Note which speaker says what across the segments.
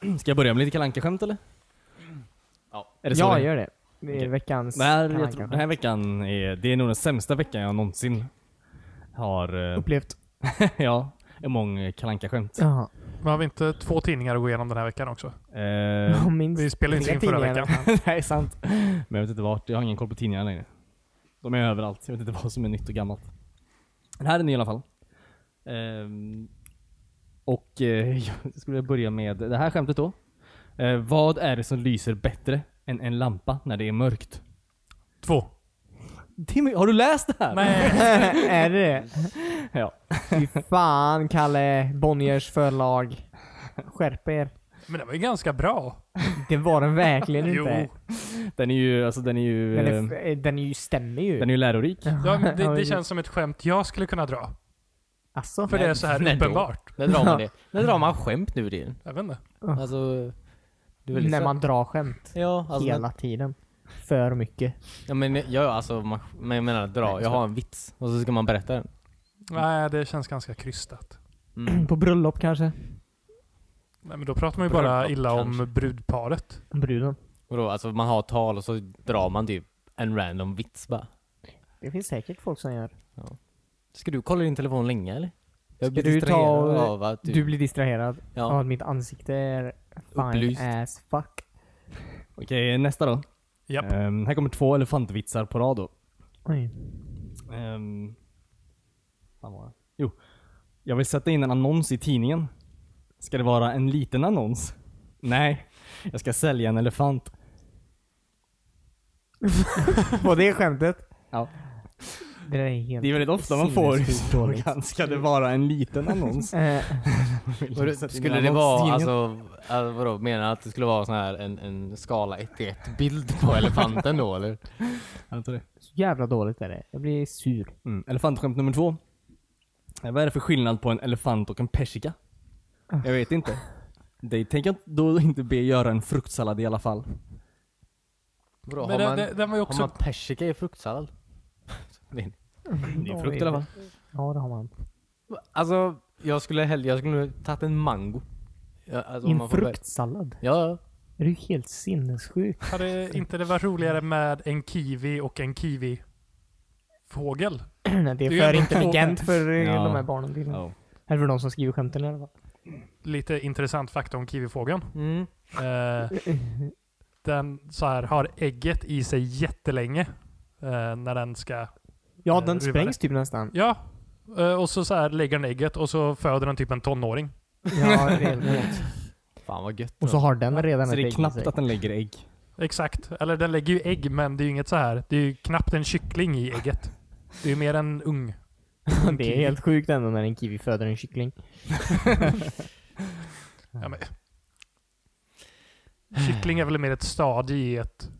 Speaker 1: Ska jag börja med lite kalanka skämt eller? Ja, är det så?
Speaker 2: Ja,
Speaker 1: länge?
Speaker 2: gör det. Det är
Speaker 1: Okej.
Speaker 2: veckans
Speaker 1: Det här,
Speaker 2: Kalle
Speaker 1: jag
Speaker 2: Anka.
Speaker 1: tror, den här veckan är, det är nog den sämsta veckan jag någonsin har, eh,
Speaker 2: upplevt.
Speaker 1: ja, among kalanka skämt
Speaker 2: Ja,
Speaker 3: Men har vi inte två tidningar att gå igenom den här veckan också?
Speaker 1: eh,
Speaker 3: Vi
Speaker 2: minst
Speaker 3: spelade inte
Speaker 2: tre
Speaker 3: in förra veckan.
Speaker 2: tidningar.
Speaker 1: Nej, sant. Men jag vet inte vart, jag har ingen koll på tidningarna längre. De är överallt, jag vet inte vad som är nytt och gammalt. Den här är ny i alla fall. Ehm, och eh, jag skulle börja med det här skämtet då. Eh, vad är det som lyser bättre än en lampa när det är mörkt?
Speaker 3: Två.
Speaker 1: Timmy, har du läst det här?
Speaker 3: Nej.
Speaker 2: är det det?
Speaker 1: Ja.
Speaker 2: Fy fan Kalle Bonniers förlag. Skärp er.
Speaker 3: Men det var ju ganska bra.
Speaker 2: Det var den verkligen
Speaker 3: Jo.
Speaker 2: inte.
Speaker 1: Den är ju, alltså den är ju,
Speaker 2: Den,
Speaker 1: eh,
Speaker 2: är, f- den är ju, stämmer ju.
Speaker 1: den är ju lärorik.
Speaker 3: Ja, men det, det känns som ett skämt jag skulle kunna dra.
Speaker 2: Alltså,
Speaker 3: För det är så här
Speaker 4: men då.
Speaker 3: uppenbart.
Speaker 4: När drar man det? När drar man skämt nu för tiden?
Speaker 3: Jag vet inte.
Speaker 4: Alltså... Det är väl
Speaker 2: när
Speaker 4: så-
Speaker 2: man drar skämt.
Speaker 4: Ja, alltså...
Speaker 2: Hela tiden. För mycket.
Speaker 4: Ja, men, ja, ja, alltså man, men jag menar dra. Jag har en vits. Och så ska man berätta den.
Speaker 3: Nej, det känns ganska krystat.
Speaker 4: Mm.
Speaker 2: På bröllop kanske?
Speaker 3: Nej, men då pratar man ju bara
Speaker 4: Bröllop,
Speaker 3: illa
Speaker 4: kanske.
Speaker 3: om brudparet.
Speaker 2: Bruden.
Speaker 4: Och då, alltså man har tal och så drar man typ en random vits bara.
Speaker 2: Det finns säkert folk som gör.
Speaker 4: Ska du kolla din telefon länge eller?
Speaker 2: Ska
Speaker 4: Jag blir
Speaker 2: du ta
Speaker 4: distraherad
Speaker 2: och-
Speaker 4: av att du...
Speaker 2: Du blir distraherad av
Speaker 4: ja.
Speaker 2: att mitt ansikte är fine
Speaker 4: Upplyst.
Speaker 2: as fuck.
Speaker 1: Okej, nästa då.
Speaker 3: Japp.
Speaker 1: Ehm, här kommer två elefantvitsar på rad då.
Speaker 2: Oj.
Speaker 1: Ehm, fan var det? Jo. Jag vill sätta in en annons i tidningen. Ska det vara en liten annons? Nej. Jag ska sälja en elefant.
Speaker 2: Var det skämtet?
Speaker 1: Ja.
Speaker 2: Det där är helt...
Speaker 1: Det är väldigt ofta man får
Speaker 2: Sinnessjukt
Speaker 1: just frågan, ska det vara en liten annons?
Speaker 2: Eh,
Speaker 1: Vill
Speaker 4: Och
Speaker 1: du
Speaker 4: det-
Speaker 1: sätta in
Speaker 4: Skulle
Speaker 1: en
Speaker 4: det
Speaker 1: annons i
Speaker 4: vara,
Speaker 1: tidningen?
Speaker 4: alltså, alltså vadå, menar du att det skulle vara sån här en, en skala 1 till 1 bild på elefanten då eller?
Speaker 1: Jag tror det.
Speaker 2: så jävla dåligt är det. Jag blir sur.
Speaker 1: Mm. Elefantskämt nummer två. Eh, Vad är det för skillnad på en elefant och en persika?
Speaker 2: Ah.
Speaker 1: Jag vet inte. Det tänker jag då inte be göra en fruktsallad i alla fall.
Speaker 4: Vadå,
Speaker 3: Men
Speaker 4: har, man,
Speaker 3: den, den, den var ju
Speaker 4: har man
Speaker 3: också...
Speaker 4: persika i fruktsallad?
Speaker 1: Mm, Det är frukt i alla fall.
Speaker 2: Ja, det har man.
Speaker 4: Alltså, jag skulle hellre, jag skulle tagit en mango. Ja, alltså,
Speaker 2: I en
Speaker 4: om man får välja.
Speaker 2: fruktsallad?
Speaker 4: Ja, ja.
Speaker 2: Är du helt sinnessjuk?
Speaker 3: Hade inte det varit roligare med en kiwi och en kiwi-fågel?
Speaker 2: Nej, det är
Speaker 3: ju
Speaker 2: för
Speaker 3: ändå
Speaker 2: intelligent för eh,
Speaker 1: Ja.
Speaker 2: de här barnen. till.
Speaker 1: Ja.
Speaker 2: Eller för de som skriver skämten i alla fall.
Speaker 3: Lite intressant fakta om kiwifågeln.
Speaker 4: Mm.
Speaker 3: Eh, den så här har ägget i sig jättelänge eh, när den ska...
Speaker 2: Ja,
Speaker 3: Eh,
Speaker 2: den
Speaker 3: det är
Speaker 2: sprängs typ nästan.
Speaker 3: Ja, eh, och så, så här lägger den ägget och så föder den typ en tonåring.
Speaker 2: Ja, det är helt
Speaker 4: Fan vad gött.
Speaker 2: Och så har den redan
Speaker 1: Så
Speaker 2: ett
Speaker 1: det är
Speaker 2: ägg i sig.
Speaker 1: knappt att den lägger ägg.
Speaker 3: Exakt. Eller den lägger ju ägg, men det är ju inget så här. Det är ju knappt en kyckling i ägget. Det är ju mer en ung.
Speaker 2: Det är helt sjukt ändå när en kiwi föder en kyckling.
Speaker 3: Ja, men. Kyckling är väl mer ett stadie i ett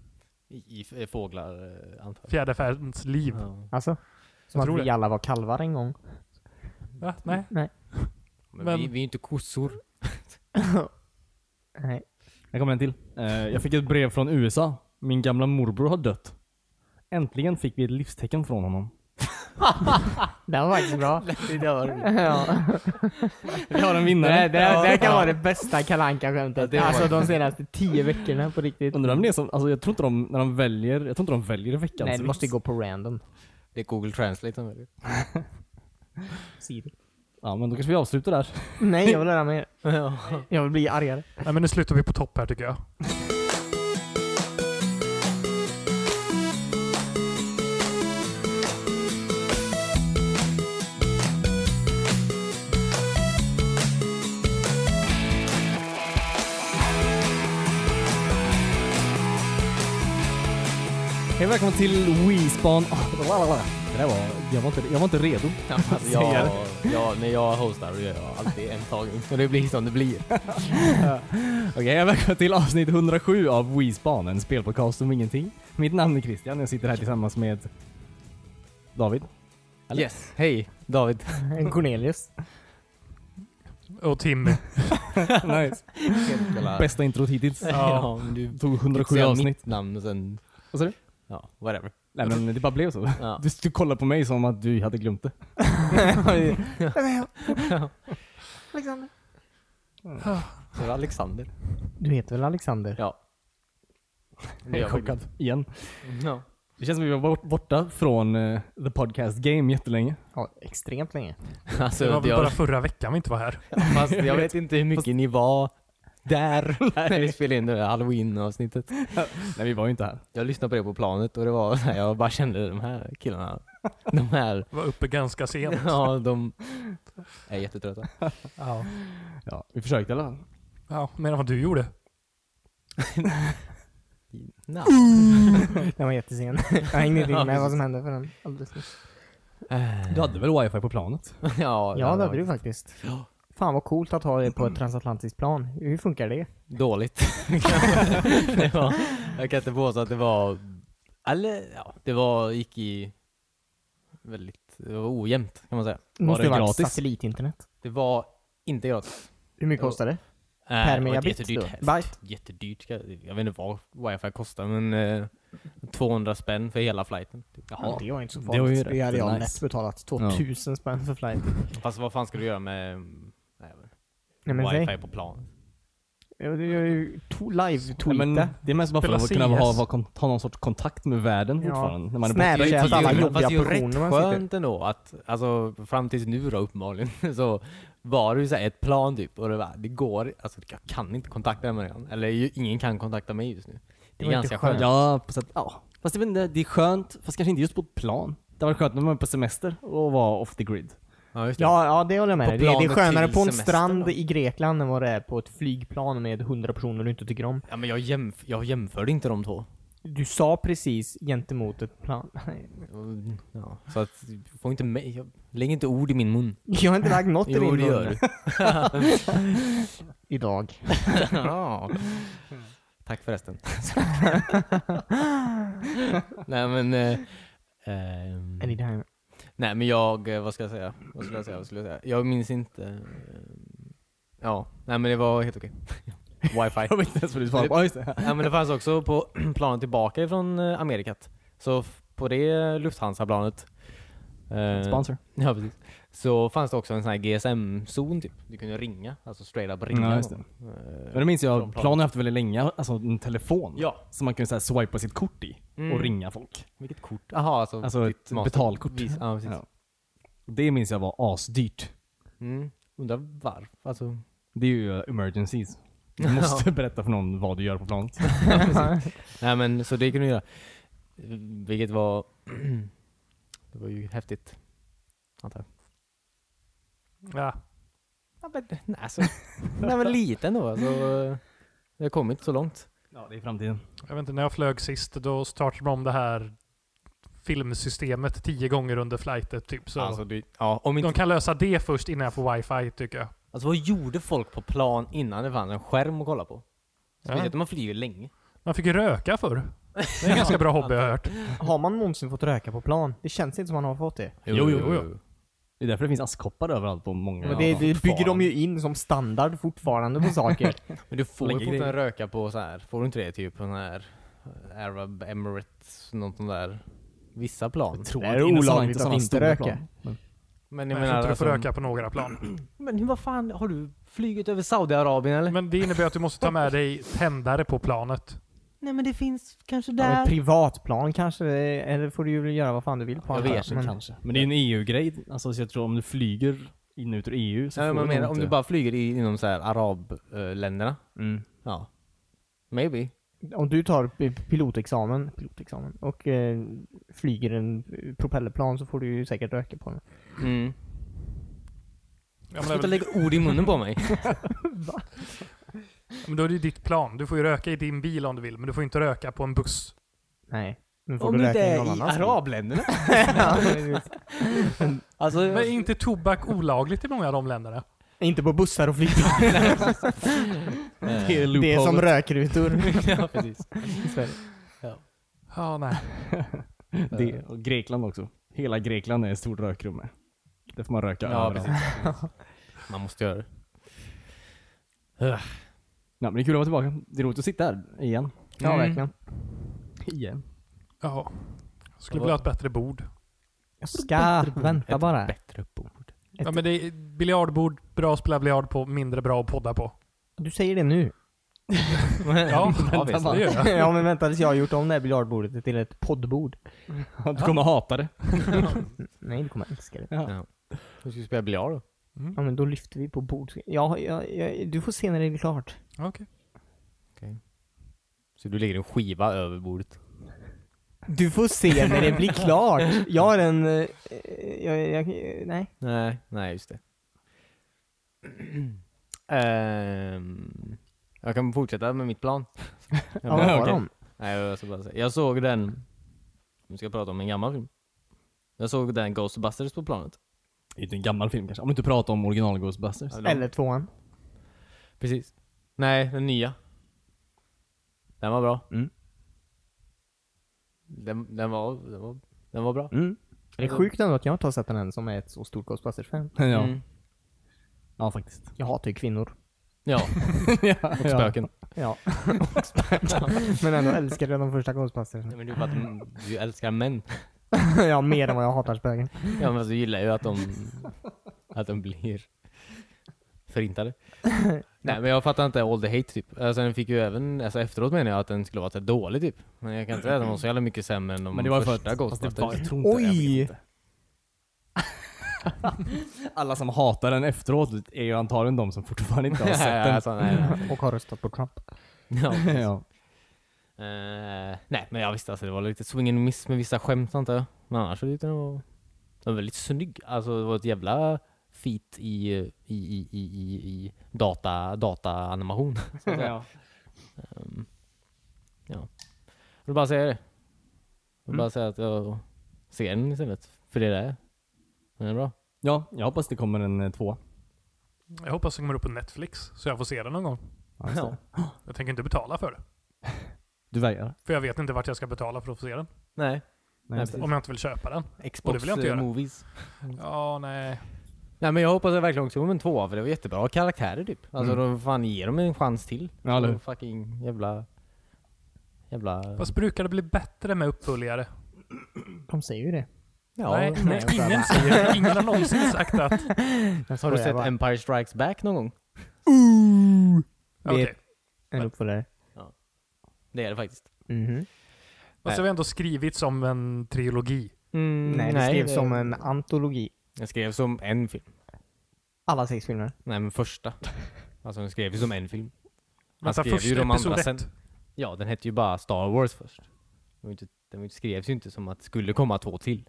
Speaker 4: I, i f- fåglar, eh, antar jag.
Speaker 3: fjäderfäns liv.
Speaker 4: Ja.
Speaker 2: Alltså. Som
Speaker 3: Jag
Speaker 2: att
Speaker 3: tror
Speaker 2: vi
Speaker 3: det.
Speaker 2: alla var kalvar en gång.
Speaker 3: Va? Nej.
Speaker 4: Men,
Speaker 3: Men-
Speaker 4: Vi, vi är ju inte kossor.
Speaker 2: Nej.
Speaker 1: Här kommer en till. Eh, jag fick ett brev från USA. Min gamla morbror har dött. Äntligen fick vi ett livstecken från honom.
Speaker 2: Det var faktiskt bra.
Speaker 4: det dör.
Speaker 2: ja.
Speaker 1: Vi har en
Speaker 2: Det,
Speaker 1: vinnare.
Speaker 2: det, det kan vara det bästa kalanka skämtet
Speaker 4: det var-
Speaker 2: Alltså de senaste tio veckorna på riktigt.
Speaker 1: Undrar om det är som, alltså jag tror inte de, när de väljer, jag tror inte de väljer veckans
Speaker 2: Nej, det
Speaker 1: vits.
Speaker 2: måste gå på random.
Speaker 4: Det är Google Translate som väljer.
Speaker 2: Siri.
Speaker 1: Ja men då kanske vi avslutar där.
Speaker 2: Nej, jag vill lära mig.
Speaker 4: Ja.
Speaker 2: Jag vill bli argare.
Speaker 3: Nej, men nu slutar vi på topp här tycker jag.
Speaker 1: Hej och välkomna till WeSpan. Det där var, jag var inte, jag var inte redo.
Speaker 4: Alltså, jag, jag, när jag hostar då gör jag alltid en tagning. Och det blir som det blir.
Speaker 1: Okej, hej och välkomna till avsnitt 107 av WeSpan, en spelpodcast om ingenting. Mitt namn är Christian, jag sitter här tillsammans med David. Eller?
Speaker 4: Yes. Hej, David.
Speaker 2: En Cornelius.
Speaker 3: Och Timmy.
Speaker 1: nice. Bästa introt hittills.
Speaker 4: Ja, men du
Speaker 1: Tog 107
Speaker 4: säger
Speaker 1: avsnitt.
Speaker 4: mitt namn och sen...
Speaker 1: Vad sa du?
Speaker 4: Ja, whatever.
Speaker 1: Nej men det bara blev så.
Speaker 4: Ja.
Speaker 1: Du, du kollar på mig som att du hade glömt det.
Speaker 4: Så Alexander.
Speaker 2: Du heter väl Alexander?
Speaker 4: Ja.
Speaker 1: Jag är chockad. Igen.
Speaker 4: Ja.
Speaker 1: Det känns som att vi var bort- borta från eh, the podcast game jättelänge.
Speaker 2: Ja, extremt länge.
Speaker 4: Alltså,
Speaker 3: Det var väl
Speaker 4: jag,
Speaker 3: bara förra veckan vi inte var här.
Speaker 4: fast jag vet inte hur mycket ni var där när vi spelade in det där halloween-avsnittet.
Speaker 1: Nej, vi var ju inte här.
Speaker 4: Jag lyssnade på det på planet och det var jag bara kände de här killarna, de här,
Speaker 3: Var uppe ganska sent.
Speaker 4: ja de är jättetrötta.
Speaker 3: Ja.
Speaker 1: Ja, vi försökte i alla fall.
Speaker 3: Ja, mer än vad du gjorde.
Speaker 4: No. Mm.
Speaker 2: Den var jättesen. Jag hängde inte med vad som hände för den alldeles nyss.
Speaker 1: Du hade väl wifi på planet?
Speaker 4: Ja,
Speaker 2: Ja, det hade
Speaker 4: var
Speaker 2: du faktiskt. Fan vad coolt att ha det
Speaker 1: Mm.
Speaker 2: på ett transatlantiskt plan. Hur funkar det?
Speaker 4: Dåligt. det var, jag kan inte påstå att det var, eller ja, det var, gick i väldigt, det var ojämnt kan man säga.
Speaker 2: Det
Speaker 1: Var
Speaker 2: måste
Speaker 1: det
Speaker 2: ju varit
Speaker 1: gratis?
Speaker 2: satellitinternet.
Speaker 4: Det var inte gratis.
Speaker 2: Hur mycket kostar det?
Speaker 4: Eh,
Speaker 2: Per
Speaker 4: det var
Speaker 2: megabit
Speaker 4: jättedyrt.
Speaker 2: då? Byte?
Speaker 4: Jättedyrt. ska- Jag vet inte vad wifi kostar men eh, 200 spänn för hela flighten. Typ.
Speaker 2: Ja, det var inte så
Speaker 1: det var ju
Speaker 2: farligt. Det, hade
Speaker 1: rätt
Speaker 2: jag
Speaker 1: nice.
Speaker 2: lätt betalat. 2000 spänn för flight.
Speaker 4: Fast vad fan ska du göra med mm, nej, jag vet inte,
Speaker 2: Nej men säg.
Speaker 4: wifi på plan?
Speaker 2: Ja, det är ju to-
Speaker 1: Nej, men
Speaker 2: live-tweeta.
Speaker 1: det är mest bara för
Speaker 3: Spela
Speaker 1: att kunna
Speaker 3: CS.
Speaker 1: ha, ha, kont- ha någon sorts kontakt med världen
Speaker 2: Ja.
Speaker 1: fortfarande. När man är
Speaker 2: Snap.
Speaker 1: borta.
Speaker 2: Det är att alla jobbiga
Speaker 4: Fast det är ju rätt
Speaker 2: positioner man sitter.
Speaker 4: skönt ändå att, alltså fram tills nu då uppenbarligen, så var det ju såhär ett plan typ och det, var, det går, alltså jag kan inte kontakta den människan. Eller ju- ingen kan kontakta mig just nu. Det är
Speaker 2: var inte
Speaker 4: ganska skönt.
Speaker 1: Ja, på sätt, ja. Fast jag vet inte, det är skönt, fast kanske inte just på ett plan. Det var skönt när man var på semester och var off the grid.
Speaker 4: Ja, just det.
Speaker 2: Ja, ja, det håller jag med
Speaker 4: På
Speaker 2: dig. Det, är- det är
Speaker 4: planet
Speaker 2: skönare
Speaker 4: till
Speaker 2: på en
Speaker 4: semestern
Speaker 2: strand
Speaker 4: då.
Speaker 2: i Grekland än vad det är på ett flygplan med 100 personer du inte tycker om.
Speaker 4: ja men jag, jämf- jag jämförde inte de två.
Speaker 2: Du sa precis gentemot ett plan. Nej.
Speaker 4: Mm, Ja, så att, få inte mig, jag, lägg inte ord i min mun.
Speaker 2: Jag har inte lagt något i din
Speaker 4: Jo, det gör
Speaker 2: mun
Speaker 4: du. Mm.
Speaker 2: idag.
Speaker 4: Ja. Tack förresten. nej men... Eh, ehm,
Speaker 2: Är ni där?
Speaker 4: nej men jag, eh, vad ska jag säga? Vad skulle jag säga? Vad skulle jag, säga? jag minns inte. ehm, ja, nej men det var helt okej. Wifi.
Speaker 1: Jag vet inte ens vad du svarade på. Ja, just det.
Speaker 4: nej men det fanns också på planet tillbaka ifrån eh, Amerikat. Så f- på det Lufthansa-planet. eh,
Speaker 1: Sponsor.
Speaker 4: Ja precis. Så fanns det också en sån här GSM-zon typ. Du kunde ringa, alltså straight up ringa.
Speaker 1: Ja, just det.
Speaker 4: någon. Eh,
Speaker 1: Men det minns
Speaker 4: Från
Speaker 1: jag,
Speaker 4: planet.
Speaker 1: planen har haft väldigt länge, alltså en telefon.
Speaker 4: Ja.
Speaker 1: Som man kunde så här, swipa sitt kort i
Speaker 4: Mm.
Speaker 1: och ringa folk.
Speaker 4: Vilket kort? Jaha, alltså,
Speaker 1: Alltså
Speaker 4: ditt
Speaker 1: ett
Speaker 4: master-
Speaker 1: betalkort.
Speaker 4: Vis, ja, precis.
Speaker 1: Ja. Det minns jag var asdyrt.
Speaker 4: Mm. Undrar varför? Alltså,
Speaker 1: Det är ju eh, emergencies. Du måste berätta för någon vad du gör på planet.
Speaker 4: nej men så det kunde jag göra. Vilket var... det var ju häftigt. Antar jag.
Speaker 3: Ja.
Speaker 4: Ja, men, nej, alltså, när jag var liten då, alltså, jag har kommit så långt.
Speaker 1: Ja, det är framtiden.
Speaker 3: Jag vet inte, när jag flög sist då startade de om det här filmsystemet tio gånger under flightet typ. Så
Speaker 4: Alltså, det, ja, om inte,
Speaker 3: de kan lösa det först innan jag får wifi tycker jag.
Speaker 4: alltså, vad gjorde folk på plan innan det fanns en skärm att kolla på? Speciellt
Speaker 3: Ja.
Speaker 4: när man flyger länge.
Speaker 3: Man fick ju röka förr. Det är en ganska bra hobby jag har hört.
Speaker 2: Har man någonsin fått röka på plan? Det känns inte som man har fått det.
Speaker 1: Jo, jo, jo. Det är därför det finns askkoppar överallt på många.
Speaker 2: Men det, det bygger de ju in som standard fortfarande på saker.
Speaker 4: Men du får ju
Speaker 1: Lägger
Speaker 4: fortfarande
Speaker 1: grejer.
Speaker 4: röka på så här. får du inte det typ på den här Arab Emirates, något sånt där. Vissa plan.
Speaker 1: Jag tror
Speaker 2: Det är
Speaker 1: inte sådana-
Speaker 2: olagligt
Speaker 1: inte sådana
Speaker 2: att inte
Speaker 1: stora
Speaker 2: röka.
Speaker 1: plan. Men-
Speaker 4: Men
Speaker 3: Jag
Speaker 4: jag
Speaker 3: tror
Speaker 4: menar
Speaker 3: inte du får
Speaker 4: alltså,
Speaker 3: röka på några plan.
Speaker 4: Men hur, vad fan, har du flugit över Saudiarabien eller?
Speaker 3: Men det innebär att du måste ta med dig tändare på planet.
Speaker 4: Nej men det finns kanske
Speaker 2: Ja, men privatplan kanske, eller får du ju göra vad fan du vill på
Speaker 4: Jag
Speaker 2: antar
Speaker 4: vet inte,
Speaker 2: Men-
Speaker 4: kanske.
Speaker 1: Men det är ju en EU-grej. Alltså, så jag tror om du flyger in och ut ur EU så
Speaker 4: Nej,
Speaker 1: får
Speaker 4: men jag
Speaker 1: du
Speaker 4: menar,
Speaker 1: nog
Speaker 4: om
Speaker 1: inte-
Speaker 4: du bara flyger i, inom så här arabländerna.
Speaker 1: Mm.
Speaker 4: Ja. Maybe.
Speaker 2: Om du tar p- pilotexamen, pilotexamen och eh, flyger en eh, propellerplan så får du ju säkert röka på den.
Speaker 4: Mm.
Speaker 3: Ja, men, det är
Speaker 4: Sluta
Speaker 3: väl-
Speaker 4: lägga ord i munnen på mig.
Speaker 3: ja, men då är det ju ditt plan. Du får ju röka i din bil om du vill, men du får inte röka på en buss.
Speaker 2: Nej. Men får
Speaker 4: om
Speaker 2: du
Speaker 4: du inte
Speaker 2: röka i
Speaker 4: är
Speaker 2: någon
Speaker 4: i
Speaker 2: annans
Speaker 4: arabländerna.
Speaker 2: bil?
Speaker 4: Alltså,
Speaker 3: Men är inte tobak olagligt i många av de länderna?
Speaker 2: Inte på bussar och flygplan.
Speaker 1: Det är,
Speaker 2: Det är som
Speaker 1: loopholet.
Speaker 2: rökrutor.
Speaker 4: ja, precis.
Speaker 3: Ja, nej.
Speaker 1: det,
Speaker 4: Eh.
Speaker 1: och Grekland också. Hela Grekland är ett stort rökrum med. Där får man röka
Speaker 4: Ja,
Speaker 1: överallt.
Speaker 4: precis. Man måste göra det.
Speaker 1: Ja, men det är kul att vara tillbaka. Det är roligt att sitta här igen.
Speaker 2: Ja,
Speaker 4: Mm.
Speaker 2: verkligen.
Speaker 1: Igen.
Speaker 3: Ja. Jag skulle vilja ha ett bättre bord.
Speaker 2: Jag ska vänta bara.
Speaker 4: Bättre bord.
Speaker 3: Ja, men det är biljardbord, bra att spela biljard på, mindre bra att podda på.
Speaker 2: Du säger det nu.
Speaker 3: Ja,
Speaker 4: Ja, visst.
Speaker 3: det gör jag.
Speaker 2: ja men vänta tills jag har gjort om det här biljardbordet till ett poddbord.
Speaker 1: Du kommer hata det.
Speaker 2: Nej, du kommer älska det.
Speaker 4: Hur ska vi spela biljard då?
Speaker 3: Mm,
Speaker 2: Ja men då lyfter vi på bord. Ja, ja, ja, du får se när det är klart.
Speaker 3: Okej.
Speaker 4: Så du lägger en skiva över bordet?
Speaker 2: Du får se när det blir klart. Jag har en... eh, Jag, jag, nej.
Speaker 4: Nej, nej just det. Ehm, jag kan fortsätta med mitt plan.
Speaker 2: Ja, vad var
Speaker 4: Okej.
Speaker 2: de?
Speaker 4: Nej, jag, ska bara säga. jag såg den, vi ska prata om en gammal film. Jag såg den Ghostbusters på planet.
Speaker 1: Det är inte en gammal film kanske. Om du inte pratar om original Ghostbusters.
Speaker 2: Eller tvåan.
Speaker 4: Precis. Nej, den nya. Den var bra.
Speaker 1: Mm.
Speaker 4: Den, den, var, den, var, den var bra.
Speaker 2: Mm. Det är sjukt ändå att jag inte har sett den än som är ett så stort Ghostbusters-fan.
Speaker 1: Ja.
Speaker 4: Mm.
Speaker 1: ja, faktiskt.
Speaker 2: Jag hatar ju kvinnor.
Speaker 4: Ja, och spöken.
Speaker 2: Ja. men ändå älskade jag de första Ghostbusters.
Speaker 4: Nej, men du, bara, du älskar män.
Speaker 2: ja, mer än vad jag hatar spöken.
Speaker 4: Ja men alltså, du gillar ju att de, att de blir förintade. Nej men jag fattar inte all the hate typ. Alltså, den fick ju även, alltså efteråt menar jag att den skulle vara så här dålig typ. Men jag kan inte säga att den var så jävla mycket sämre än de
Speaker 1: Men det var ju för
Speaker 4: första
Speaker 1: att... fast det var-
Speaker 4: Ghostbusters.
Speaker 1: jag tror inte- jag vet
Speaker 2: Oj!
Speaker 1: Alla som hatar den efteråt är ju antagligen de som fortfarande inte har sett den.
Speaker 4: alltså, nej, nej.
Speaker 2: Och har röstat på Trump.
Speaker 4: Ja.
Speaker 1: ja.
Speaker 4: Eh, nej men jag visste alltså det var lite swing and miss med vissa skämt antar jag. Men annars så tyckte jag den var, den var väldigt snygg. Alltså det var ett jävla feat i, i, i, i, i, i data, dataanimation. så att säga. Ehm, ja. Jag vill bara säga det. Jag vill bara säga att jag ser den istället. För det där är. Den är bra.
Speaker 1: ja, jag hoppas det kommer en eh, tvåa.
Speaker 3: Jag hoppas det kommer upp på Netflix så jag får se den någon gång.
Speaker 1: Ja, just det.
Speaker 3: Jag tänker inte betala för det.
Speaker 1: Du vägrar?
Speaker 3: För jag vet inte vart jag ska betala för att få se den.
Speaker 4: Nej.
Speaker 1: Nej,
Speaker 4: Nej,
Speaker 1: precis.
Speaker 3: Om jag inte vill köpa den. Och det
Speaker 4: Xbox
Speaker 3: vill jag inte göra.
Speaker 4: eh, movies.
Speaker 3: Ja, nej.
Speaker 4: Nej men jag hoppas jag verkligen också kommer en tvåa för det var jättebra karaktärer typ. Alltså då fan ger dem en chans till.
Speaker 1: Ja, eller hur?
Speaker 4: Och fucking jävla... Jävla...
Speaker 3: Fast brukar det bli bättre med uppföljare?
Speaker 2: De säger ju det.
Speaker 4: Ja,
Speaker 3: nej,
Speaker 4: nej.
Speaker 3: ingen säger det. Ingen har någonsin sagt att...
Speaker 2: Jag
Speaker 4: Har du
Speaker 2: skojar
Speaker 4: sett
Speaker 2: bara.
Speaker 4: Empire Strikes Back någon gång?
Speaker 3: Okej.
Speaker 2: Vet- en uppföljare?
Speaker 4: Det är det faktiskt.
Speaker 2: Mhm.
Speaker 3: Fast det har ändå skrivits som en trilogi.
Speaker 4: Mm,
Speaker 2: Mm-hmm. Nej, det skrevs som en antologi.
Speaker 4: Den skrevs som en film.
Speaker 2: Alla sex filmer.
Speaker 4: Nej men första. Alltså den skrevs som en film. Han
Speaker 3: Vänta,
Speaker 4: skrev ju
Speaker 3: första
Speaker 4: de andra
Speaker 3: episod
Speaker 4: sen.
Speaker 3: ett.
Speaker 4: Ja, den hette ju bara Star Wars först. Den, var ju inte, den var ju- skrevs ju inte som att det skulle komma två till.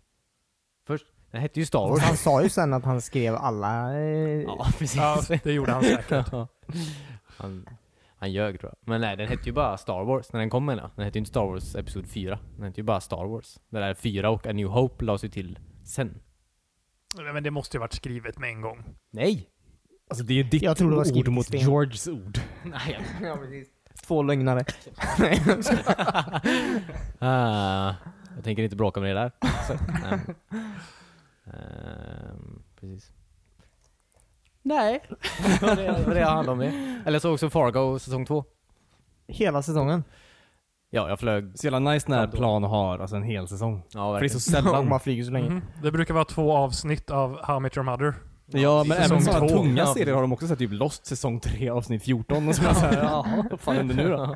Speaker 4: Först, den hette ju Star Wars.
Speaker 2: Han sa ju sen att han skrev alla... Eh,
Speaker 4: ja, precis.
Speaker 3: Ja, det gjorde han säkert.
Speaker 4: Ja. han, han ljög tror jag. Men nej, den hette ju bara Star Wars när den kom menar jag. Den hette ju inte Star Wars Episod 4. Den hette ju bara Star Wars. Den där 4 och A New Hope lades ju till sen.
Speaker 3: Men det måste ju varit skrivet med en gång.
Speaker 4: Nej!
Speaker 1: Alltså det är ditt
Speaker 2: Jag tror det var skrivet
Speaker 1: ord
Speaker 2: i
Speaker 1: mot
Speaker 2: sten.
Speaker 1: Georges ord.
Speaker 4: nej.
Speaker 2: Två lögnare.
Speaker 4: Ah, jag tänker inte bråka med dig där. Så, ehm, ehm, precis. Nej. det var det det var det jag handlade om det. Eller så också Fargo säsong två.
Speaker 2: Hela säsongen.
Speaker 4: Ja, jag flög.
Speaker 1: Så jävla nice när
Speaker 4: Fan då.
Speaker 1: plan har alltså en hel säsong.
Speaker 4: Ja,
Speaker 1: För det är
Speaker 4: verkligen.
Speaker 1: så
Speaker 2: Om man
Speaker 1: sällan.
Speaker 2: flyger så länge.
Speaker 3: Mhm. Det brukar vara två avsnitt av How I Met Your Mother.
Speaker 1: Ja men
Speaker 3: Säsong
Speaker 1: även sådana
Speaker 3: två.
Speaker 1: tunga
Speaker 4: Ja.
Speaker 1: serier har de också sett. Typ Lost säsong 3 avsnitt 14. Och så är man så här, jaha, vad fan händer nu då?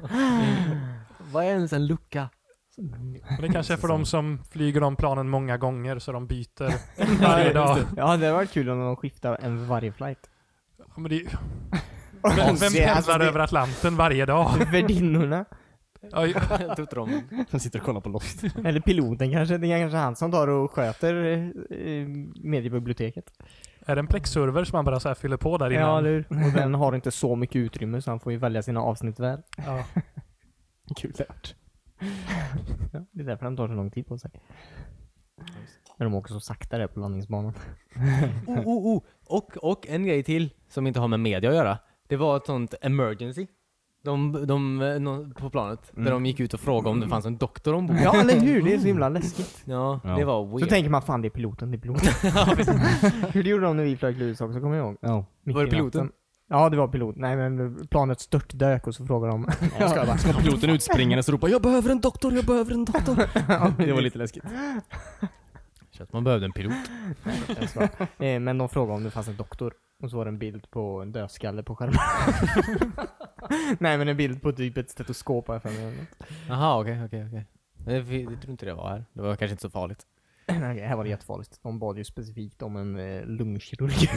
Speaker 4: Vad är ens en lucka?
Speaker 3: Men det kanske är för de som flyger om planen många gånger så de byter varje dag.
Speaker 2: Ja, det hade varit kul om de skiftar en för varje flight.
Speaker 3: Ja, Men det, vem, vem
Speaker 2: Det-
Speaker 3: pendlar
Speaker 2: alltså, det-
Speaker 3: över Atlanten varje dag?
Speaker 2: Typ Värdinnorna.
Speaker 3: Ja, ju-
Speaker 4: Jag tror inte de...
Speaker 1: De sitter och kollar på Lost.
Speaker 2: Eller piloten kanske. Det är kanske han som tar och sköter eh, eh, mediebiblioteket.
Speaker 3: Är det en plexserver som man bara så här fyller på där innan?
Speaker 2: Ja, eller hur? Och den har inte så mycket utrymme så han får ju välja sina avsnitt väl.
Speaker 3: Ja.
Speaker 1: Kul lärt.
Speaker 2: Ja, det är därför han tar så lång tid på sig. Men de åker så sakta där på landningsbanan.
Speaker 4: Oh, oh, oh. Och, och en grej till som inte har med media att göra. Det var ett sånt emergency. De, de, eh, nå- på planet. Där de gick ut och frågade om det fanns en doktor ombord.
Speaker 2: Ja, eller hur? Det är så himla läskigt.
Speaker 4: Ja,
Speaker 1: Ja.
Speaker 4: det var
Speaker 2: Så
Speaker 4: weird.
Speaker 2: tänker man fan det är piloten, det är piloten. hur det gjorde de när vi flög till USA också, kommer jag ihåg.
Speaker 1: Ja.
Speaker 2: Mitt
Speaker 4: Var det
Speaker 2: i natten.
Speaker 4: piloten?
Speaker 2: Ja, det var pilot. Nej, men planet störtdök och så frågade de... Nej, jag skojar bara.
Speaker 1: Så kom piloten utspringande och ropade 'Jag behöver en doktor, jag behöver en doktor' Det var lite läskigt.
Speaker 4: Så att man behövde en pilot.
Speaker 2: Jag skojar. Eh, Men de frågade om det fanns en doktor. Och så var det en bild på en dödskalle på skärmen. Nej men en bild på typ ett stetoskop här för mig. eller något.
Speaker 4: Jaha, okej, okej, okej. Men Jag fi- jag trodde inte det var här. Det var kanske inte så farligt.
Speaker 2: Nej, Okej, här var det jättefarligt. De bad ju specifikt om en eh, lungkirurg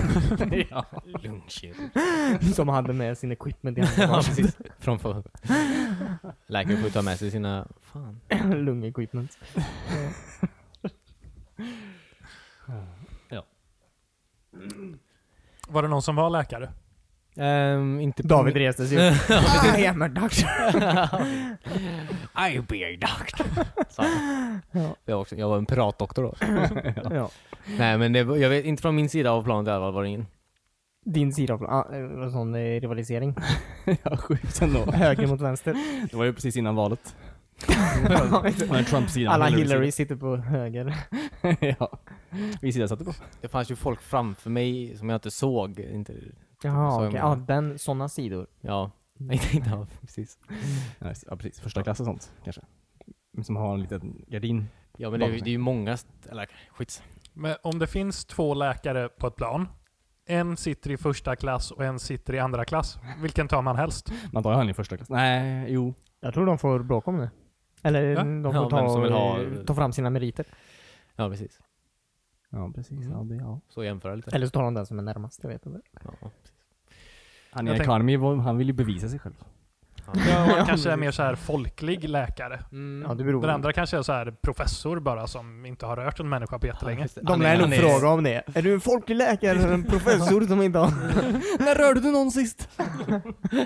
Speaker 4: Ja, lungkirurg.
Speaker 2: som hade med sin equipment i
Speaker 4: Ja,
Speaker 2: handbagaget.
Speaker 4: precis. Från förr. Läkare får ju ta med sig sina... Fan.
Speaker 2: Lungequipment.
Speaker 3: Var det någon som var läkare?
Speaker 4: Ehm, inte på
Speaker 2: David
Speaker 4: min-
Speaker 2: reste sig upp. I am a doctor.
Speaker 4: I be a doctor. sa han. jag, också, jag var en piratdoktor då.
Speaker 2: ja.
Speaker 4: Nej men det, var- jag vet inte från min sida av planet i alla fall var det ingen.
Speaker 2: Din sida av ah, eh, en sån eh, rivalisering.
Speaker 1: ja, sjukt ändå.
Speaker 2: Höger mot vänster.
Speaker 1: Det var ju precis innan valet. Men Trump-sidan.
Speaker 2: Alla Hillary sitter på höger.
Speaker 1: ja. Vi sida satte på.
Speaker 4: Det fanns ju folk framför mig som jag inte såg. Inte, Så
Speaker 2: Jaha,
Speaker 4: jag
Speaker 2: okej.
Speaker 4: menar.
Speaker 2: Ja, den, såna sidor.
Speaker 4: ja, inte, inte av, precis.
Speaker 1: Nice. Ja, precis. Första klass och sånt kanske. Som har en liten gardin.
Speaker 4: Ja men det, är ju- det är ju många, st- eller skits.
Speaker 3: Men om det finns två läkare på ett plan, en sitter i första klass och en sitter i andra klass, vilken tar man helst?
Speaker 1: Man tar ju han i första klass. Nej, jo.
Speaker 2: Jag tror de får bråka om det. Eller
Speaker 3: Ja.
Speaker 2: de får
Speaker 4: Ja, vem
Speaker 2: ta,
Speaker 4: som vill ha-
Speaker 2: ta fram sina meriter.
Speaker 4: Ja precis.
Speaker 1: Ja, mm. precis. Ja, det, ja.
Speaker 4: Så jämföra lite.
Speaker 2: Eller så tar de den som är närmast, jag vet inte.
Speaker 4: Ja.
Speaker 1: Han
Speaker 3: Jag
Speaker 1: är
Speaker 3: tänk-
Speaker 1: Karmi, han vill ju bevisa sig själv.
Speaker 3: Ja, man kanske är mer så här folklig läkare.
Speaker 4: Mm.
Speaker 2: Ja, det beror
Speaker 3: Den andra kanske är så här professor bara som inte har rört en människa på jättelänge.
Speaker 4: Just det.
Speaker 2: De
Speaker 4: Han är-
Speaker 2: lär
Speaker 4: han
Speaker 2: nog
Speaker 4: är-
Speaker 2: fråga om det. Är du en folklig läkare eller en professor som inte har... När rörde du någon sist?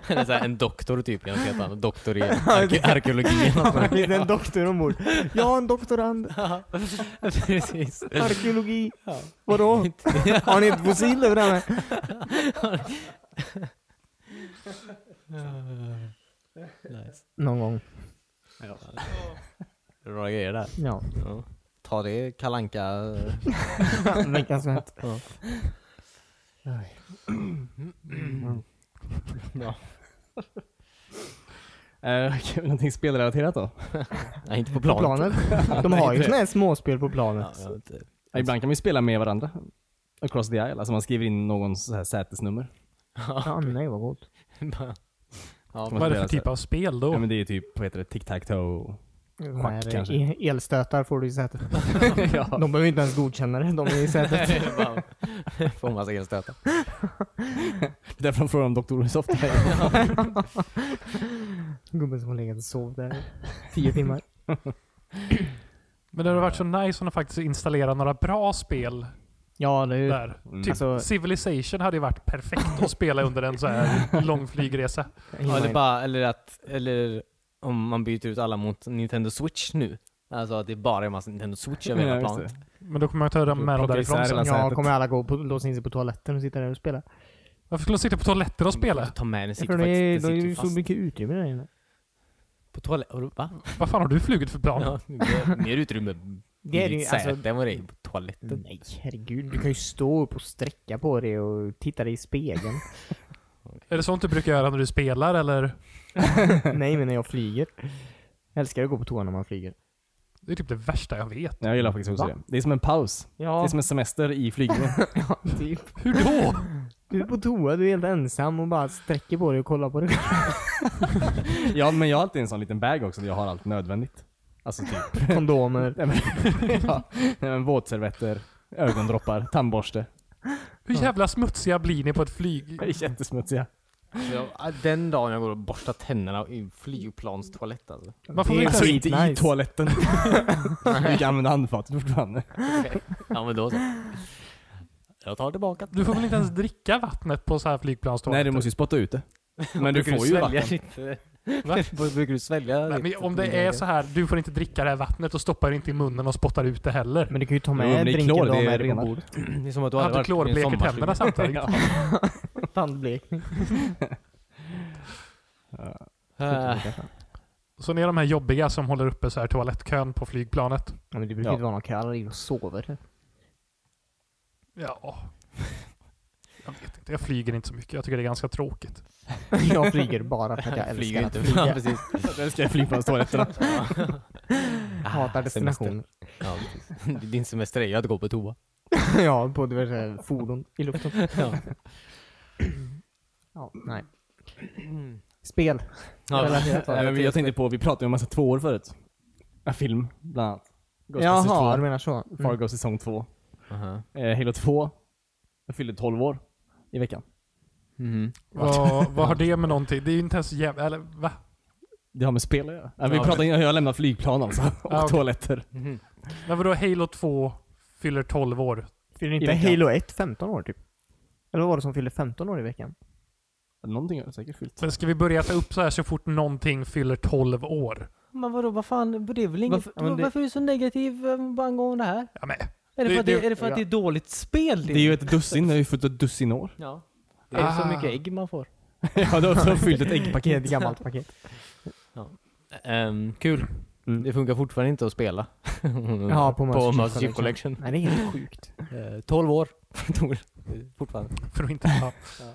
Speaker 4: Eller så här, en doktor typ, jag vet inte, doktor i arke arkeologi eller något sånt
Speaker 2: Visst är en doktor ombord? Ja, en doktorand.
Speaker 4: där. Precis.
Speaker 2: Arkeologi.
Speaker 4: Ja.
Speaker 2: Vadå? Har ni ett fossil där framme?
Speaker 4: Nice.
Speaker 2: Någon gång.
Speaker 4: Det är Några grejer där.
Speaker 2: Ja.
Speaker 4: Ja. Ta det eh, kalanka
Speaker 2: Veckans vett.
Speaker 1: Eh, okej, någonting spelrelaterat då?
Speaker 4: Nej, inte på
Speaker 2: På
Speaker 4: planet.
Speaker 2: planet. De har ju såna här småspel på
Speaker 4: Ja,
Speaker 2: planet.
Speaker 4: jag vet inte.
Speaker 1: Ja, ibland kan vi spela med varandra. Across the aisle. Alltså man skriver in någons så här sätesnummer.
Speaker 2: Ja, nej vad gott.
Speaker 4: ja,
Speaker 1: Vad
Speaker 3: Vad är det för
Speaker 1: spelar
Speaker 3: typ av spel
Speaker 1: Ja,
Speaker 3: då?
Speaker 1: men det är ju typ, vad heter det, tic-tac-toe.
Speaker 2: Såna
Speaker 1: Schack,
Speaker 2: här, eh,
Speaker 1: kanske.
Speaker 2: e- Elstötar får du i sätet. De behöver inte ens godkänna det, de är i sätet.
Speaker 4: Bara- Får massa elstötar.
Speaker 1: Därför de frågar om Dr. Olosoft.
Speaker 2: Gubben som har legat och sov där i tio timmar.
Speaker 3: Men det hade varit så nice om de faktiskt installerade några bra spel
Speaker 1: Mm.
Speaker 2: Ja, det är ju...
Speaker 3: där. Typ
Speaker 2: Alltså-
Speaker 3: Civilization hade ju varit perfekt att spela under en så här lång flygresa.
Speaker 4: Ja, eller, bara, eller, att, eller om man byter ut alla mot Nintendo Switch nu. Alltså att det bara är massa Nintendo Switch över hela planet.
Speaker 3: Men då kommer jag ta dem med dem
Speaker 1: Plocka
Speaker 3: därifrån
Speaker 1: isär
Speaker 3: sen.
Speaker 1: hela
Speaker 2: Ja,
Speaker 1: sätet.
Speaker 2: kommer alla gå på, låsa in sig på toaletten och sitta där och spela?
Speaker 3: Varför skulle de sitta på toaletten och spela?
Speaker 4: Ta med den,
Speaker 2: Jag tror
Speaker 4: sitter
Speaker 2: det är,
Speaker 4: faktiskt,
Speaker 2: det
Speaker 4: den
Speaker 2: är
Speaker 4: sitter
Speaker 2: ju
Speaker 4: ju
Speaker 2: så
Speaker 4: fast.
Speaker 2: mycket utrymme där inne.
Speaker 4: På toaletten? Va?
Speaker 3: Vad fan har du flugit för plan?
Speaker 4: Ja, mer, mer utrymme
Speaker 2: Det är det
Speaker 4: i
Speaker 2: ju,
Speaker 4: ett säte
Speaker 2: alltså,
Speaker 4: än vad det är på toaletten.
Speaker 2: nej herregud. Du kan ju stå upp och sträcka på dig och titta dig i spegeln.
Speaker 3: Är det sånt du brukar göra när du spelar eller?
Speaker 2: nej, men när jag flyger. Jag älskar att gå på toa när man flyger.
Speaker 3: Det är typ det värsta jag vet.
Speaker 1: Jag gillar faktiskt också
Speaker 2: Va?
Speaker 1: det. Det är som en paus. Det är
Speaker 2: Ja,
Speaker 1: som en semester i flygningen.
Speaker 2: typ.
Speaker 3: Hur då?
Speaker 2: Du är på toa, du är helt ensam och bara sträcker på dig och kollar på dig
Speaker 1: ja, men jag har alltid en sån liten bag också där jag har allt nödvändigt. Alltså typ,
Speaker 2: Kondomer.
Speaker 1: nej men, ja, nej, men våtservetter, ögondroppar, tandborste.
Speaker 3: Hur jävla smutsiga blir ni på ett flyg?
Speaker 1: Det är jättesmutsiga.
Speaker 4: Ja, den dagen jag går och borstar tänderna i flygplanstoalett alltså.
Speaker 3: Man får
Speaker 2: Det är
Speaker 3: väl inte
Speaker 1: Alltså inte i
Speaker 2: skitnice.
Speaker 1: toaletten. Du kan använda handfatet fortfarande.
Speaker 4: Ja men då så. Jag tar tillbaka
Speaker 3: Du får väl inte ens dricka vattnet på så här flygplanstoaletter?
Speaker 1: Nej, du måste ju spotta ut det. Men du
Speaker 4: Brukar
Speaker 1: får ju
Speaker 4: svälja
Speaker 1: vatten.
Speaker 4: ditt- Brukar du svälja
Speaker 3: Nej, men om det är så här, du får inte dricka det här vattnet och stoppar det inte i munnen och spottar ut det heller.
Speaker 2: Men du kan ju ta
Speaker 1: Jo,
Speaker 2: med
Speaker 1: men det är
Speaker 2: drinken
Speaker 1: klor,
Speaker 2: du har
Speaker 1: det är
Speaker 2: med dig på
Speaker 1: renare.
Speaker 2: bordet.
Speaker 4: Det är som att du
Speaker 3: Du
Speaker 4: aldrig
Speaker 3: hade
Speaker 4: varit i en
Speaker 3: klorblek i
Speaker 4: sommarstuga.
Speaker 3: tänderna samtidigt.
Speaker 2: Tandblekning.
Speaker 4: Eh,
Speaker 3: Så ni är de här jobbiga som håller uppe så här toalettkön på flygplanet?
Speaker 2: Ja, men det brukar
Speaker 1: Ja.
Speaker 2: inte vara någon kallar och sover.
Speaker 3: Ja. Jag vet inte, jag flyger inte så mycket. Jag tycker det är ganska tråkigt.
Speaker 2: Jag flyger bara för att jag
Speaker 4: Flyger
Speaker 2: älskar att
Speaker 4: inte. Ja,
Speaker 2: flyga.
Speaker 4: precis.
Speaker 1: Där ska jag flygplanstoaletterna.
Speaker 4: Ah,
Speaker 2: Hatar
Speaker 4: semester.
Speaker 2: destinationer.
Speaker 4: Ja, precis. Din semester är ju att gå på toa.
Speaker 2: ja, på diverse fordon i luften.
Speaker 4: Ja.
Speaker 2: Ja, nej. Spel. Relaterat
Speaker 1: Nej, men
Speaker 2: till-
Speaker 1: jag tänkte på, vi pratade ju om massa tvåor förut. En film, bland annat. Ghostbusters
Speaker 2: Jaha,
Speaker 1: 2,
Speaker 2: du menar så.
Speaker 1: Fargo
Speaker 2: Mm.
Speaker 1: säsong 2.
Speaker 4: Aha.
Speaker 1: Eh, Halo 2. Jag fyllde 12 år i veckan.
Speaker 4: Mhm.
Speaker 3: Vad, vad har det med någonting? Det är ju inte ens jämnt. Eller va?
Speaker 1: Det har med spel att göra. Ja, vi
Speaker 4: Ja,
Speaker 1: pratade innan jag lämnade flygplan alltså. Och
Speaker 3: Ja, okej.
Speaker 1: toaletter.
Speaker 4: Mhm.
Speaker 3: Men vadå Halo 2 fyller 12 år?
Speaker 2: Fyller
Speaker 1: i
Speaker 2: inte
Speaker 1: veckan.
Speaker 2: Halo 1 15 år typ? Eller vad var det som fyllde 15 år i veckan?
Speaker 1: Någonting har jag säkert fyllt.
Speaker 3: Men ska vi börja ta upp så här så fort någonting fyller 12 år?
Speaker 4: Men vadå, vad fan, det är väl inget...
Speaker 2: Varför- ja, men det-
Speaker 4: Varför är du så negativ eh, bara angående det här?
Speaker 3: Ja, men,
Speaker 4: Är det,
Speaker 3: Det-
Speaker 4: för, att det,
Speaker 3: det-
Speaker 4: är det för att
Speaker 2: ja.
Speaker 4: det är dåligt spel?
Speaker 1: Det är ju ett dussin, det har ju fyllt ett dussin år.
Speaker 4: Ja. Det är så
Speaker 3: Ah.
Speaker 4: mycket ägg man får.
Speaker 1: ja, du har du har fyllt ett
Speaker 2: Det är ett
Speaker 1: äggpaket.
Speaker 2: gammalt paket.
Speaker 4: Ehm, kul.
Speaker 1: Mm.
Speaker 4: Det funkar fortfarande inte att spela.
Speaker 2: Ja, på Master
Speaker 4: på
Speaker 2: Chief
Speaker 4: Master Chief
Speaker 2: Collection.
Speaker 4: Collection.
Speaker 2: Nej, det är helt sjukt.
Speaker 4: Eh, 12 år tog det. Eh, Fortfarande.
Speaker 3: för att inte ja.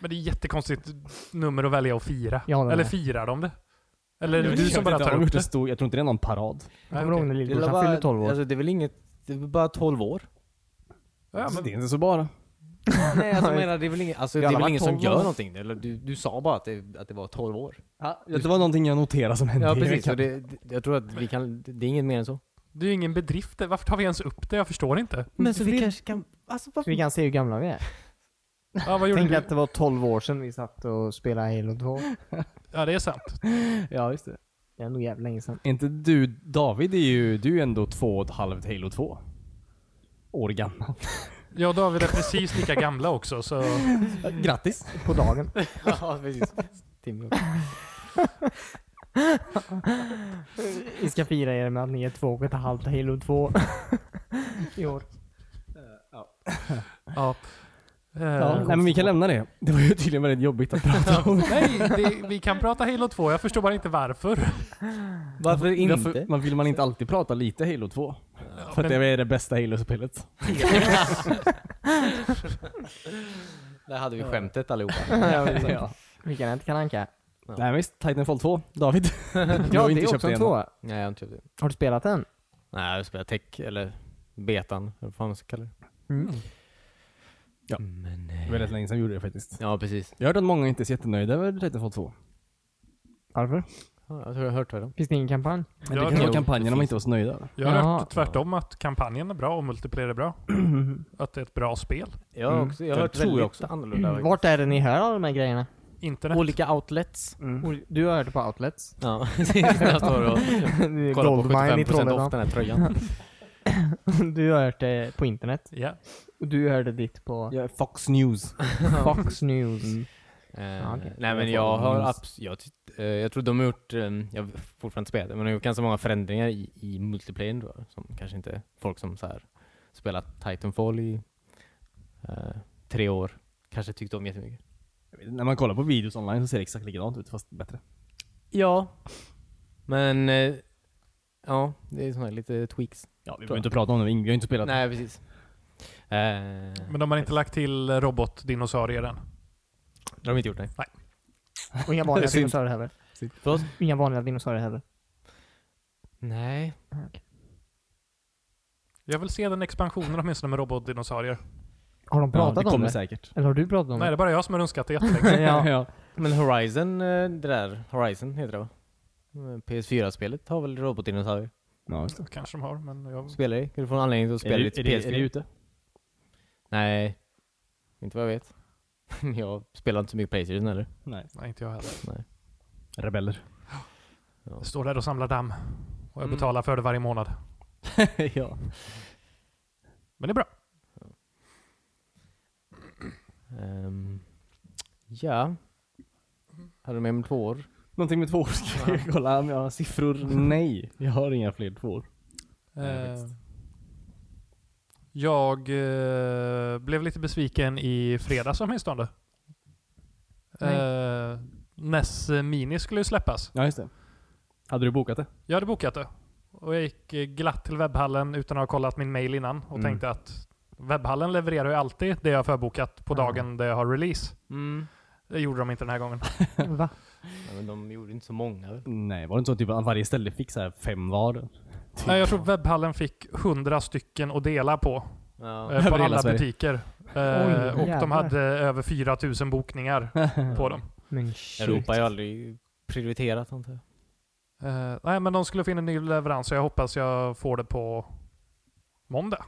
Speaker 3: Men det är jättekonstigt nummer att välja att fira.
Speaker 2: Ja, det är
Speaker 3: eller
Speaker 2: det.
Speaker 3: firar de det? Eller är
Speaker 1: Jag
Speaker 3: det
Speaker 1: vet
Speaker 3: du
Speaker 1: inte,
Speaker 3: som bara
Speaker 1: de har
Speaker 3: tar
Speaker 1: gjort
Speaker 3: upp
Speaker 1: en
Speaker 3: det?
Speaker 1: Stor, jag tror inte det är någon parad.
Speaker 2: Kommer
Speaker 3: Nej,
Speaker 2: du ihåg
Speaker 3: okej.
Speaker 2: när
Speaker 4: är
Speaker 2: lillebrorsan
Speaker 4: bara-
Speaker 2: fyllde 12 år?
Speaker 4: Alltså, det är väl inget... Det är bara 12 år.
Speaker 3: Ja,
Speaker 1: Så
Speaker 3: men,
Speaker 1: Det är inte så bara.
Speaker 4: Nej, alltså, jag menar, det är väl ingen, alltså,
Speaker 2: Vi
Speaker 4: det är
Speaker 2: alla
Speaker 4: väl
Speaker 2: var
Speaker 4: ingen som
Speaker 2: 12 år.
Speaker 4: gör någonting. Eller, du, du sa bara att det, att det var 12 år.
Speaker 1: Ja, det var någonting jag noterade som hände
Speaker 4: Ja,
Speaker 1: i
Speaker 4: precis.
Speaker 1: veckan.
Speaker 4: Och det, det- jag tror att vi kan... Det det är inget mer än så.
Speaker 3: det är ju ingen bedrift. Varför tar vi ens upp det? Jag förstår inte.
Speaker 4: Men så vi kanske kan... Alltså,
Speaker 2: Så vi kan se hur gamla vi är.
Speaker 3: Ja, vad gjorde
Speaker 2: Tänk
Speaker 3: du?
Speaker 2: att det var 12 år sedan vi satt och spelade Halo 2.
Speaker 3: Ja, det är sant.
Speaker 1: Ja, just det.
Speaker 2: Det är nog jävligt länge sedan.
Speaker 1: Inte du, David är ju, du är ju ändå två och ett halvt Halo 2. År gammal.
Speaker 3: Jag och David är precis lika gamla också, så...
Speaker 1: Grattis!
Speaker 2: På dagen.
Speaker 4: ja, precis. Timmy också.
Speaker 2: Vi ska fira er med att ni är två och ett halvt Halo 2 i år.
Speaker 3: Ja. Eh,
Speaker 1: Ja, nej, men vi kan lämna det. Det var ju tydligen väldigt jobbigt att prata om.
Speaker 3: Nej, det, vi kan prata Halo 2. Jag förstår bara inte varför.
Speaker 4: Varför inte?
Speaker 1: Varför man vill man inte alltid prata lite Halo 2? För att
Speaker 3: men-
Speaker 1: det är det bästa Halo-spelet.
Speaker 4: Där hade vi skämtet allihopa.
Speaker 1: ja.
Speaker 2: Vilken är inte Kalanka?
Speaker 1: Nej men visst, Titanfall 2. David. du
Speaker 2: Ja,
Speaker 1: har
Speaker 2: det
Speaker 1: inte
Speaker 2: är
Speaker 1: köpt det
Speaker 2: också en
Speaker 1: än.
Speaker 2: tvåa.
Speaker 4: Nej, jag har inte köpt det.
Speaker 2: Har du spelat den?
Speaker 4: Nej, jag spelar tech, eller betan, eller vad fan man ska kalla det.
Speaker 2: Mm.
Speaker 1: Ja.
Speaker 4: Men,
Speaker 1: Det
Speaker 4: eh,
Speaker 1: var väldigt länge sedan vi gjorde det faktiskt.
Speaker 4: ja, precis.
Speaker 1: Jag har hört att många inte är så jättenöjda över Titanfall 2.
Speaker 2: Varför?
Speaker 4: Ja, jag tror jag har hört det. då.
Speaker 2: Finns det ingen kampanj?
Speaker 1: Men
Speaker 3: Jag
Speaker 1: det kanske
Speaker 4: tror-
Speaker 1: var kampanjen
Speaker 4: det
Speaker 1: de
Speaker 4: finns-
Speaker 1: inte var så nöjda över.
Speaker 3: Jag har
Speaker 2: Jaha.
Speaker 3: hört tvärtom att kampanjen är bra och multiplayer är bra. Att det är ett bra spel.
Speaker 4: Jag har
Speaker 1: Mm.
Speaker 4: också, jag
Speaker 1: Det
Speaker 4: har hört
Speaker 1: tror jag
Speaker 4: väldigt
Speaker 1: också.
Speaker 4: annorlunda. faktiskt.
Speaker 2: Vart är det ni hör alla de här grejerna?
Speaker 3: Internet.
Speaker 4: Olika outlets.
Speaker 2: Ol- Du har hört det på outlets.
Speaker 4: Ja, precis. Där står det och
Speaker 2: Det är
Speaker 4: kollar på
Speaker 2: Goldmine i
Speaker 4: 75% off
Speaker 2: Trollhättan.
Speaker 4: den här tröjan.
Speaker 2: Du har hört det på internet.
Speaker 3: Ja.
Speaker 2: Och du hörde ditt på
Speaker 1: Ja, Fox News.
Speaker 2: Fox News.
Speaker 4: Eh,
Speaker 2: Ja, okej.
Speaker 4: Nej men jag har abs- jag, tyck- eh, jag tror de har gjort, eh, jag har fortfarande spelat det, men de har gjort ganska många förändringar i, i multiplayern då, som kanske inte folk som så här spelat Titanfall i eh, tre år kanske tyckte om jättemycket.
Speaker 1: Jag vet inte, När man kollar på videos online så ser det exakt likadant ut fast bättre.
Speaker 4: Ja. Men, eh, ja, det är såna här lite tweaks.
Speaker 1: Ja, vi
Speaker 4: behöver
Speaker 1: behöver
Speaker 4: inte
Speaker 1: inte prata om det, vi har ju inte spelat
Speaker 4: Nej, precis. Eh,
Speaker 3: Men de har inte lagt till robotdinosaurier än.
Speaker 4: det har de inte gjort, nej.
Speaker 2: Och inga vanliga
Speaker 1: Synd.
Speaker 2: dinosaurier heller.
Speaker 4: Förlåt?
Speaker 2: Inga vanliga dinosaurier heller.
Speaker 4: Nej.
Speaker 3: Jag vill se den expansionen åtminstone med robotdinosaurier.
Speaker 2: Har de
Speaker 1: ja,
Speaker 2: pratat
Speaker 1: det
Speaker 2: om
Speaker 1: kommer
Speaker 2: det?
Speaker 1: säkert.
Speaker 2: Eller har du pratat om
Speaker 3: Nej, det är
Speaker 2: det?
Speaker 3: bara jag som har önskat det jättelänge.
Speaker 2: ja.
Speaker 4: Men Horizon, eh, det där, Horizon heter det va? Eh, PS4-spelet har väl robotdinosaurier?
Speaker 1: Ja, just det.
Speaker 3: Kanske de har, men jag...
Speaker 4: Spelar det? Kan du få en anledning att spela
Speaker 1: Är det,
Speaker 4: lite
Speaker 1: är, det,
Speaker 4: PS4?
Speaker 1: är det ute?
Speaker 4: Nej. Inte vad jag vet. jag spelar inte så mycket Playstation heller.
Speaker 1: Nej.
Speaker 3: Nej, inte jag heller.
Speaker 1: Rebeller.
Speaker 3: Jag står där och samlar damm. Och jag betalar för det varje månad.
Speaker 1: ja.
Speaker 3: Men det är bra.
Speaker 4: Ehm, ja. Hade du med mig två år?
Speaker 1: Någonting med tvåor ska jag kolla om jag har siffror. Nej, jag har inga fler tvåor.
Speaker 4: Nej,
Speaker 3: Eh,
Speaker 4: faktiskt.
Speaker 3: jag eh, blev lite besviken i fredags åtminstone.
Speaker 2: Nej.
Speaker 3: Eh, Ness Mini skulle ju släppas.
Speaker 1: Ja, just det. Hade du bokat det?
Speaker 3: Jag hade bokat det. Och jag gick eh, glatt till webbhallen utan att ha kollat min mail innan och
Speaker 1: Mm.
Speaker 3: tänkte att webbhallen levererar ju alltid det jag har förbokat på
Speaker 2: Ja.
Speaker 3: dagen där jag har release.
Speaker 4: Mm.
Speaker 3: Det gjorde de inte den här gången.
Speaker 2: Va?
Speaker 4: Ja, men de gjorde inte så många väl?
Speaker 1: Nej, var det inte så typ att varje ställe fick så här fem var?
Speaker 3: Nej, jag tror webbhallen fick 100 stycken att dela på.
Speaker 4: Ja.
Speaker 3: Eh, på
Speaker 1: Över hela
Speaker 3: alla
Speaker 1: Sverige.
Speaker 3: butiker. Eh,
Speaker 2: Oj,
Speaker 3: och
Speaker 2: jävlar.
Speaker 3: de hade över 4000 bokningar på dem.
Speaker 2: Men shit.
Speaker 4: Europa är ju aldrig prioriterat antar jag.
Speaker 3: Eh, nej, men de skulle få in en ny leverans och jag hoppas jag får det på måndag.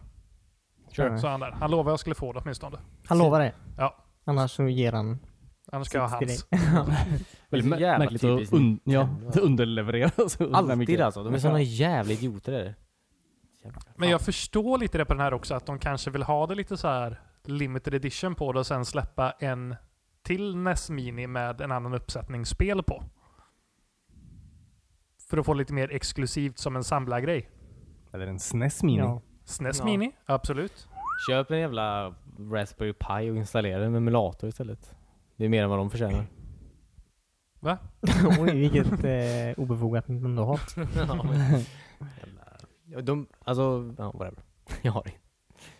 Speaker 2: Sure.
Speaker 3: Så han, där. han lovade jag skulle få det åtminstone.
Speaker 2: Han lovar det.
Speaker 3: Ja.
Speaker 2: Annars så ger han
Speaker 3: Annars ska jag ha
Speaker 2: sitt till
Speaker 3: hans.
Speaker 2: dig.
Speaker 1: Väldigt
Speaker 4: Så
Speaker 1: mär-
Speaker 4: jävla
Speaker 1: märkligt att
Speaker 4: typiskt
Speaker 1: un- ja,
Speaker 4: Nintendo.
Speaker 1: att underleverera. så undrar
Speaker 4: Alltid
Speaker 1: mycket.
Speaker 4: alltså. De är såna jävla idioter där. Jävlar.
Speaker 3: Men jag förstår lite det på den här också, att de kanske vill ha det lite så här limited edition på det och sen släppa en till NES Mini med en annan uppsättning spel på. För att få lite mer exklusivt som en samlargrej.
Speaker 1: Eller en SNES Mini.
Speaker 2: Ja.
Speaker 3: SNES
Speaker 4: Ja.
Speaker 3: Mini, absolut.
Speaker 4: Köp en jävla Raspberry Pi och installera den med emulator istället. Det är mer än vad de förtjänar.
Speaker 3: Va?
Speaker 2: Oj, vilket eh, obefogat Nintendo-hat.
Speaker 4: ja, men, jävla- Ja, de, alltså, ja, whatever. Jag har ingen.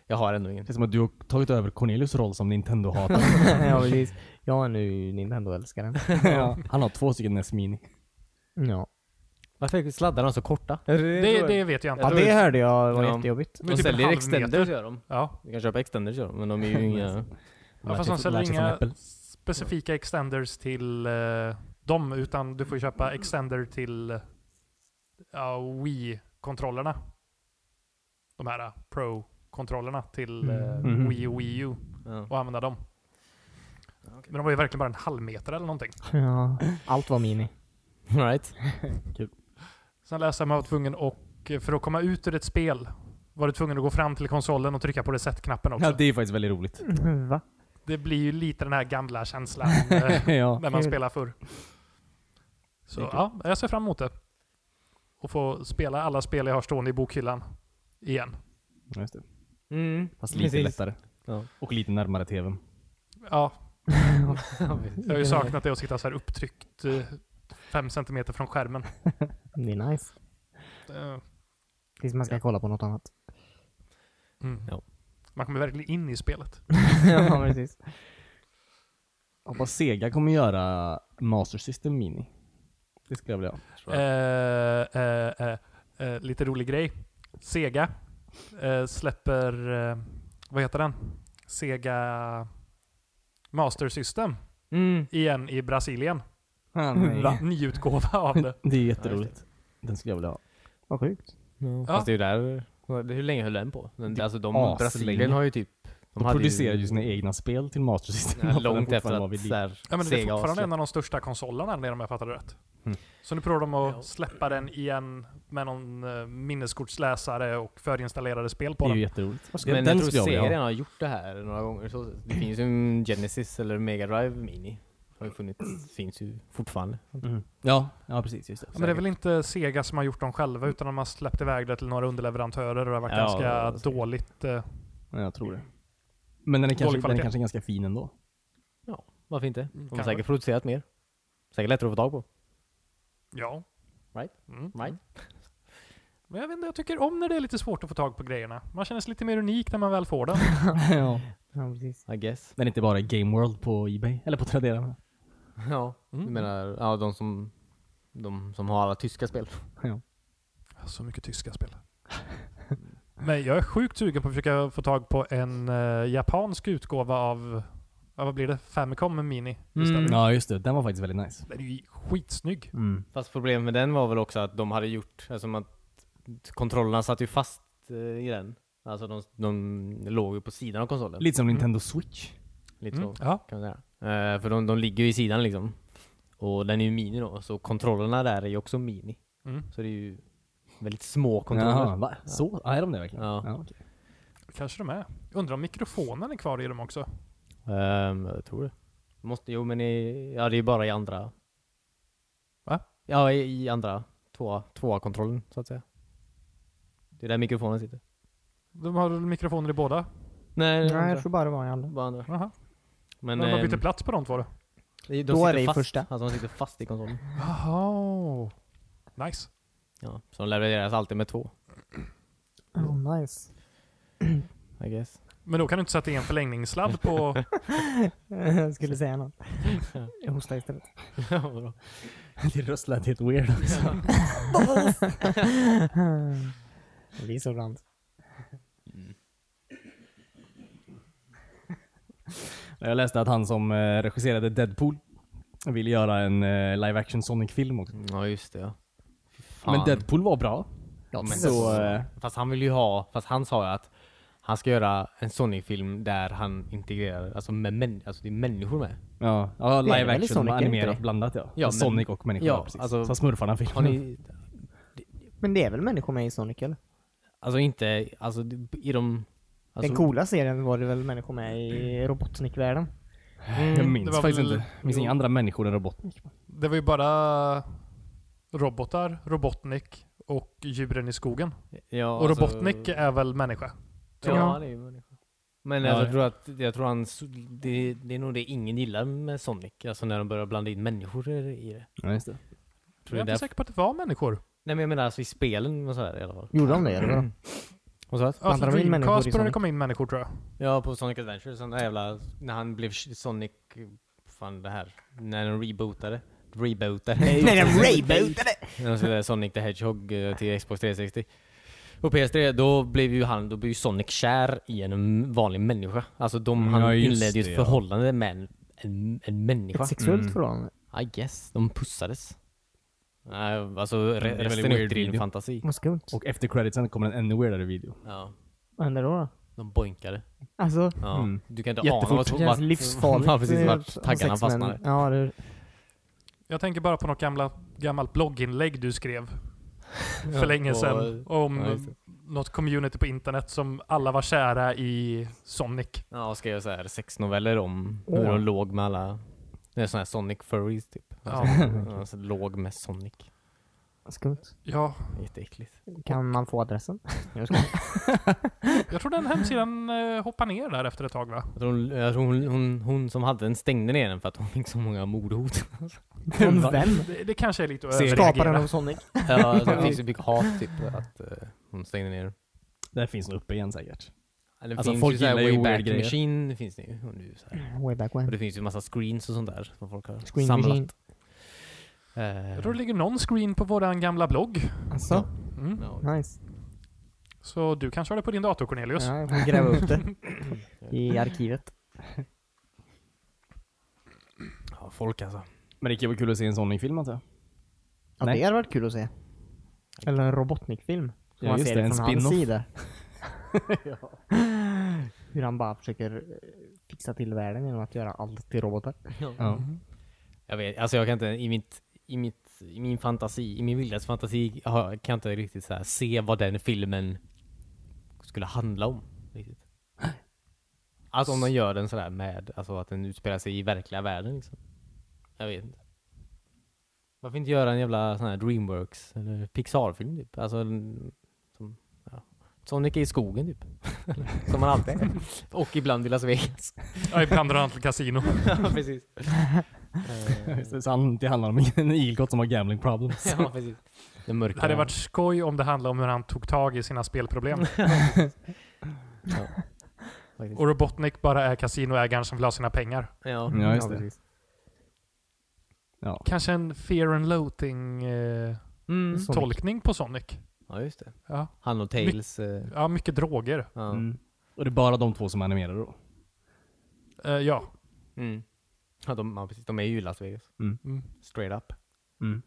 Speaker 4: Jag har ändå ingen.
Speaker 1: Det är som att du har tagit över Cornelius roll som Nintendo-hatare.
Speaker 2: ja, precis. Jag är nu Nintendo-älskaren.
Speaker 1: Ja. Han har två stycken NES Mini.
Speaker 2: Ja.
Speaker 4: Varför är sladdarna så korta?
Speaker 3: Det, det vet jag
Speaker 2: ja,
Speaker 3: inte.
Speaker 4: tror-
Speaker 2: det hörde jag var
Speaker 4: Ja.
Speaker 2: jättejobbigt.
Speaker 3: Men
Speaker 4: De
Speaker 3: typ en
Speaker 4: säljer
Speaker 3: halv
Speaker 4: extenders
Speaker 3: meter.
Speaker 4: gör de.
Speaker 3: Ja.
Speaker 4: Du kan köpa extenders gör de, men de är ju inga...
Speaker 3: ja,
Speaker 1: sig-
Speaker 3: fast de
Speaker 1: lär
Speaker 3: säljer
Speaker 1: sig från
Speaker 3: inga
Speaker 1: typ Apple.
Speaker 3: specifika extenders till eh, dem, utan du får köpa extender till eh, ja, Wii-kontrollerna. De här eh, Pro-kontrollerna till eh,
Speaker 1: Mhm.
Speaker 3: Wii och Wii U
Speaker 4: Ja.
Speaker 3: och använda dem. Men de var ju verkligen bara en halv meter eller någonting.
Speaker 2: Ja. Allt var mini.
Speaker 4: All right.
Speaker 3: Sen läste jag att man var tvungen och eh, för att komma ut ur ett spel var du tvungen att gå fram till konsolen och trycka på reset-knappen också.
Speaker 1: Ja,
Speaker 3: det...
Speaker 1: det är faktiskt väldigt roligt.
Speaker 2: Va?
Speaker 3: blir ju lite den här gamla känslan eh,
Speaker 1: ja.
Speaker 3: när man
Speaker 2: Kul.
Speaker 3: spelar förr. Så
Speaker 1: Det är kul.
Speaker 3: ja, jag ser fram emot det. Och få spela alla spel jag har stående i bokhyllan igen.
Speaker 1: Ja, Just det.
Speaker 4: Mm.
Speaker 1: Fast lite
Speaker 4: Precis.
Speaker 1: lättare.
Speaker 4: Ja.
Speaker 1: Och lite närmare tvn.
Speaker 3: Ja, jag har ju saknat det att sitta så här upptryckt eh, fem centimeter från skärmen.
Speaker 2: Det är nice.
Speaker 3: Eh,
Speaker 2: Tills man ska kolla på något annat.
Speaker 3: Mm.
Speaker 4: Ja.
Speaker 3: Man kommer verkligen in i spelet.
Speaker 2: ja, precis.
Speaker 1: Hoppas Sega kommer göra Master System Mini. Det skulle jag vilja ha.
Speaker 4: Bra.
Speaker 3: Eh, eh, eh, eh, lite rolig grej. Sega eh, släpper, eh, vad heter den? Sega Master System
Speaker 4: Mm.
Speaker 3: igen i Brasilien.
Speaker 1: Va?
Speaker 3: Nyutgåva av det.
Speaker 1: Det är jätteroligt. Den skulle jag vilja ha.
Speaker 2: Vad sjukt.
Speaker 4: Ja.
Speaker 3: Ja.
Speaker 4: Fast det är ju där... Hur länge höll den på? Den,
Speaker 1: Det-
Speaker 4: alltså de,
Speaker 1: aslänge.
Speaker 4: Brasilien har ju typ...
Speaker 1: De,
Speaker 4: hade
Speaker 1: producerar ju sina egna spel till Master System.
Speaker 4: Nej,
Speaker 1: Den
Speaker 4: långt
Speaker 1: fortfarande
Speaker 4: efter
Speaker 1: var
Speaker 4: att
Speaker 1: vid liv.
Speaker 4: så här,
Speaker 3: Ja, men det är
Speaker 4: Sega har
Speaker 3: fortfarande
Speaker 4: släppt-
Speaker 3: en av de största konsolerna där nere om jag fattar det rätt.
Speaker 1: Mm.
Speaker 3: Så nu provar de
Speaker 4: Ja.
Speaker 3: att släppa den igen med någon eh, minneskortsläsare och förinstallerade spel
Speaker 1: Det
Speaker 3: på
Speaker 1: är ju
Speaker 3: den.
Speaker 1: jätteroligt. Vad ska-
Speaker 4: Men
Speaker 1: den
Speaker 4: jag
Speaker 1: skulle
Speaker 4: tror
Speaker 1: jag vilja
Speaker 4: serien
Speaker 1: ha.
Speaker 4: har gjort det här några gånger. Så det finns ju en Genesis eller Mega Drive Mini. Har ju funnits, finns ju fortfarande.
Speaker 1: Mm. Ja, ja precis. Just det.
Speaker 3: Ja, men det är väl inte Sega som har gjort dem själva utan de har släppt iväg det till några underleverantörer och det har varit
Speaker 4: Mm. Ja,
Speaker 3: ganska
Speaker 4: säkert.
Speaker 3: dåligt. eh,
Speaker 1: Ja, jag tror det. Men den är, kanske, den är
Speaker 3: kvalitet.
Speaker 1: kanske ganska fin ändå.
Speaker 4: Varför inte? De har
Speaker 3: kanske.
Speaker 4: säkert producerat mer. Säkert lättare att få tag på.
Speaker 3: Ja.
Speaker 4: Right.
Speaker 3: Mm.
Speaker 4: Right?
Speaker 3: Men jag vet inte, jag tycker om när det är lite svårt att få tag på grejerna. Man känner sig lite mer unik när man väl får den.
Speaker 1: ja.
Speaker 2: Ja, precis.
Speaker 4: I guess.
Speaker 1: Den är inte bara i Game World på Ebay, eller på Tradera.
Speaker 4: Ja,
Speaker 3: Mm.
Speaker 4: du menar ja, de som de som har alla tyska spel.
Speaker 3: Så mycket tyska spel. Men jag är sjukt sugen på att försöka få tag på en eh, japansk utgåva av, ja, vad blir det, Famicom Mini istället.
Speaker 1: Ja, just det. Mm. Den var faktiskt väldigt nice.
Speaker 3: Den är ju skitsnygg.
Speaker 4: Fast problemet med den var väl också att de hade gjort, eftersom att kontrollerna satt ju fast eh, i den. Alltså de, de låg ju på sidan av konsolen.
Speaker 1: Lite som Nintendo Switch.
Speaker 4: Lite
Speaker 3: Mm.
Speaker 4: så.
Speaker 3: Ja.
Speaker 4: kan man säga. Eh, för de, de ligger ju i sidan liksom. Och den är ju mini då, så kontrollerna där är ju också mini.
Speaker 3: Mm.
Speaker 4: Så det är ju väldigt små kontroller.
Speaker 1: Jaha, va? Så? Ja, är de det verkligen?
Speaker 4: Ja.
Speaker 1: okej.
Speaker 3: Kanske de är. Undrar om mikrofonen är kvar i dem också.
Speaker 4: Ehm, jag tror det. Måste, jo men i, ja, det är ju bara i andra.
Speaker 3: Va?
Speaker 4: Ja, i, i andra. Tvåa, tvåa kontrollen så att säga. Det är där mikrofonen sitter.
Speaker 3: De har väl mikrofoner i båda?
Speaker 4: Nej, det är
Speaker 2: Nej,
Speaker 4: andra.
Speaker 2: jag tror bara det var en alla.
Speaker 4: Bara andra.
Speaker 3: Jaha.
Speaker 4: Men,
Speaker 3: Men de har
Speaker 4: ehm,
Speaker 3: bytt plats på de två då?
Speaker 4: de, de
Speaker 2: Då är
Speaker 4: sitter
Speaker 2: det i
Speaker 4: fast,
Speaker 2: första.
Speaker 4: Alltså de sitter fast i kontrollen.
Speaker 3: Jaha. Nice.
Speaker 4: Ja, så de levereras alltid med två.
Speaker 2: Oh, nice.
Speaker 4: I guess.
Speaker 3: Men då kan du inte sätta i en förlängningssladd på...
Speaker 2: jag skulle säga något. Jag hostar istället.
Speaker 4: Ja, bra.
Speaker 1: Din röst lät helt weird.
Speaker 2: Det blir så ibland.
Speaker 1: Jag läste att han som eh, regisserade Deadpool Jag vill göra en eh, live action Sonic-film också.
Speaker 4: Ja just det ja. Fy
Speaker 1: Men
Speaker 4: fan.
Speaker 1: Deadpool var bra.
Speaker 4: Ja, men
Speaker 1: så, eh,
Speaker 4: Fast han vill ju ha, fast han sa ju att han ska göra en Sonic-film där han integrerar, alltså med män, alltså det är människor med.
Speaker 1: ja, ja
Speaker 2: det är
Speaker 1: live
Speaker 2: väl i
Speaker 1: action
Speaker 2: Sonic, är
Speaker 1: Sonic,
Speaker 2: det inte
Speaker 1: animerat
Speaker 2: det?
Speaker 1: blandat ja.
Speaker 4: Ja, men-
Speaker 1: Sonic och människor,
Speaker 4: ja,
Speaker 1: ja, precis.
Speaker 4: alltså-
Speaker 1: Som
Speaker 4: Har
Speaker 1: Smurfarna-filmen.
Speaker 4: ni,
Speaker 2: Men det är väl människor med i Sonic eller?
Speaker 4: alltså inte, alltså det- i de... Alltså,
Speaker 2: Den coola serien var det väl människor med i Robotnik-världen?
Speaker 1: Jag
Speaker 4: mm,
Speaker 3: det
Speaker 1: minns
Speaker 3: var
Speaker 1: faktiskt
Speaker 3: väl-
Speaker 1: inte. Jag minns
Speaker 3: jo.
Speaker 1: inga andra människor än Robotnik.
Speaker 3: Det var ju bara robotar, Robotnik och djuren i skogen.
Speaker 4: ja,
Speaker 3: Och
Speaker 4: alltså-
Speaker 3: Robotnik är väl människa?
Speaker 4: Ja,
Speaker 3: tror jag.
Speaker 4: det är ju människa. Men
Speaker 1: Ja,
Speaker 4: alltså,
Speaker 1: ja.
Speaker 4: jag tror att, jag tror han, det, det är nog det ingen gillar med Sonic, alltså när de börjar blanda in människor i det.
Speaker 1: Ja, just det.
Speaker 4: Tror
Speaker 3: Jag är
Speaker 4: det
Speaker 3: inte
Speaker 4: är
Speaker 3: säker på att det var människor.
Speaker 4: Nej men jag menar alltså i spelen och sådär i alla fall.
Speaker 2: Gjorde de det eller? vadå?
Speaker 4: Och så
Speaker 3: Alltså
Speaker 4: att,
Speaker 2: Blandar de in människor i
Speaker 3: Dreamcast började
Speaker 2: Sonic?
Speaker 3: komma in människor tror jag.
Speaker 4: ja på Sonic Adventure, sån där jävla, när han blev sh- Sonic, fan det här, när de rebootade. Rebootade.
Speaker 2: Nej, de rebootade!
Speaker 4: när de skulle göra Sonic the Hedgehog eh, till Xbox 360. Och PS3, då blev ju han, då blev ju Sonic kär i en m- vanlig människa. Alltså de,
Speaker 1: Mm,
Speaker 4: han
Speaker 1: ja, just
Speaker 4: inledde ju ett
Speaker 1: det, ja.
Speaker 4: förhållande med en, en, en människa.
Speaker 2: Ett sexuellt
Speaker 1: Mm.
Speaker 2: förhållande?
Speaker 4: I guess. De pussades. Nej, alltså
Speaker 1: Det är
Speaker 4: re-
Speaker 1: en väldigt
Speaker 4: resten är
Speaker 1: weird
Speaker 4: uppdriven
Speaker 1: video.
Speaker 4: fantasi.
Speaker 2: Vad skumt.
Speaker 1: Och efter creditsen kommer en ännu weirdare video.
Speaker 4: Ja,
Speaker 2: Vad händer då? då?
Speaker 4: de boinkade.
Speaker 2: Alltså,
Speaker 4: Ja.
Speaker 1: Mm.
Speaker 4: Du kan inte
Speaker 1: Jättefort.
Speaker 4: ana vad
Speaker 2: det känns livsfarligt.
Speaker 4: Ja, precis.
Speaker 2: eh,
Speaker 4: Vart
Speaker 2: att ha
Speaker 4: taggarna
Speaker 2: sex med en-
Speaker 4: fastnade.
Speaker 2: Ja, det,
Speaker 3: Jag tänker bara på något gamla, gammalt blogginlägg du skrev för länge
Speaker 4: och-
Speaker 3: sedan.
Speaker 4: ja,
Speaker 3: Om
Speaker 4: just det.
Speaker 3: något community på internet som alla var kära i Sonic.
Speaker 4: Ja, och skrev så här sexnoveller om hur
Speaker 2: Åh.
Speaker 4: de låg med alla... Det är såna här Sonic Furries typ.
Speaker 3: Ja.
Speaker 4: Alltså, låg med Sonic.
Speaker 2: skumt.
Speaker 3: Ja,
Speaker 4: Jätteäckligt.
Speaker 2: Kan man få adressen?
Speaker 3: jag tror den hemsidan eh, hoppar ner där efter ett tag va?
Speaker 4: Jag tror, hon, jag tror hon, hon, hon som hade den stängde ner den för att hon fick så många mordhot.
Speaker 2: Från vem?
Speaker 3: Det, det kanske är lite att
Speaker 4: Se-
Speaker 2: Skaparen
Speaker 3: överreagera.
Speaker 2: av Sonic?
Speaker 4: ja, alltså, hon fick så mycket hat typ att eh, hon stängde ner den.
Speaker 1: Det finns nog uppe igen säkert.
Speaker 4: Ja, Det
Speaker 1: Alltså,
Speaker 4: finns
Speaker 1: folk
Speaker 4: ju så här
Speaker 1: gillar ju weird
Speaker 4: Wayback
Speaker 1: grejer.
Speaker 4: Machine, det finns det ju. Och nu så här.
Speaker 2: Way back
Speaker 4: Och
Speaker 2: when.
Speaker 4: det finns ju massa screens och sånt där som folk har
Speaker 2: Screen machine.
Speaker 4: samlat.
Speaker 3: Jag
Speaker 4: Eh,
Speaker 3: tror det ligger någon screen på våran gamla blogg.
Speaker 2: Alltså,
Speaker 3: Mm.
Speaker 4: ja,
Speaker 2: nice.
Speaker 3: Så du kan köra det på din dator Cornelius.
Speaker 2: Ja, jag får gräva upp det. I arkivet.
Speaker 4: ja, folk alltså.
Speaker 1: Men det kan vara kul att se en Sonic-film antar jag.
Speaker 2: Ja,
Speaker 1: Nej.
Speaker 2: det hade varit kul att se. Eller en Robotnik-film.
Speaker 1: Ja,
Speaker 2: Ja, man
Speaker 1: just
Speaker 2: ser
Speaker 1: det,
Speaker 2: det,
Speaker 1: en
Speaker 2: från hans
Speaker 1: spin-off.
Speaker 2: sida. Hur han bara försöker eh, fixa till världen genom att göra allt till robotar.
Speaker 1: Ja.
Speaker 2: Mm.
Speaker 4: Jag vet, alltså jag kan inte, i mitt, i mitt, i min fantasi, i min vildaste fantasi har- kan jag inte riktigt så här, se vad den filmen skulle handla om. Riktigt. Alltså om de gör den sådär med, alltså att den utspelar sig i verkliga världen liksom. Jag vet inte. Varför inte göra en jävla sån här Dreamworks eller Pixar-film typ? Alltså en, som, ja. Sonic är i skogen typ. som man alltid är. Och ibland i Las Vegas.
Speaker 3: Ja, ibland drar han till kasino.
Speaker 4: ja, precis. Eh,
Speaker 1: Så så han- det handlar om en ilgott som har gambling problems.
Speaker 4: Ja, precis. Den mörka.
Speaker 3: Det hade varit skoj om det handlade om hur han tog tag i sina spelproblem.
Speaker 4: faktiskt.
Speaker 3: Och Robotnik bara är kasinoägaren som vill ha sina pengar.
Speaker 4: Ja.
Speaker 1: Ja, just det.
Speaker 2: precis.
Speaker 1: Ja.
Speaker 3: Kanske en fear and loathing-tolkning
Speaker 4: Mm.
Speaker 2: Så- Sonic.
Speaker 3: på Sonic.
Speaker 4: ja, just det.
Speaker 3: Ja.
Speaker 4: Han och Tails. eh,
Speaker 3: ja, mycket droger.
Speaker 4: ja.
Speaker 1: Mm. Och det är bara de två som animerar då.
Speaker 3: Eh, ja.
Speaker 4: Mm. Ja, de, ja, precis. De är ju i Las Vegas.
Speaker 3: Mm.
Speaker 4: Straight up.
Speaker 1: Mm.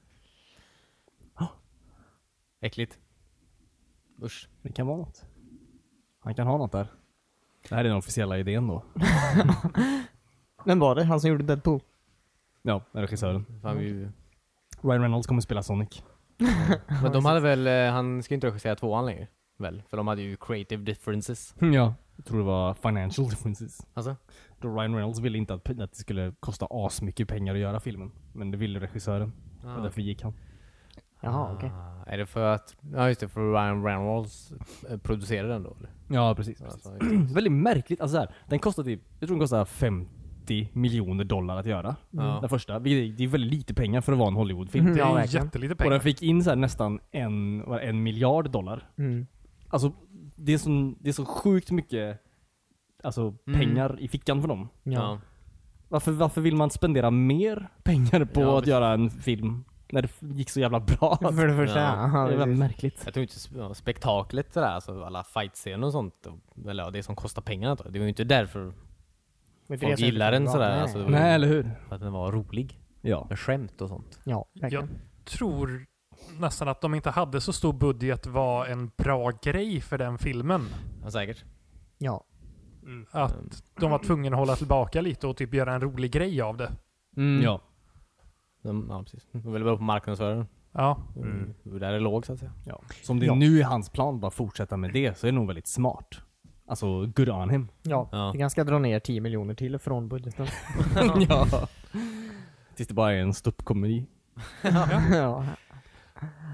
Speaker 4: Äckligt. Usch.
Speaker 1: Det kan vara något. Han kan ha något där. Det här är den officiella idén då.
Speaker 2: Vem var det? Han som gjorde Deadpool?
Speaker 1: Ja, regissören.
Speaker 4: Fan, vi,
Speaker 1: Ryan Reynolds kommer spela Sonic.
Speaker 4: men de hade väl, eh, han ska ju inte regissera tvåan längre. Väl? För de hade ju creative differences.
Speaker 1: Mm, Ja. Jag tror det var financial differences.
Speaker 4: Alltså?
Speaker 1: Då Ryan Reynolds ville inte att, att det skulle kosta asmycket pengar att göra filmen. Men det ville regissören. Och därför gick han.
Speaker 2: Jaha, okej.
Speaker 4: Ah, är det för att, ja just det, för Ryan Reynolds eh, producerade den då eller?
Speaker 1: Ja, precis.
Speaker 4: Alltså,
Speaker 1: Väldigt märkligt. Alltså så här, den kostar typ, jag tror den kostar 50 miljoner dollar att göra. Mm.
Speaker 4: Ja. Mm.
Speaker 1: Den första. vilket är- Det är väldigt lite pengar för att vara en Hollywoodfilm.
Speaker 3: Det
Speaker 2: Ja,
Speaker 3: är
Speaker 2: verkligen.
Speaker 3: jättelite
Speaker 1: Och den
Speaker 3: pengar.
Speaker 1: fick in så här nästan en, vad är det, en miljard dollar.
Speaker 2: Mm.
Speaker 1: Alltså, det är, så, det är så sjukt mycket alltså,
Speaker 4: Mm.
Speaker 1: pengar i fickan för dem.
Speaker 2: Ja.
Speaker 1: Varför, varför vill man spendera mer pengar på
Speaker 4: Ja,
Speaker 1: att
Speaker 4: precis.
Speaker 1: göra en film när det f- gick så jävla bra?
Speaker 2: För det första,
Speaker 4: Ja.
Speaker 2: ja.
Speaker 1: det är väldigt
Speaker 2: precis.
Speaker 1: märkligt.
Speaker 4: Jag tror inte sp- ja, spektaklet sådär, alltså alla fightscener och sånt, och- eller ja, det som kostar pengarna då. Det var ju inte därför
Speaker 2: Men det
Speaker 4: folk
Speaker 2: är så
Speaker 4: gillar
Speaker 2: det
Speaker 4: den
Speaker 2: var.
Speaker 4: sådär.
Speaker 2: Nej.
Speaker 4: Alltså, det var ju
Speaker 1: Nej, eller hur?
Speaker 4: För att den var rolig.
Speaker 1: Ja.
Speaker 4: Med skämt och sånt.
Speaker 2: Ja, verkligen.
Speaker 3: Tror nästan att de inte hade så stor budget var en bra grej för den filmen.
Speaker 4: Ja, säkert.
Speaker 2: Ja.
Speaker 3: Att de var tvungna att hålla tillbaka lite och typ göra en rolig grej av det.
Speaker 4: Mm.
Speaker 1: Ja.
Speaker 4: De, ja, precis. De ville bara på marknadsföringen.
Speaker 3: Ja,
Speaker 1: Mm.
Speaker 4: Det var Där det låg så att säga.
Speaker 1: ja. Så om det
Speaker 2: Ja.
Speaker 1: nu är hans plan bara fortsätta med det så är det nog väldigt smart. Alltså, good on him.
Speaker 2: Ja,
Speaker 4: Ja.
Speaker 2: vi ganska dra ner 10 miljoner till från budgeten.
Speaker 1: ja. Tills det bara är en ståuppkomedi.
Speaker 2: ja.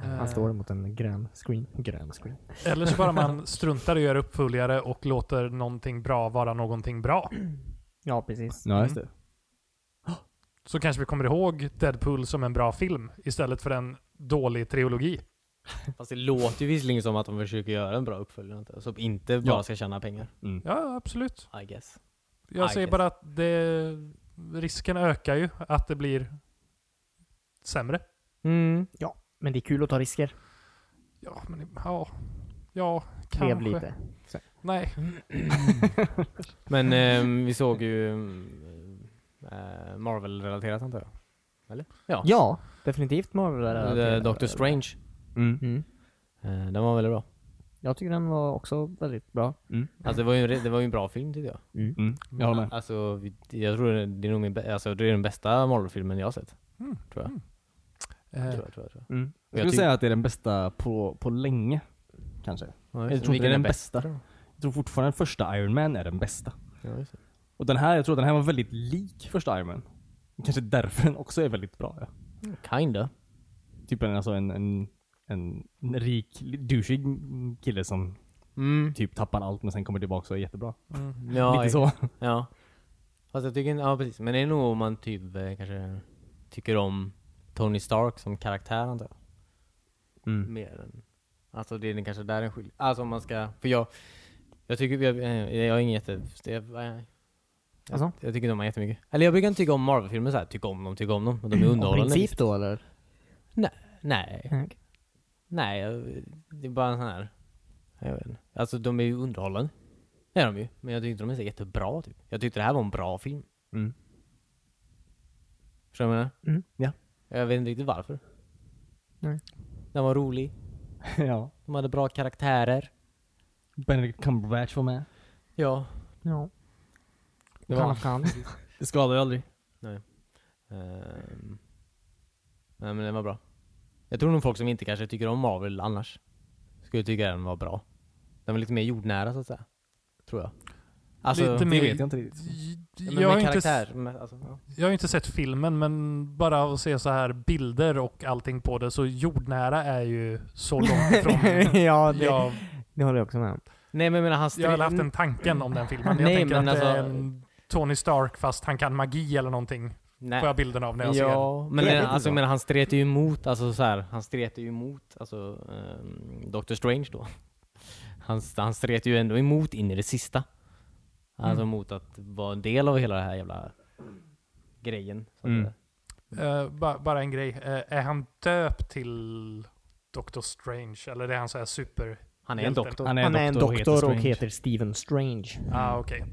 Speaker 2: Han står mot en grön screen. Grön screen.
Speaker 3: Eh, eller så bara man struntar i att göra uppföljare och låter någonting bra vara någonting bra.
Speaker 2: Ja, precis.
Speaker 1: Ja, just det.
Speaker 3: Så kanske vi kommer ihåg Deadpool som en bra film istället för en dålig trilogi.
Speaker 4: Fast det låter ju visserligen som att de försöker göra en bra uppföljare. inte? Som inte bara
Speaker 1: Ja.
Speaker 4: ska tjäna pengar.
Speaker 3: Ja, absolut.
Speaker 4: I guess.
Speaker 3: Jag
Speaker 4: I
Speaker 3: säger
Speaker 4: guess.
Speaker 3: bara att det, risken ökar ju att det blir sämre.
Speaker 4: Mm.
Speaker 2: Men det är kul att ta risker.
Speaker 3: Ja, men ja. Ja,
Speaker 2: Lev
Speaker 3: kanske.
Speaker 2: lite.
Speaker 3: Nej.
Speaker 4: Men ehm, vi såg ju ehm, eh, Marvel-relaterat antar jag.
Speaker 2: Ja, definitivt Marvel.
Speaker 4: Eh, Doctor Strange.
Speaker 1: Mm.
Speaker 2: Mm.
Speaker 4: Eh, den var väldigt bra.
Speaker 2: Jag tycker den var också väldigt bra.
Speaker 4: Alltså det var ju en, re- det var ju en bra film tyckte jag.
Speaker 1: Mm. Jag håller med.
Speaker 4: Alltså vi- jag tror det det är nog min bä- alltså, det är den bästa Marvel-filmen jag har sett.
Speaker 3: Mm.
Speaker 4: Tror jag.
Speaker 3: Mm.
Speaker 4: Tror
Speaker 3: Eh,
Speaker 4: jag, tror jag, tror
Speaker 1: Mm. Jag
Speaker 4: Jag
Speaker 1: skulle
Speaker 4: tyck-
Speaker 1: säga att det är den bästa på, på länge. Kanske.
Speaker 4: jag.
Speaker 1: Jag tror inte det är den bästa. Jag tror fortfarande den första Iron Man är den bästa. Och den här, jag tror den här var väldigt lik första Iron Man. Kanske därför den också är väldigt bra. Ja.
Speaker 4: Kinda.
Speaker 1: Typ en, alltså en, en, en rik, douchig kille som
Speaker 4: Mm.
Speaker 1: typ tappar allt men sen kommer tillbaka och är jättebra.
Speaker 4: Ja,
Speaker 1: Lite så.
Speaker 4: Ja. Fast jag tycker inte, ja precis. Men det är nog om man typ eh, kanske tycker om Tony Stark som karaktär antar jag.
Speaker 1: Mm.
Speaker 4: Mer än, alltså det är den kanske där den skiljer. Alltså om man ska, för jag, jag tycker, jag, eh, jag är ingen jätte, jag, jag,
Speaker 2: Alltså?
Speaker 4: jag, jag tycker inte om dem jättemycket. Eller jag brukar inte tycka om Marvel-filmer såhär, tycka om dem, tycka om dem. Men de är
Speaker 2: Av
Speaker 4: underhållande.
Speaker 2: Mm. princip då eller?
Speaker 4: Nej, nej. jag- Det är bara en sån här, jag vet inte. Alltså de är ju underhållande. Det är de ju. Men jag tycker inte de är så jättebra typ. Jag tyckte det här var en bra film.
Speaker 1: Mm.
Speaker 4: Förstår du vad jag menar?
Speaker 2: Mm.
Speaker 1: Ja.
Speaker 4: Jag vet inte riktigt varför.
Speaker 2: Nej.
Speaker 4: Den var rolig.
Speaker 1: ja.
Speaker 4: De hade bra karaktärer.
Speaker 1: Benedict Cumberbatch var med.
Speaker 4: Ja.
Speaker 2: Ja.
Speaker 4: Det
Speaker 2: Det
Speaker 4: var-
Speaker 2: var kan.
Speaker 1: Det skadar ju aldrig.
Speaker 4: Ehm. Nej men den var bra. Jag tror nog folk som inte kanske tycker om Marvel annars skulle tycka den var bra. Den var lite mer jordnära så att säga. Tror jag. Alltså,
Speaker 3: Lite
Speaker 4: lite
Speaker 1: Det
Speaker 3: mer-
Speaker 1: vet jag inte riktigt.
Speaker 4: men
Speaker 3: jag,
Speaker 4: jag
Speaker 3: har
Speaker 4: med
Speaker 3: inte, s-
Speaker 4: karaktär. Med, alltså, ja.
Speaker 3: jag har inte sett filmen, men bara av att se så här bilder och allting på det, så jordnära är ju så långt ifrån.
Speaker 2: ja, det,
Speaker 3: jag,
Speaker 2: det håller jag också med om.
Speaker 4: Nej men jag menar han
Speaker 3: jag har aldrig haft
Speaker 4: strid-
Speaker 3: den tanken om den filmen. Jag
Speaker 4: Nej,
Speaker 3: tänker
Speaker 4: men
Speaker 3: att det är
Speaker 4: alltså-
Speaker 3: en Tony Stark fast han kan magi eller någonting.
Speaker 4: Nej.
Speaker 3: Får jag bilden av när jag ser
Speaker 4: Ja, men,
Speaker 2: Det är
Speaker 4: den,
Speaker 2: lite
Speaker 4: alltså,
Speaker 2: så.
Speaker 4: men han stretar ju emot, alltså så här, han stretar ju emot alltså, ehm, Doctor Strange då. Han, han stretar ju ändå emot in i det sista. Alltså mot att vara en del av hela den här jävla grejen. Så att
Speaker 1: Mm.
Speaker 4: säga.
Speaker 3: Eh, ba bara en grej. Eh, är han döpt till Doctor Strange? Eller är han så här super...
Speaker 4: Han är en
Speaker 3: Hjälten.
Speaker 4: doktor.
Speaker 1: Han
Speaker 2: Han är en doktor och
Speaker 1: Strange.
Speaker 2: heter Steven Strange.
Speaker 4: Mm.
Speaker 3: Ah, okej.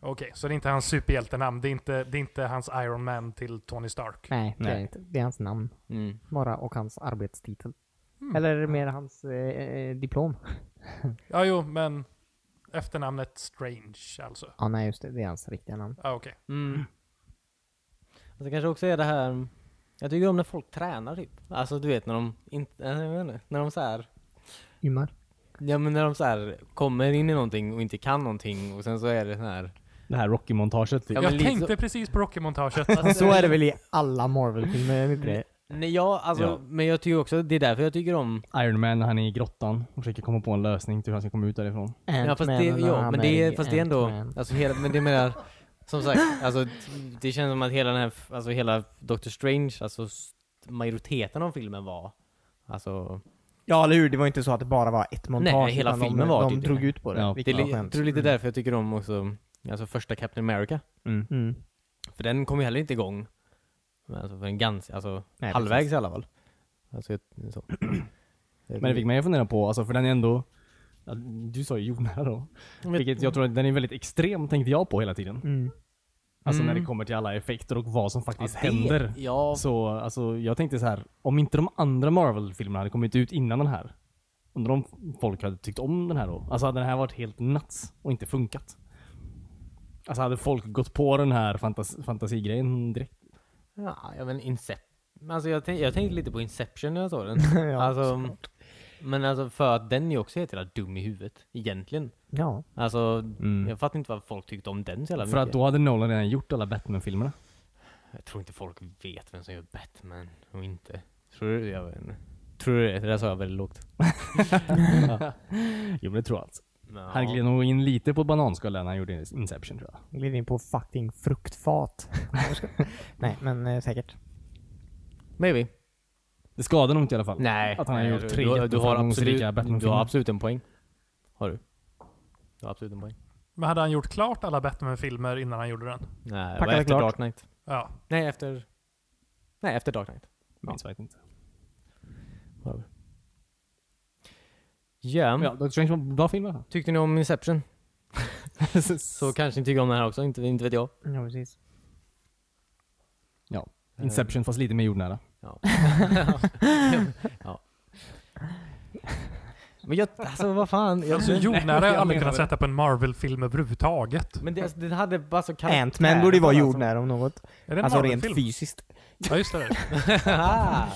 Speaker 3: Okej, så det är inte hans superhjältenamn. Det är inte, det är inte hans Iron Man till Tony Stark.
Speaker 2: Nej, det
Speaker 1: Nej.
Speaker 2: är inte. Det är hans namn
Speaker 4: Mm.
Speaker 2: bara och hans arbetstitel.
Speaker 3: Mm.
Speaker 2: Eller mer hans eh, eh, diplom.
Speaker 3: Ja, jo, men efternamnet Strange alltså.
Speaker 2: Ja, nej just det. Det är hans riktiga namn.
Speaker 3: Ah, okej.
Speaker 4: Mm. Alltså, det kanske också är det här, jag tycker om när folk tränar typ. Alltså du vet när de inte, jag vet inte, när de så här
Speaker 2: Ymmar.
Speaker 4: Ja men när de så här kommer in i någonting och inte kan någonting och sen så är det så här
Speaker 1: Det här Rocky-montaget. Typ.
Speaker 4: Ja, men
Speaker 3: Jag
Speaker 4: lite
Speaker 3: tänkte precis på Rocky-montaget.
Speaker 2: Så är det väl i alla Marvel-filmer, är det inte det?
Speaker 4: Nej, ja, alltså,
Speaker 1: Ja.
Speaker 4: men jag tycker också, det är därför jag tycker om...
Speaker 1: Iron Man när han är i grottan och försöker komma på en lösning till hur han ska komma ut därifrån.
Speaker 4: Ja, fast det,
Speaker 2: Ant-Man och
Speaker 4: ja,
Speaker 2: han
Speaker 4: men det, är,
Speaker 2: i
Speaker 4: fast det är ändå,
Speaker 2: Ant-Man.
Speaker 4: alltså, hela, men det menar, som sagt, alltså, t- det känns som att hela den här, f- alltså hela Doctor Strange, alltså s- majoriteten av filmen var, alltså,
Speaker 2: Ja, eller hur? Det var inte så att det bara var ett montage.
Speaker 4: Nej, hela
Speaker 2: utan
Speaker 4: filmen
Speaker 2: de,
Speaker 4: var
Speaker 2: De
Speaker 4: typ det.
Speaker 2: drog ut på det,
Speaker 1: Ja.
Speaker 4: det är,
Speaker 2: vilket
Speaker 4: li-
Speaker 2: var
Speaker 4: jag
Speaker 2: skönt.
Speaker 4: tror lite därför jag tycker om också, alltså första Captain America,
Speaker 2: Mm.
Speaker 4: för den kom ju heller inte igång, men alltså för en ganska, alltså
Speaker 2: Nej,
Speaker 4: halvvägs i alla fall. Alltså, jag- så.
Speaker 1: Men det fick mig att fundera på, alltså, för den är ändå... ja, Du sa ju jordnära då. Vilket jag tror att den är väldigt extrem tänkte jag på hela tiden.
Speaker 2: Mm.
Speaker 1: Alltså när det
Speaker 2: Mm.
Speaker 1: kommer till alla effekter och vad som faktiskt
Speaker 4: det-
Speaker 1: händer.
Speaker 4: Ja,
Speaker 1: Så alltså, jag tänkte så här, om inte de andra Marvel-filmerna hade kommit ut innan den här. Undrar om folk hade tyckt om den här då? Alltså hade den här varit helt nuts och inte funkat? Alltså hade folk gått på den här fantas- fantasigrejen direkt?
Speaker 4: ja ja, men Inception. Alltså jag, tänk, jag tänkte lite på Inception när jag såg den.
Speaker 2: Ja,
Speaker 4: alltså, men alltså för att den är ju också helt jävla dum i huvudet, egentligen.
Speaker 2: Ja.
Speaker 4: Alltså,
Speaker 1: Mm.
Speaker 4: jag fattar inte varför folk tyckte om den så jävla
Speaker 1: För att
Speaker 4: mycket.
Speaker 1: då hade Nolan redan gjort alla Batman-filmerna.
Speaker 4: Jag tror inte folk vet vem som gör Batman och inte. Tror du jag vet inte. Tror du det? Det där sa jag väldigt lågt.
Speaker 1: Jo men det tror jag alltså.
Speaker 4: Men
Speaker 1: Han
Speaker 4: ja.
Speaker 1: gled nog in lite på bananskalet när han gjorde Inception tror jag.
Speaker 2: Gled in på fucking fruktfat. Nej, men eh, säkert.
Speaker 4: Maybe.
Speaker 1: Det skadar nog inte i alla fall.
Speaker 4: Nej.
Speaker 1: Att han har
Speaker 4: Nej,
Speaker 1: gjort
Speaker 4: du-
Speaker 1: tre
Speaker 4: du, du, har
Speaker 1: jätteframgångsrika
Speaker 4: absolut, du
Speaker 1: Batman-filmer.
Speaker 4: har absolut en poäng. Har du? Du har absolut en poäng.
Speaker 3: Men hade han gjort klart alla Batman-filmer innan han gjorde den?
Speaker 4: Nej, det var
Speaker 2: Packade
Speaker 4: efter
Speaker 2: klart.
Speaker 4: Dark Knight.
Speaker 3: Ja.
Speaker 4: Nej, efter... Nej, efter Dark Knight.
Speaker 1: Minns faktiskt inte.
Speaker 4: Ja.
Speaker 1: Ja, Doctor Strange var en bra film i alla
Speaker 4: Tyckte ni om Inception?
Speaker 1: fall.
Speaker 4: Så kanske ni tycker om den här också, inte, inte vet jag.
Speaker 2: Ja, precis.
Speaker 1: Ja. Inception fast lite mer jordnära.
Speaker 4: Ja. ja. Men jag, alltså vad fan. Jag,
Speaker 3: Alltså jordnära har
Speaker 1: jag
Speaker 3: jag aldrig
Speaker 1: menar
Speaker 3: kunnat
Speaker 1: det.
Speaker 3: sätta på en Marvel-film överhuvudtaget.
Speaker 4: men det, det hade bara så kallt.
Speaker 2: Ant-Man borde ju vara
Speaker 4: alltså.
Speaker 2: jordnära om något.
Speaker 3: Är det en
Speaker 2: Alltså rent
Speaker 3: Marvel-film?
Speaker 2: fysiskt.
Speaker 3: Ja, just det.
Speaker 4: Ah,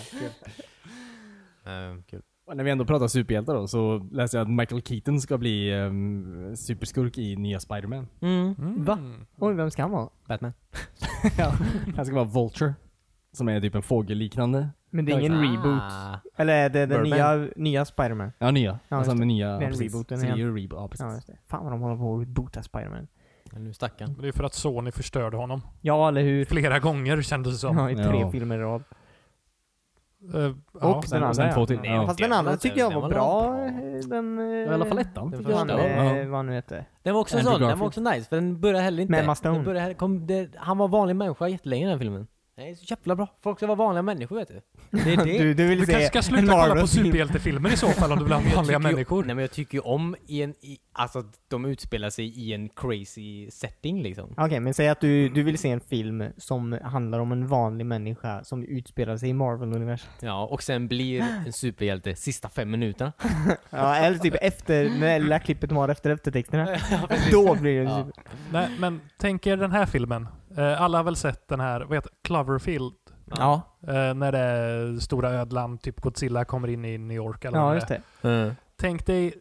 Speaker 4: Ehm, kul.
Speaker 1: Och när vi ändå pratar superhjältar då så läste jag att Michael Keaton ska bli ehm, superskurk i nya Spider-Man.
Speaker 4: Mm.
Speaker 3: Mm.
Speaker 2: Va? Oj, vem ska han vara?
Speaker 4: Batman.
Speaker 1: Han ska vara Vulture. Som är typ en fågelliknande.
Speaker 2: Men det är ingen reboot.
Speaker 4: Ah.
Speaker 2: Eller är det den
Speaker 1: Birdman.
Speaker 2: nya, nya Spiderman?
Speaker 1: Ja, nya.
Speaker 2: Ja,
Speaker 1: alltså
Speaker 2: just
Speaker 1: med nya.
Speaker 2: Den
Speaker 1: ja, precis.
Speaker 2: rebooten
Speaker 1: Så det är
Speaker 2: igen.
Speaker 1: ju rebo- ja, precis.
Speaker 2: Ja, just det. Fan vad de håller på att reboota Spiderman.
Speaker 4: Nu stackarn.
Speaker 3: Men Det är för att Sony förstörde honom.
Speaker 2: Ja, eller hur?
Speaker 3: Flera gånger kändes det som.
Speaker 2: Ja, i tre
Speaker 1: Ja.
Speaker 2: filmer i rad. Och
Speaker 3: Eh, ja.
Speaker 2: den
Speaker 1: och sen
Speaker 2: andra
Speaker 1: två till.
Speaker 2: ja.
Speaker 1: Ja.
Speaker 2: Fast den andra tyckte jag
Speaker 4: Den
Speaker 2: var
Speaker 4: var
Speaker 2: bra.
Speaker 4: bra.
Speaker 2: eh, Den... eh,
Speaker 1: Ja, I alla fall ettan.
Speaker 4: Den
Speaker 1: tycker jag.
Speaker 2: han,
Speaker 4: första.
Speaker 1: Ja,
Speaker 2: eh,
Speaker 1: ja.
Speaker 2: vad han nu hette.
Speaker 4: Den var också
Speaker 1: Andrew
Speaker 4: sån, den var
Speaker 1: Garfield.
Speaker 4: också nice för den började heller inte.
Speaker 2: Med Emma Stone.
Speaker 4: Den började, heller- kom, det, han var vanlig människa jättelänge i den här filmen. Det är så jävla bra. Folk ska vara vanliga människor vet du. Det är det.
Speaker 2: Du, du
Speaker 3: Du
Speaker 2: vill
Speaker 3: kanske
Speaker 2: se
Speaker 3: ska
Speaker 2: en
Speaker 3: sluta kolla på
Speaker 2: Marvel-film.
Speaker 3: superhjältefilmer i så fall om du vill
Speaker 4: Men
Speaker 3: ha
Speaker 4: jag
Speaker 3: vanliga
Speaker 4: tycker ju-
Speaker 3: människor.
Speaker 4: Nej men jag tycker ju om i en, i, alltså att de utspelar sig i en crazy setting liksom.
Speaker 2: Okej, men säg att du, du vill se en film som handlar om en vanlig människa som utspelar sig i Marvel-universum.
Speaker 4: Ja, och sen blir en superhjälte sista fem minuterna.
Speaker 2: Ja, eller typ efter, det lilla klippet de har efter eftertexterna. Då blir det
Speaker 4: Ja.
Speaker 2: typ...
Speaker 3: Nej, men tänk er den här filmen. Eh, alla har väl sett den här, vad heter det? Cloverfield?
Speaker 2: Ja,
Speaker 3: Eh, när det är stora ödlan, typ Godzilla kommer in i New York eller vad
Speaker 2: ja
Speaker 3: det
Speaker 2: just
Speaker 3: är.
Speaker 2: det.
Speaker 4: Mm.
Speaker 3: Tänk dig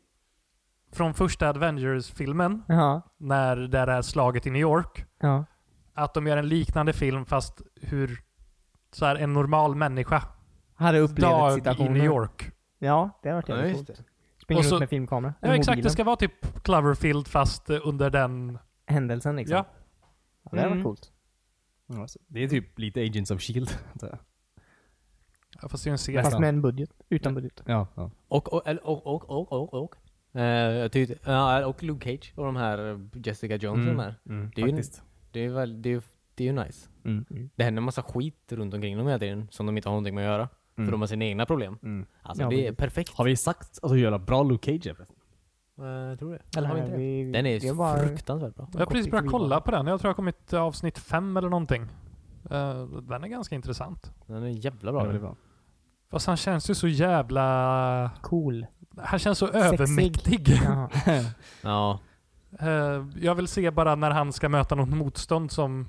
Speaker 3: från första Avengers-filmen,
Speaker 2: Ja,
Speaker 3: när det är det här slaget i New York,
Speaker 2: ja.
Speaker 3: att de gör en liknande film fast hur så här, en normal människa,
Speaker 2: Hade upplevt
Speaker 3: dag i
Speaker 2: situationen.
Speaker 3: New York.
Speaker 2: Ja, det har varit
Speaker 4: Ja,
Speaker 2: jävligt
Speaker 4: just
Speaker 2: coolt.
Speaker 4: det.
Speaker 2: Springer
Speaker 3: Och så-
Speaker 2: runt med filmkamera.
Speaker 3: Ja,
Speaker 2: Med
Speaker 3: exakt, det
Speaker 2: mobilen.
Speaker 3: ska vara typ Cloverfield fast eh, under den...
Speaker 2: Händelsen liksom.
Speaker 3: Ja.
Speaker 2: Ja, det hade varit
Speaker 4: Mm.
Speaker 2: coolt.
Speaker 1: Ja, så det är typ lite Agents of Shield. antar jag.
Speaker 3: Ja, Fast det är ju en serie.
Speaker 2: Fast
Speaker 1: Nästan.
Speaker 2: med en budget. Utan budget.
Speaker 1: ja, ja.
Speaker 4: Och, och, eller- och, och, och, och, och. Eh, jag tyckte, ja, och Luke Cage och de här eh, Jessica Jones och de här.
Speaker 1: Mm,
Speaker 4: Det är ju-
Speaker 1: faktiskt.
Speaker 4: Det är ju väl, det är, ju- det är ju nice.
Speaker 1: Mm.
Speaker 4: Det händer en massa skit runt omkring dem hela tiden som de inte har någonting med att göra. För de har sina egna problem.
Speaker 1: Mm.
Speaker 4: Alltså
Speaker 2: Ja,
Speaker 4: det är
Speaker 2: precis.
Speaker 4: perfekt.
Speaker 1: Har vi sagt att hur jävla bra Luke Cage är? förresten?
Speaker 4: Eh, tror det. Eller har vi inte det?
Speaker 2: vi,
Speaker 4: Den är
Speaker 2: det
Speaker 4: ju
Speaker 2: var-
Speaker 4: fruktansvärt bra.
Speaker 3: Jag har precis börjat kolla på den. Jag tror jag har kommit till avsnitt fem eller någonting. Eh, den är ganska intressant.
Speaker 4: Den är
Speaker 1: Ja,
Speaker 4: jävla bra.
Speaker 1: det är bra.
Speaker 3: Fast han känns ju så jävla...
Speaker 2: Cool.
Speaker 3: Han känns så övermäktig.
Speaker 2: Jaha.
Speaker 4: Ja.
Speaker 3: Eh, jag vill se bara när han ska möta något motstånd som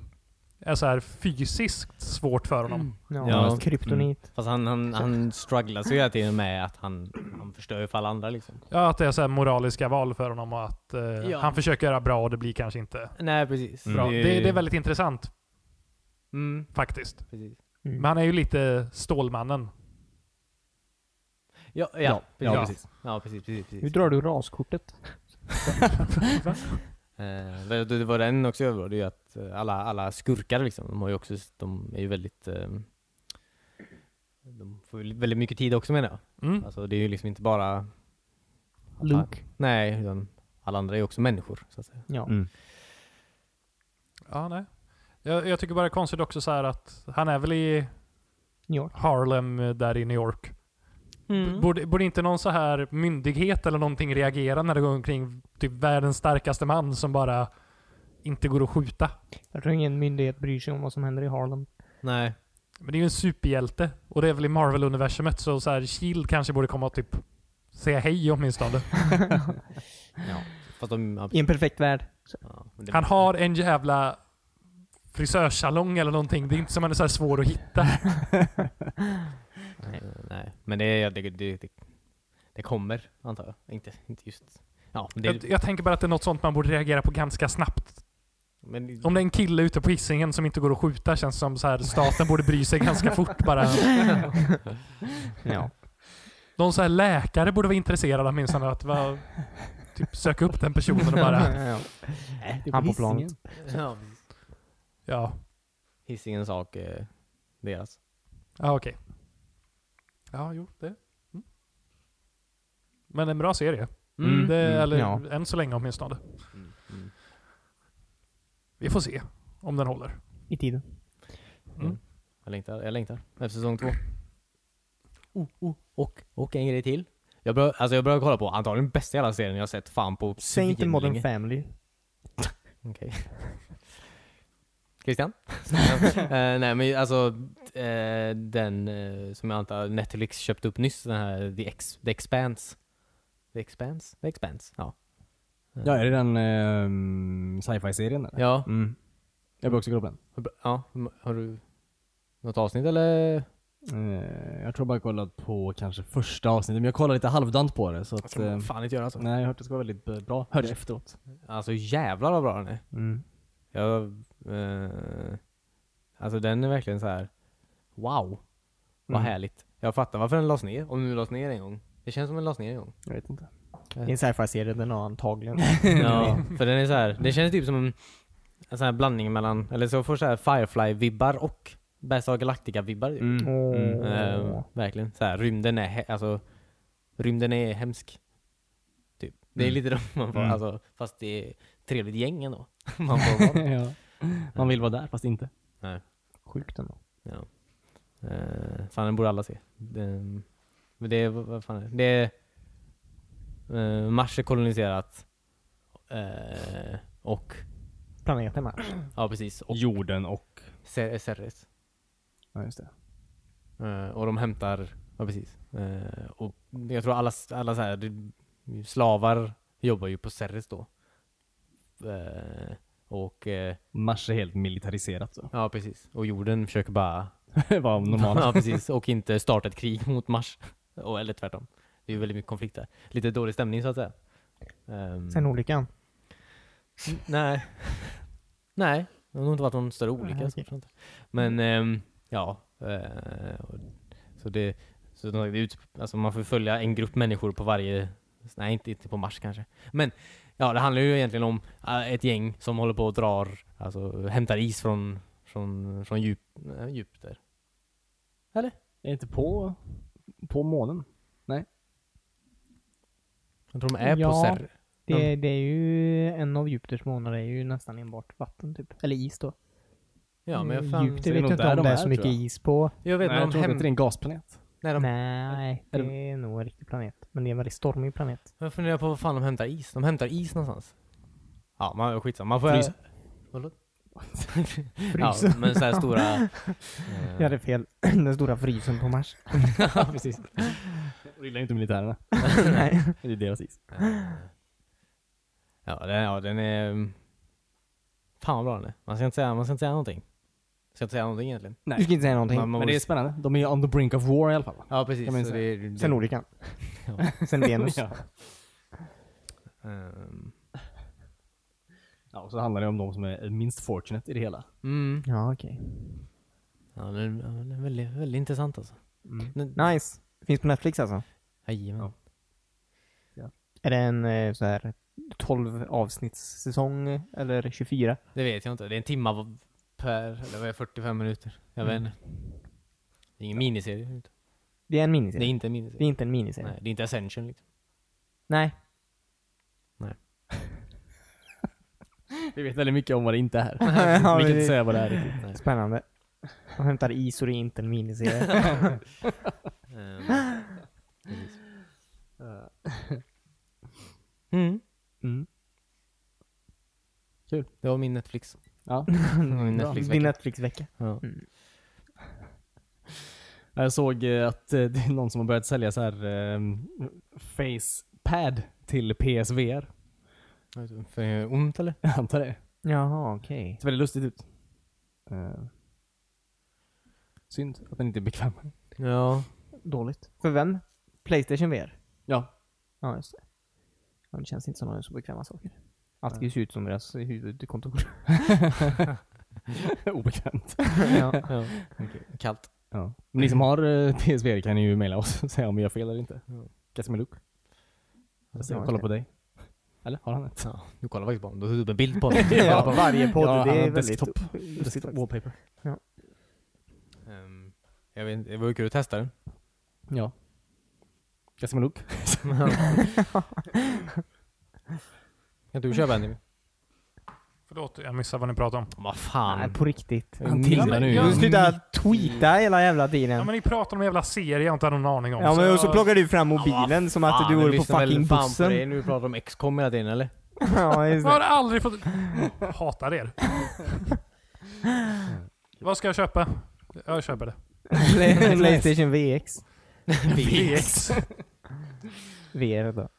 Speaker 3: är så här fysiskt svårt för honom.
Speaker 2: Ja,
Speaker 4: Ja.
Speaker 2: kryptonit.
Speaker 4: Fast han, han, han strugglar så hela tiden med att han, han förstör ju för alla andra liksom.
Speaker 3: Ja, att det är så här moraliska val för honom och att eh,
Speaker 4: Ja.
Speaker 3: han försöker göra bra och det blir kanske inte
Speaker 4: Nej precis.
Speaker 1: Mm.
Speaker 3: bra.
Speaker 4: ju-
Speaker 3: Det, det är väldigt intressant
Speaker 4: Mm,
Speaker 3: faktiskt.
Speaker 4: precis.
Speaker 2: Mm.
Speaker 3: Men han är ju lite Stålmannen.
Speaker 4: Ja, ja,
Speaker 1: Ja,
Speaker 4: precis.
Speaker 1: ja,
Speaker 4: Ja.
Speaker 1: precis.
Speaker 4: precis, precis, precis.
Speaker 2: Hur drar du raskortet?
Speaker 4: Eh, det, det var den också över det är ju att eh, alla, alla skurkar liksom, de har ju också, de är ju väldigt eh, de får ju väldigt mycket tid också menar jag.
Speaker 3: Mm.
Speaker 4: Alltså det är ju liksom inte bara,
Speaker 2: Luke.
Speaker 4: nej, utan alla andra är ju också människor så att säga.
Speaker 2: Ja.
Speaker 1: Mm.
Speaker 3: Ja, nej. Jag, jag tycker bara det är konstigt också så här att han är väl i
Speaker 2: New York.
Speaker 3: Harlem eh, där i New York.
Speaker 2: Mm.
Speaker 3: Borde, borde inte någon så här myndighet eller någonting reagera när det går omkring typ världens starkaste man som bara inte går att skjuta.
Speaker 2: Jag tror ingen myndighet bryr sig om vad som händer i Harlem.
Speaker 4: Nej.
Speaker 3: Men det är ju en superhjälte. Och det är väl i Marvel-universumet så, så här, Shield kanske borde komma och typ säga hej åtminstone.
Speaker 4: Ja. Fast de, ja,
Speaker 2: I en perfekt värld.
Speaker 4: ja, men det-
Speaker 3: Han har en jävla frisörsalong eller någonting. Det är inte som han är så här svår att hitta.
Speaker 4: Nej, Eh, nej. men det, det, det, det, det kommer, antar jag. Inte, inte just... Ja, men
Speaker 3: Jag,
Speaker 4: det,
Speaker 3: jag tänker bara att det är något sånt man borde reagera på ganska snabbt.
Speaker 4: men,
Speaker 3: Om det är en kille ute på Hisingen som inte går att skjuta känns som så här staten borde bry sig ganska fort bara.
Speaker 2: Ja.
Speaker 3: Någon så här läkare borde vara intresserad åtminstone att va, typ söka upp den personen och bara
Speaker 2: ja.
Speaker 1: Det är
Speaker 2: Han på
Speaker 1: Hisingen.
Speaker 2: planet.
Speaker 4: ja,
Speaker 3: ja,
Speaker 4: Hisingens sak, eh, deras.
Speaker 3: ja okej. Ja, jo, det. Mm. Men en bra serie.
Speaker 2: Mm.
Speaker 3: det,
Speaker 2: mm,
Speaker 3: eller
Speaker 2: ja.
Speaker 3: än så länge åtminstone.
Speaker 4: Mm. Mm.
Speaker 3: Vi får se om den håller.
Speaker 2: I tiden.
Speaker 4: Jag längtar, jag längtar. Efter säsong två. Oh, oh. Och, och en grej till. Jag börjar, alltså jag börjar kolla på antagligen bästa jävla serien jag har sett fan på
Speaker 2: Säg inte Modern
Speaker 4: svinlänge.
Speaker 2: Family.
Speaker 4: Okej. Christian? Eh, nej men alltså eh, den eh, som jag antar Netflix köpte upp nyss, den här The, Ex- The Expanse. The Expanse? The Expanse, ja. Eh,
Speaker 1: Ja, är det den ehm, sci-fi-serien eller?
Speaker 4: Ja,
Speaker 1: Mm. Jag bör också kolla på den.
Speaker 4: ja. Har du något avsnitt eller?
Speaker 1: Eh, jag tror bara jag kollat på kanske första avsnittet, men jag kollade lite halvdant på det så att...
Speaker 4: Kan
Speaker 1: Eh,
Speaker 4: man fan inte göra alltså.
Speaker 1: nej, jag har hört att det ska vara väldigt eh, bra. Hörde jag efteråt.
Speaker 4: Alltså jävlar vad bra den är.
Speaker 1: Mm.
Speaker 4: Jag, eh, alltså den är verkligen så här. wow. Vad
Speaker 1: Mm.
Speaker 4: härligt. Jag fattar varför den lades ner, om den lades ner en gång. Det känns som den lades ner en gång.
Speaker 1: Jag vet inte.
Speaker 2: Det är en sci-fi-serie, den har antagligen.
Speaker 4: Ja, för den är så här. det känns typ som en, en sån här blandning mellan, eller så får så här Firefly-vibbar och Bergsala Galactica-vibbar. typ.
Speaker 1: Mm.
Speaker 2: Åh.
Speaker 1: Mm.
Speaker 4: Eh, verkligen. Så här, rymden är, he- alltså, rymden är hemsk. Typ. Det är
Speaker 1: Mm.
Speaker 4: lite de man får,
Speaker 1: Mm.
Speaker 4: alltså, fast det är ett trevligt gäng ändå. man får vara.
Speaker 1: ja. Man vill vara där fast inte.
Speaker 2: Sjukt ändå.
Speaker 4: Ja. Eh, fan, den borde alla se. Den, men det är, vad- vad fan är det? det är, eh, Mars är koloniserat. Eh, och,
Speaker 2: Planeten Mars.
Speaker 4: ja precis. Och
Speaker 1: Jorden och...
Speaker 4: Cer- Ceres.
Speaker 1: Ja, just det.
Speaker 4: Eh, och de hämtar, ja precis. Eh, och jag tror alla, alla så här, det- slavar jobbar ju på Ceres då. Eh, och, eh,
Speaker 1: Mars är helt militariserat så.
Speaker 4: ja precis. Och jorden försöker bara,
Speaker 1: Var normalt.
Speaker 4: ja precis, och inte starta ett krig mot Mars. och, eller tvärtom. Det är ju väldigt mycket konflikt där. Lite dålig stämning så att säga. Ehm,
Speaker 2: Sen
Speaker 1: Mm.
Speaker 2: olyckan.
Speaker 4: nej. nej, det har nog inte varit någon större olycka.
Speaker 2: Nej,
Speaker 4: så
Speaker 2: okej.
Speaker 4: tror jag inte. Men
Speaker 1: Mm.
Speaker 4: ehm, ja, eh, och, så det, så det är ut, alltså man får följa en grupp människor på varje, nej inte, inte på Mars kanske. Men ja, det handlar ju egentligen om eh, ett gäng som håller på och drar, alltså hämtar is från, från, från djup, eh, djup där.
Speaker 1: Är inte på... På månen?
Speaker 4: Jag tror de är på
Speaker 2: Ja.
Speaker 4: Cer-
Speaker 2: Det, det är ju en av Jupiters månader är ju nästan enbart vatten typ. Eller is då.
Speaker 4: Ja, men jag,
Speaker 2: Eh,
Speaker 4: fan,
Speaker 1: så
Speaker 2: Jupiter
Speaker 1: det är
Speaker 2: vet
Speaker 1: nog
Speaker 2: jag inte
Speaker 1: där
Speaker 2: om
Speaker 1: de
Speaker 2: det är
Speaker 1: är,
Speaker 2: så
Speaker 1: tror
Speaker 2: mycket
Speaker 1: jag.
Speaker 2: is på.
Speaker 4: jag vet
Speaker 1: Mm, Nej,
Speaker 4: men
Speaker 1: jag
Speaker 4: de
Speaker 1: tror
Speaker 4: hem,
Speaker 1: inte det är en gasplanet.
Speaker 4: när de,
Speaker 2: Nej,
Speaker 1: är
Speaker 2: det
Speaker 1: det-
Speaker 2: är nog en riktig planet. Men det är en väldigt stormig planet.
Speaker 4: jag funderar på vad fan de hämtar is. De hämtar is någonstans. Ja, man, skitsamma. Man får...
Speaker 1: Frysa.
Speaker 4: Vadå? ja,
Speaker 2: Frysen.
Speaker 4: men så här stora... eh,
Speaker 2: Jag hade fel. Den stora frysen på Mars.
Speaker 4: ja, precis.
Speaker 1: De gillar ju inte militärerna.
Speaker 2: Nej.
Speaker 1: Det är deras is.
Speaker 4: Eh, Ja, den, ja, den är... mm, Fan vad bra den är. Man ska inte säga, man ska inte säga någonting. Man ska inte säga någonting egentligen.
Speaker 2: Du ska inte säga någonting.
Speaker 4: Man- man
Speaker 1: Men
Speaker 4: borde-
Speaker 1: det är spännande. De är on the brink of war i alla fall.
Speaker 4: Ja, precis.
Speaker 1: Kan man
Speaker 4: så
Speaker 1: säga.
Speaker 4: det, det,
Speaker 2: Sen olyckan.
Speaker 4: Ja.
Speaker 2: Sen Venus.
Speaker 1: Ja.
Speaker 4: Ehm,
Speaker 1: ja, och så handlar det om de som är minst fortunate i det hela.
Speaker 4: mm.
Speaker 2: Ja, okej.
Speaker 4: Ja, den, ja, den är väldigt, väldigt intressant alltså.
Speaker 1: Mm.
Speaker 4: Den,
Speaker 2: Nice. Finns på Netflix alltså.
Speaker 4: Jajamän.
Speaker 1: Ja.
Speaker 2: Är det en eh, så här 12 avsnittssäsong eh, eller 24?
Speaker 4: Det vet jag inte. Det är en timme av- per, eller vad är det, 45 minuter? Jag vet inte. Det är ingen
Speaker 2: Det
Speaker 4: miniserie.
Speaker 2: är en
Speaker 4: Det är
Speaker 2: miniserie.
Speaker 4: inte en miniserie.
Speaker 2: Det är inte en miniserie.
Speaker 4: Nej,
Speaker 2: Nej.
Speaker 4: det är inte Ascension liksom.
Speaker 1: Vi vet väldigt mycket om vad det inte är.
Speaker 2: Ja,
Speaker 1: vi kan
Speaker 2: men
Speaker 1: inte
Speaker 2: det-
Speaker 1: säga vad det är riktigt.
Speaker 4: typ.
Speaker 2: Spännande. De hämtar is och det är inte en miniserie.
Speaker 4: Ehm, precis.
Speaker 1: Mm.
Speaker 4: mm. Kul. Det var min Netflix.
Speaker 1: Ja.
Speaker 4: Min
Speaker 2: Bra.
Speaker 4: Netflix-vecka.
Speaker 2: Din Netflix-vecka.
Speaker 4: Ja.
Speaker 1: Jag såg eh, att eh, det är någon som har börjat sälja så här ehm, facepad till PSVR.
Speaker 4: För jag gör ont eller?
Speaker 1: Jag antar det.
Speaker 2: Jaha, okej.
Speaker 1: Det ser väldigt lustigt ut. Eh, synd att den inte är bekväm.
Speaker 4: Ja.
Speaker 2: Dåligt. För vem? Playstation VR?
Speaker 1: Ja,
Speaker 2: Ja, just det. Ja, det känns inte som några så bekväma saker. Allt ska ju se ut som deras huvudkontor.
Speaker 1: obekvämt.
Speaker 2: ja.
Speaker 4: ja. Kallt.
Speaker 1: Ja. Men ni som har eh, PSVR kan ju mejla oss och säga om vi har fel eller inte.
Speaker 4: Ja.
Speaker 1: Kasimeluk. Jag ska
Speaker 2: Ja,
Speaker 1: kolla
Speaker 2: okej.
Speaker 1: på dig. Eller har han ett?
Speaker 4: Ja. Du kollar faktiskt på honom. Du tog upp en bild på honom.
Speaker 2: ja, varje podd.
Speaker 1: Ja, han
Speaker 2: det
Speaker 1: har
Speaker 2: är väldigt...
Speaker 1: desktop.
Speaker 2: lustigt faktiskt.
Speaker 1: Wallpaper.
Speaker 4: Ehm, jag vet inte, det vore kul att testa den.
Speaker 1: Ja. Kasimeluk.
Speaker 4: Kan du köpa en? Jimmy?
Speaker 3: Förlåt, jag missade vad ni pratade om.
Speaker 4: Vad
Speaker 2: Nej,
Speaker 4: fan.
Speaker 2: på riktigt.
Speaker 1: Han tillar nu.
Speaker 3: Ja,
Speaker 2: Du
Speaker 3: men-
Speaker 2: slutar tweeta hela jävla
Speaker 3: Ja
Speaker 2: tiden.
Speaker 3: men ni pratar om en jävla serie jag inte hade någon aning om.
Speaker 2: Ja men och så
Speaker 3: jag-
Speaker 2: plockar du fram mobilen som att du vore på fucking bussen.
Speaker 4: nu vi pratar om XCOM hela tiden eller?
Speaker 2: ja, just
Speaker 3: Jag har
Speaker 2: det.
Speaker 3: aldrig fått... Hatar er. Vad ska jag köpa? Jag köper det.
Speaker 2: Play- Playstation VX.
Speaker 3: VX.
Speaker 2: VR då.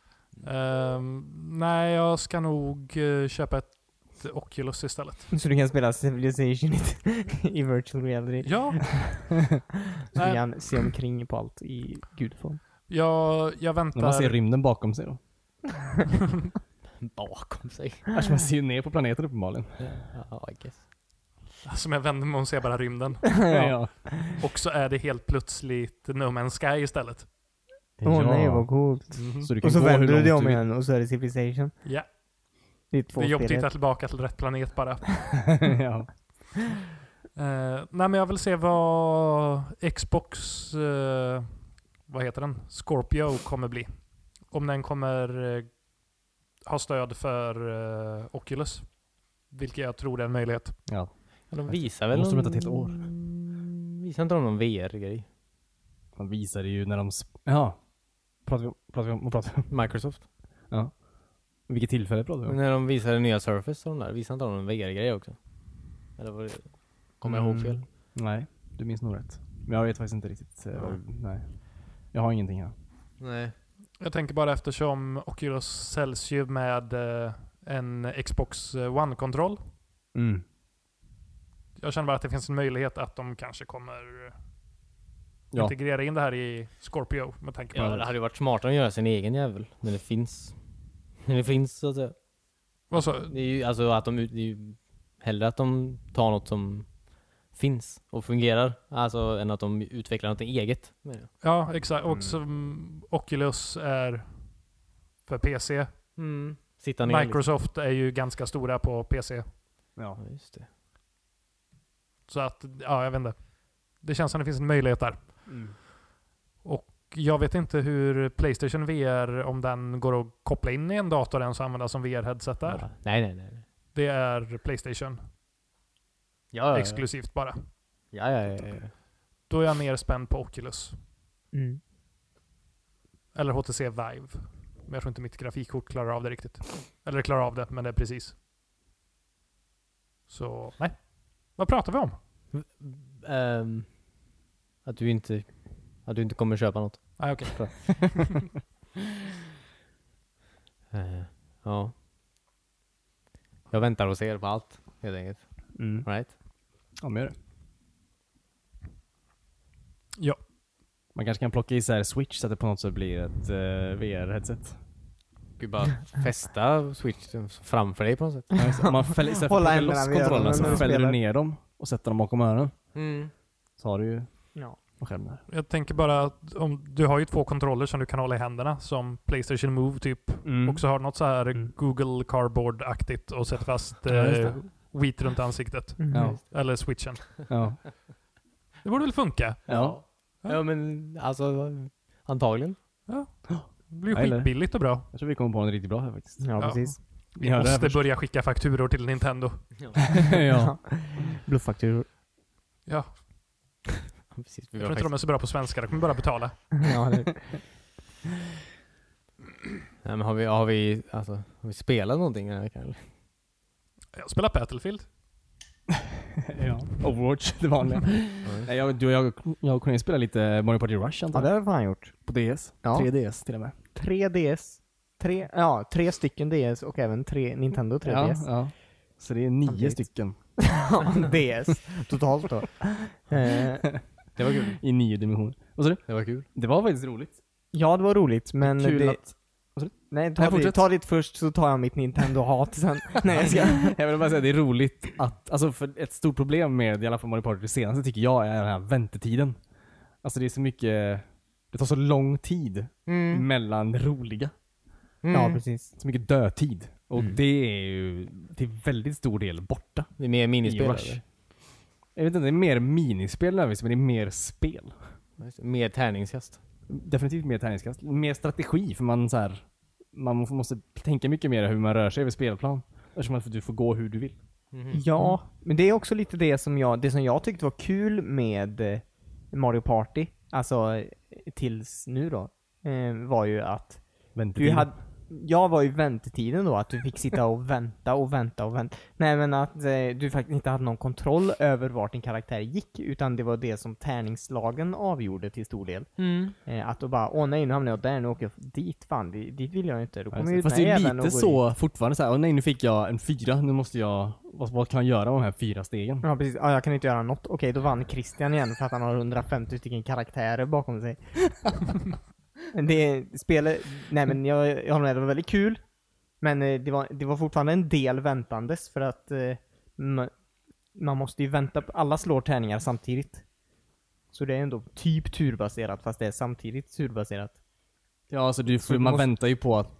Speaker 3: Ehm, nej, jag ska nog eh, köpa ett Oculus istället.
Speaker 2: Så du kan spela Civilization i- i virtual reality.
Speaker 3: Ja,
Speaker 2: Så du
Speaker 3: Nej.
Speaker 2: kan se omkring på allt i gudform.
Speaker 3: jag, jag väntar.
Speaker 1: När man ser rymden bakom sig då.
Speaker 4: Bakom sig.
Speaker 1: Alltså man ser ju ner på planeten uppenbarligen.
Speaker 4: Ja, I guess.
Speaker 3: Som jag vänder mig och ser bara rymden.
Speaker 1: Ja.
Speaker 3: Och så är det helt plötsligt No Man's Sky istället.
Speaker 2: Åh nej vad coolt.
Speaker 3: Mhm.
Speaker 1: Så du kan
Speaker 2: Mm. Och så
Speaker 1: gå hur
Speaker 2: vänder du
Speaker 1: långt
Speaker 2: dig om
Speaker 1: vill.
Speaker 2: igen och så är det Civilization.
Speaker 3: Ja,
Speaker 2: Det är två
Speaker 3: det är jobbigt att
Speaker 2: spel.
Speaker 3: hitta tillbaka till rätt planet bara.
Speaker 1: ja.
Speaker 3: Eh, nej, men jag vill se vad Xbox, eh, vad heter den, Scorpio kommer bli. Om den kommer eh, ha stöd för eh, Oculus. Vilket jag tror är en möjlighet.
Speaker 1: ja.
Speaker 4: Ja, de visar väl
Speaker 1: Måste de
Speaker 4: någon-
Speaker 1: vänta till ett år?
Speaker 4: Visar inte de någon VR-grej?
Speaker 1: Man visade ju när de... Sp- ja. Pratar vi om... Pratar vi om... Vad pratar vi om?
Speaker 4: Microsoft?
Speaker 1: Vilket tillfälle pratar vi om?
Speaker 4: När de visade nya Surface och de där, visade inte de någon VR-grej också? Eller var det... Kommer jag ihåg
Speaker 1: Mm.
Speaker 4: fel?
Speaker 1: Nej, du minns nog rätt. Men jag vet faktiskt inte riktigt. eh, vad- Nej. Jag har ingenting här.
Speaker 4: Nej.
Speaker 3: Jag tänker bara eftersom Oculus säljs ju med eh, en Xbox One-kontroll.
Speaker 1: Mm.
Speaker 3: Jag känner bara att det finns en möjlighet att de kanske kommer eh,
Speaker 1: Ja.
Speaker 3: integrera in det här i Scorpio med tanke på
Speaker 4: Ja, det hade ju varit smartare att göra sin egen jävel. När det finns. När det finns så att säga.
Speaker 3: Vad sa-
Speaker 4: Det är ju alltså att de, det är ju hellre att de tar något som finns och fungerar. Alltså än att de utvecklar något eget. menar jag.
Speaker 3: Ja, exakt.
Speaker 1: Mm.
Speaker 3: Och som Oculus är för PC.
Speaker 4: Mm. Sitta ner
Speaker 3: Microsoft är ju ganska stora på PC.
Speaker 1: Ja.
Speaker 4: Liksom. Ja, just det.
Speaker 3: Så att, ja jag vet inte. Det känns som det finns en möjlighet där.
Speaker 2: Mm.
Speaker 3: Jag vet inte hur Playstation VR, om den går att koppla in i en dator ens och använda som VR-headset där.
Speaker 4: Ja. Nej, nej, nej. nej.
Speaker 3: Det är Playstation
Speaker 4: Ja, ja, ja.
Speaker 3: exklusivt bara.
Speaker 4: Ja, ja, ja, ja.
Speaker 3: Då är jag mer spänd på Oculus.
Speaker 2: Mm.
Speaker 3: Eller HTC Vive. Men jag tror inte mitt grafikkort klarar av det riktigt. Eller det klarar av det, men det är precis. Så, nej. Vad pratar vi om?
Speaker 4: Ehm, att du inte... Att du inte kommer köpa något.
Speaker 3: Nej, okej.
Speaker 4: Eh, ja. Jag väntar och ser på allt, helt enkelt.
Speaker 1: Mm.
Speaker 4: Right?
Speaker 1: Ja, men gör det.
Speaker 3: Ja.
Speaker 1: Man kanske kan plocka isär switch så att det på något sätt blir ett eh, VR-headset.
Speaker 4: Du bara fästa switchen framför dig på något sätt.
Speaker 1: Ja, just det. Om Man fäller istället för
Speaker 2: Hålla
Speaker 1: att plocka
Speaker 2: händerna
Speaker 1: loss
Speaker 2: vid
Speaker 1: kontrollerna
Speaker 2: öronen när
Speaker 1: så
Speaker 2: du
Speaker 1: fäller du
Speaker 2: spelar.
Speaker 1: ner dem och sätter dem bakom öronen.
Speaker 4: Mm.
Speaker 1: Så har du ju
Speaker 2: Ja.
Speaker 1: på skärmen där.
Speaker 3: Jag tänker bara att om, du har ju två kontroller som du kan hålla i händerna som Playstation Move typ. Och så har du något så här
Speaker 1: Mm.
Speaker 3: Google Cardboard-aktigt och sätter fast
Speaker 1: Ja, just
Speaker 3: eh,
Speaker 1: det.
Speaker 3: Wheat runt ansiktet.
Speaker 2: Mm.
Speaker 1: Ja.
Speaker 3: Eller switchen.
Speaker 1: Ja.
Speaker 3: Det borde väl funka?
Speaker 1: Ja.
Speaker 4: Ja men alltså antagligen.
Speaker 3: Det blir ju
Speaker 1: Ja, eller?
Speaker 3: skitbilligt och bra.
Speaker 1: Jag tror vi kommer på en riktigt bra här faktiskt.
Speaker 2: Ja,
Speaker 3: Ja.
Speaker 2: precis.
Speaker 1: Ni
Speaker 3: Vi
Speaker 1: hörde det här
Speaker 3: måste
Speaker 1: först.
Speaker 3: börja skicka fakturor till Nintendo.
Speaker 1: ja.
Speaker 2: Bluffakturor.
Speaker 3: Ja,
Speaker 4: Precis,
Speaker 3: jag
Speaker 4: vi var
Speaker 3: tror inte de är så bra på svenska. De kommer bara betala.
Speaker 2: ja, det,
Speaker 4: Nej, men har vi, har vi, alltså, har vi spelat någonting den här veckan? eller?
Speaker 3: Jag spelar Battlefield.
Speaker 1: ja. Overwatch, det vanliga. Nej, jag, du, jag, jag och Cornelis spelade lite Mario Party Rush
Speaker 2: Ja,
Speaker 1: antar
Speaker 2: det
Speaker 1: jag.
Speaker 2: har jag fan gjort.
Speaker 1: På DS.
Speaker 2: Ja.
Speaker 1: 3DS till och med.
Speaker 2: Tre DS. Tre, ja, tre stycken DS och även tre Nintendo 3DS.
Speaker 1: Ja, ja. Så det är nio
Speaker 2: Samtidigt.
Speaker 1: stycken
Speaker 2: Ja, DS totalt då. Eh,
Speaker 4: Det var kul.
Speaker 1: i nio dimensioner. Vad sa du?
Speaker 4: Det var kul.
Speaker 1: Det var faktiskt roligt.
Speaker 2: ja, det var roligt, men...
Speaker 1: Kul
Speaker 2: det,
Speaker 1: att...
Speaker 2: Nej,
Speaker 1: Nej,
Speaker 2: ta,
Speaker 1: fortsätt.
Speaker 2: ditt, ta ditt först så tar jag mitt Nintendo-hat sen. nej, jag ska...
Speaker 1: Alltså, Jag vill bara säga det är roligt att, alltså för ett stort problem med i alla fall Mario Party det senaste tycker jag är den här väntetiden. Alltså det är så mycket, det tar så lång tid
Speaker 2: Mm.
Speaker 1: mellan roliga.
Speaker 2: Ja, precis.
Speaker 1: Så mycket dödtid. Och
Speaker 4: Mm.
Speaker 1: det är ju till väldigt stor del borta
Speaker 4: Det är mer minispel.
Speaker 1: i Rush.
Speaker 4: eller?
Speaker 1: Jag vet inte, det är mer minispel överst, men det är mer spel.
Speaker 4: Ja, just det. Mer tärningskast.
Speaker 1: Definitivt mer tärningskast. Mer strategi, för man så här, man må- måste tänka mycket mer hur man rör sig över spelplan. Eftersom att du får gå hur du vill.
Speaker 3: Mhm.
Speaker 2: Ja, men det är också lite det som jag, det som jag tyckte var kul med eh, Mario Party, alltså eh, tills nu då, eh, var ju att
Speaker 1: Väntetid.
Speaker 2: du hade, jag var ju väntetiden då, att du fick sitta och vänta och vänta och vänta. Nej men att eh, du faktiskt inte hade någon kontroll över vart din karaktär gick, utan det var det som tärningslagen avgjorde till såg del. Eh, att du bara, åh nej nu hamnar jag där, nu åker jag dit, fan di- dit vill jag inte. Då kommer ju
Speaker 1: Fast
Speaker 2: den
Speaker 1: det
Speaker 2: här
Speaker 1: är
Speaker 2: jäveln och
Speaker 1: lite
Speaker 2: går
Speaker 1: så fortfarande så här, "Åh, nej nu fick jag en fyra, nu måste jag, vad, vad kan jag göra med de här fyra stegen?
Speaker 2: Ja precis, ja, jag kan inte göra något. Okej, då vann Christian igen för att han har 150 stycken karaktärer bakom sig. Men det spelet, nej men jag, jag håller med, det var väldigt kul. Men eh, det var, det var fortfarande en del väntandes för att eh, ma- man måste ju vänta, på- alla slår tärningar samtidigt. Så det är ändå typ turbaserat fast det är samtidigt turbaserat.
Speaker 1: Ja, alltså du,
Speaker 2: Så
Speaker 1: får
Speaker 2: du
Speaker 1: man
Speaker 2: måste-
Speaker 1: väntar ju på att